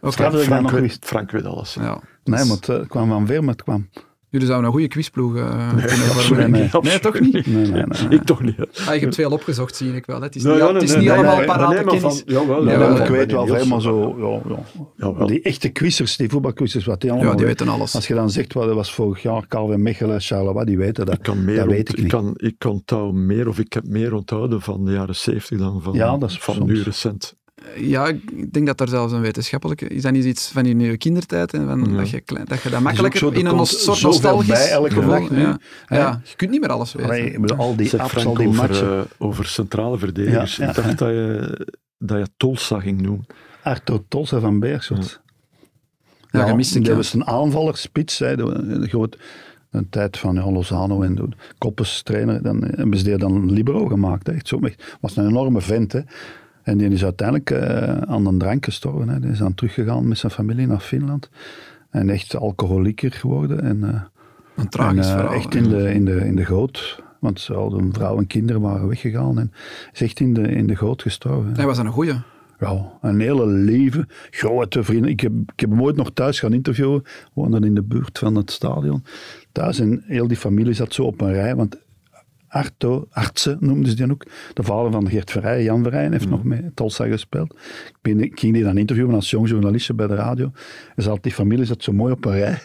S3: Oké.
S2: Straat- Ik ben
S1: Frank
S2: nog
S1: weet,
S2: niet-
S1: Frank weet alles. hè.
S3: Ja.
S2: Nee,
S3: Dus
S2: maar het eh, kwam van Veer, maar het
S1: *laughs*
S2: kwam.
S3: Jullie zouden een goede quizploeg eh, kunnen
S2: absoluut
S3: vormen.
S2: niet.
S3: Nee,
S1: Absoluut
S3: toch niet?
S2: Nee, nee, nee. nee.
S1: Ik toch niet. hè.
S3: Ah, je hebt veel opgezocht, zie ik wel. hè. Het is
S1: Nee,
S3: niet,
S1: ja,
S3: al- het is
S1: nee,
S3: niet
S1: nee,
S3: allemaal
S1: nee,
S3: parate
S1: nee, maar van-
S3: kennis.
S1: jawel, jawel,
S2: Ja,
S3: Ja, wel,
S2: maar ik
S1: Benny
S2: weet wel
S1: Nielsen.
S2: veel, maar zo. Ja, ja.
S1: Jawel.
S2: Die echte quizzers, die voetbalquizzers, wat die allemaal
S3: Ja, die
S2: weten.
S3: weten alles.
S2: Als je dan zegt, wat er was vorig jaar Calvin Mechelen, Charleroi, die weten dat.
S1: Ik kan meer
S2: dat
S1: ont-
S2: weet ik
S1: ik,
S2: niet.
S1: kan, ik kan touw meer of ik heb meer onthouden van de jaren 70 dan van,
S2: Ja, dat is
S1: van
S2: soms.
S1: nu recent.
S3: Ja, ik denk dat daar zelfs een wetenschappelijke... Is dat niet iets van je nieuwe kindertijd? Hè? Van,
S1: Ja.
S3: dat, je klein, dat je dat
S2: ook
S3: makkelijker
S2: zo, er
S3: in een
S2: komt
S3: nos- soort
S2: zoveel
S3: nostalgisch
S2: bij elke
S3: gevoel-
S2: dag nu.
S3: Ja.
S2: Hè?
S3: Ja, je kunt niet meer alles weten.
S2: Allee, ik bedoel, al die
S1: Zeg
S2: apps, al
S1: Frank
S2: die
S1: over,
S2: matchen.
S1: eh, over centrale verdedigers.
S2: Ja, ja.
S1: Ik dacht dat je, dat je Tolsa ging noemen.
S2: Arthur Tolse van Beerschot.
S3: Ja, je mist ik,
S2: die
S3: ja.
S2: was een aanvallerspits. Hè, de, de groot, een tijd van ja, Lozano en de Koppes trainer. Dan eh, hebben ze die dan Libero gemaakt. Hè, echt zo, echt, was een enorme vent. Hè. En die is uiteindelijk eh, aan een drank gestorven. Hè. Die is dan teruggegaan met zijn familie naar Finland. En echt alcoholieker geworden. En, eh,
S3: Een tragisch
S2: en, eh,
S3: verhaal.
S2: Echt
S3: hè.
S2: in de, in, de, in de goot. Want ze hadden vrouw en kinderen waren weggegaan. En is echt in de, in de goot gestorven. hè.
S3: Hij was een goeie.
S2: Ja, een hele lieve, grote vriend. Ik heb, ik heb hem ooit nog thuis gaan interviewen. We woonden in de buurt van het stadion. Thuis en heel die familie zat zo op een rij. Want Arto, Artsen noemden ze die ook. De vader van Geert Verrij, Jan Verrij, heeft nog met Tolsa gespeeld. Ik, ben, ik ging die dan interviewen als jong journalistje bij de radio. En zat, die familie zat zo mooi op een rij.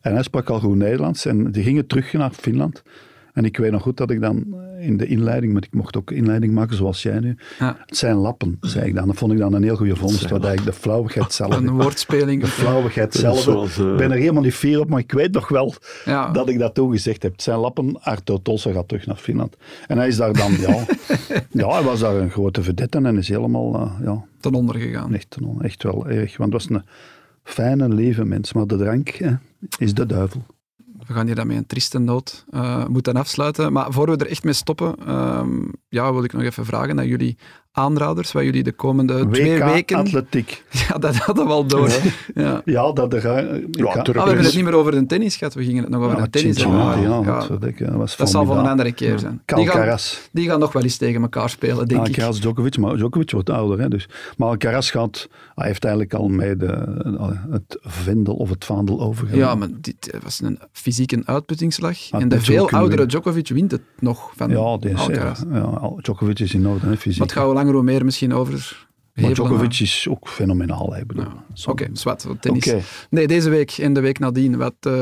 S2: En hij sprak al goed Nederlands. En die gingen terug naar Finland. En ik weet nog goed dat ik dan in de inleiding, want ik mocht ook inleiding maken zoals jij nu.
S3: Ja.
S2: Het zijn lappen, zei ik dan. Dat vond ik dan een heel goede vondst. Wat eigenlijk de
S3: *laughs*
S2: flauwigheid zelf.
S3: Een
S2: De
S1: *laughs*
S3: woordspeling.
S2: flauwigheid
S1: Dat is
S2: zelf.
S1: zoals, eh,
S2: Ik ben er helemaal niet fier op, maar ik weet nog wel
S3: Ja.
S2: dat ik dat toen gezegd heb. Het zijn lappen. Arto Tolsa gaat terug naar Finland. En hij is daar dan,
S3: *laughs*
S2: ja. ja, hij was daar een grote vedette en is helemaal, eh, ja,
S3: ten onder gegaan.
S2: echt, echt wel erg. Want het was een fijne, lieve mens. Maar de drank eh, is de duivel.
S3: We gaan hier dan met een trieste noot eh, moeten afsluiten. Maar voor we er echt mee stoppen, ehm, ja, wil ik nog even vragen naar jullie aanraders, waar jullie de komende twee
S2: WK
S3: weken...
S2: atletiek.
S3: *laughs* Ja, dat hadden we al door. Ja.
S2: Ja, dat er... Ja,
S1: terug.
S3: Ah, we hebben het niet meer over de tennis gehad, we gingen het nog over de tennis hebben.
S2: Ja,
S3: Maar,
S2: ja,
S3: ja,
S2: dat, weet ik, ja, dat was
S3: dat zal voor een
S2: formidabel.
S3: andere keer zijn. Die gaan,
S2: Alcaraz.
S3: die gaan nog wel eens tegen elkaar spelen, denk ik.
S2: Alcaraz, Djokovic, maar Djokovic wordt ouder. Hè, dus. Maar Alcaraz gaat, hij heeft eigenlijk al mee de, eh, het vendel of het vaandel overgenomen.
S3: Ja, maar dit eh, was een fysiek een uitputtingsslag.
S2: Maar
S3: en de
S2: Ah, Djokovic
S3: veel
S2: kan
S3: oudere
S2: winnen.
S3: Djokovic wint het nog van
S2: ja, die is,
S3: Alcaraz.
S2: ja, ja, Djokovic is in orde, hè, fysiek.
S3: Maar het gaat hoe langer hoe meer misschien over
S2: Maar
S3: Hebelen,
S2: Djokovic is ook fenomenaal. hè, Ik bedoel,
S3: Ja.
S2: Zo-
S3: Oké, zwart, wat tennis.
S2: Oké.
S3: Nee, deze week en de week nadien, wat eh,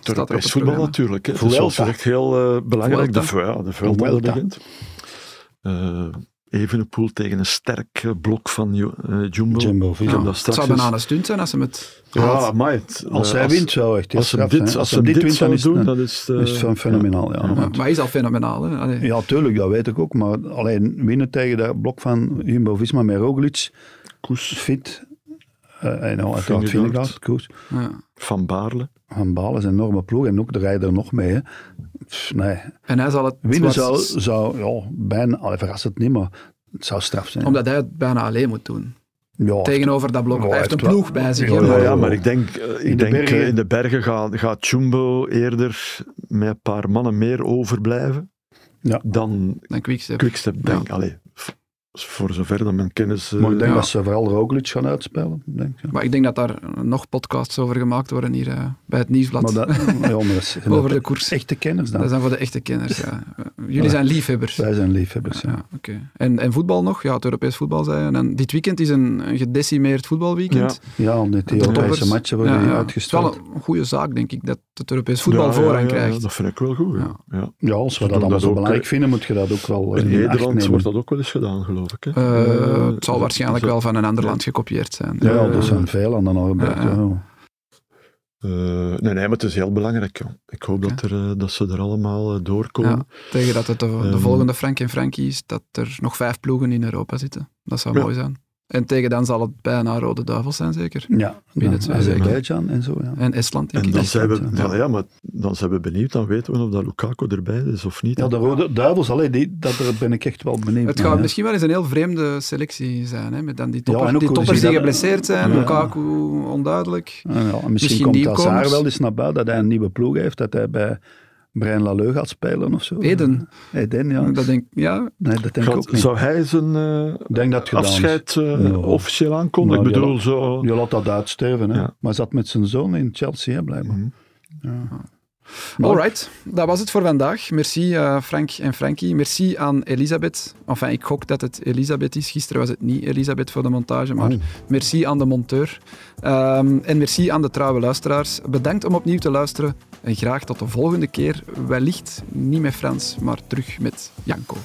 S3: staat er op
S1: Europees voetbal
S3: het programma?
S1: natuurlijk. Hè. Dat is wel
S2: Vuelta.
S1: echt heel eh, belangrijk. De, Vu- ja, de Vuelta
S2: Vuelta.
S1: begint. Eh Evenepoel tegen een sterk eh, blok van Ju- eh, Jumbo.
S2: Jumbo,
S1: Ik heb
S2: ja.
S1: dat
S2: Het
S1: straks
S3: Het zou
S1: eens-
S3: bijna een stunt zijn als ze met...
S1: Ja, maar het-
S2: Als
S1: eh,
S2: hij wint, zou echt heel
S1: Als ze
S2: straf
S1: dit,
S2: zijn.
S1: als ze dit,
S2: wint, dan
S1: zou
S2: is het
S1: doen,
S2: een-
S1: dat is... eh,
S2: is het fen- fenomenaal. Ja.
S3: Ja,
S2: Ja.
S3: maar hij is al fenomenaal. Hè? Allee.
S2: tuurlijk, dat weet ik ook. Maar alleen winnen tegen dat blok van Jumbo-Visma met Roglic, Koes. Fit, eh en nou, uiteraard
S1: Vingegaard.
S2: Vingegaard, Koes.
S3: Ja.
S1: Van Baarle.
S2: Van Baal is een enorme ploeg en ook de rijder nog mee. Hè. Pff, nee,
S3: En hij zal het...
S2: winnen zou,
S3: zwart-
S2: zou ja, bijna, allee, verrassend niet, maar het zou straf zijn.
S3: Omdat hij het bijna alleen moet doen.
S2: ja,
S3: Tegenover dat blok.
S2: Ja,
S3: hij heeft een
S2: Oh, echt wel.
S3: ploeg bij zich. hè,
S2: Ja,
S1: Oh, Ja,
S3: maar-
S1: ja, maar ik denk, eh, ik
S2: In de
S1: denk eh,
S2: bergen.
S1: in de bergen gaat, gaat Jumbo eerder met een paar mannen meer overblijven
S2: Ja.
S1: dan
S3: Dan Quickstep.
S1: Quickstep. Denk. Allee, v- voor zover dat mijn kennis... eh,
S2: Maar ik denk
S3: Ja.
S2: dat ze vooral Roglic gaan uitspelen. Denk, ik, ja.
S3: Maar ik denk dat daar eh, nog podcasts over gemaakt worden hier eh, bij het Nieuwsblad.
S2: Maar dat, ja, maar dat is-
S3: *laughs* over de koers.
S2: echte kenners dan.
S3: Dat zijn voor de echte kenners, ja. Eh, Jullie
S2: Ja.
S3: zijn liefhebbers.
S2: Wij zijn liefhebbers. Ja.
S3: Ja, oké. en, en voetbal nog? Ja, het Europees voetbal, zei je. En dit weekend is een, een gedecimeerd voetbalweekend.
S2: Ja, omdat die
S3: De
S2: Europese
S3: toppers.
S2: matchen worden
S3: Ja, ja.
S2: uitgesteld.
S3: Het is wel een goede zaak, denk ik, dat het Europees voetbal
S1: ja,
S3: voorrang
S1: ja, ja,
S3: krijgt.
S1: dat vind ik wel goed. Ja. Ja.
S2: Ja, als we
S1: Ze doen
S2: dat allemaal
S1: dat
S2: zo
S1: ook,
S2: belangrijk
S1: hè.
S2: vinden, moet je dat ook wel eh,
S1: In
S2: in, acht
S1: Nederland
S2: nemen.
S1: wordt dat ook wel eens gedaan, geloof ik. Hè?
S3: Eh,
S1: Eh,
S3: het zal waarschijnlijk
S1: dus-
S3: wel van een ander land gekopieerd zijn.
S2: Ja,
S1: Ja,
S2: er zijn veel aan de arbeid.
S3: Ja,
S2: Ja,
S3: ja.
S1: Eh, nee, nee, maar het is heel belangrijk. joh. Ik hoop dat, er, eh, dat ze er allemaal eh, doorkomen.
S3: Tegen dat het de, de
S1: Ehm.
S3: volgende Frank en Frankie is, dat er nog vijf ploegen in Europa zitten. Dat zou
S1: Ja.
S3: mooi zijn. En tegen dan zal het bijna Rode Duivels zijn, zeker.
S2: Ja,
S3: Binnen
S2: dan
S3: twee
S2: Azerbeidzjan en zo. Ja.
S3: En Estland, denk
S1: en
S3: ik.
S1: dan
S2: echt
S1: zijn, we,
S2: dat, ja.
S1: ja, ja, maar dan zijn we benieuwd, dan weten we of dat Lukaku erbij is of niet.
S2: ja, de Rode Duivels, allee, die, dat, daar ben ik echt wel benieuwd
S3: Het
S2: naar,
S3: gaat
S2: hè.
S3: misschien wel eens een heel vreemde selectie zijn, hè? met dan die
S2: Ja,
S3: toppers
S2: en ook
S3: die,
S2: hoe
S3: toppers
S2: zich
S3: die
S2: dat-
S3: geblesseerd zijn,
S2: Ja.
S3: Lukaku onduidelijk.
S2: Ja, ja, Ah, en misschien,
S3: Misschien die
S2: komt Hazard
S3: komers.
S2: wel eens naar buiten, dat hij een nieuwe ploeg heeft, dat hij bij Brian Laleu gaat spelen of zo. Eh,
S3: Eden,
S2: Eden, ja.
S3: dat denk ja,
S2: nee, dat denk ik
S1: Gaat,
S2: ook niet.
S1: zou hij zijn eh,
S2: Ik denk dat het gedaan is.
S1: afscheid eh,
S2: Ja.
S1: officieel aankondigen? ik
S2: Nou, ja.
S1: bedoel, zo...
S2: Je laat dat uitsterven, hè.
S1: Ja.
S2: Maar hij zat met zijn zoon in Chelsea, hè, blijkbaar.
S1: Mhm.
S2: Maar-
S3: Alright, dat was het voor vandaag. Merci eh, Frank en Frankie. Merci aan Elisabeth. Enfin, ik gok dat het Elisabeth is. Gisteren was het niet Elisabeth voor de montage, maar
S2: Oh.
S3: merci aan de monteur. Ehm, en merci aan de trouwe luisteraars. Bedankt om opnieuw te luisteren. En graag tot de volgende keer. Wellicht niet met Frans, maar terug met Janko.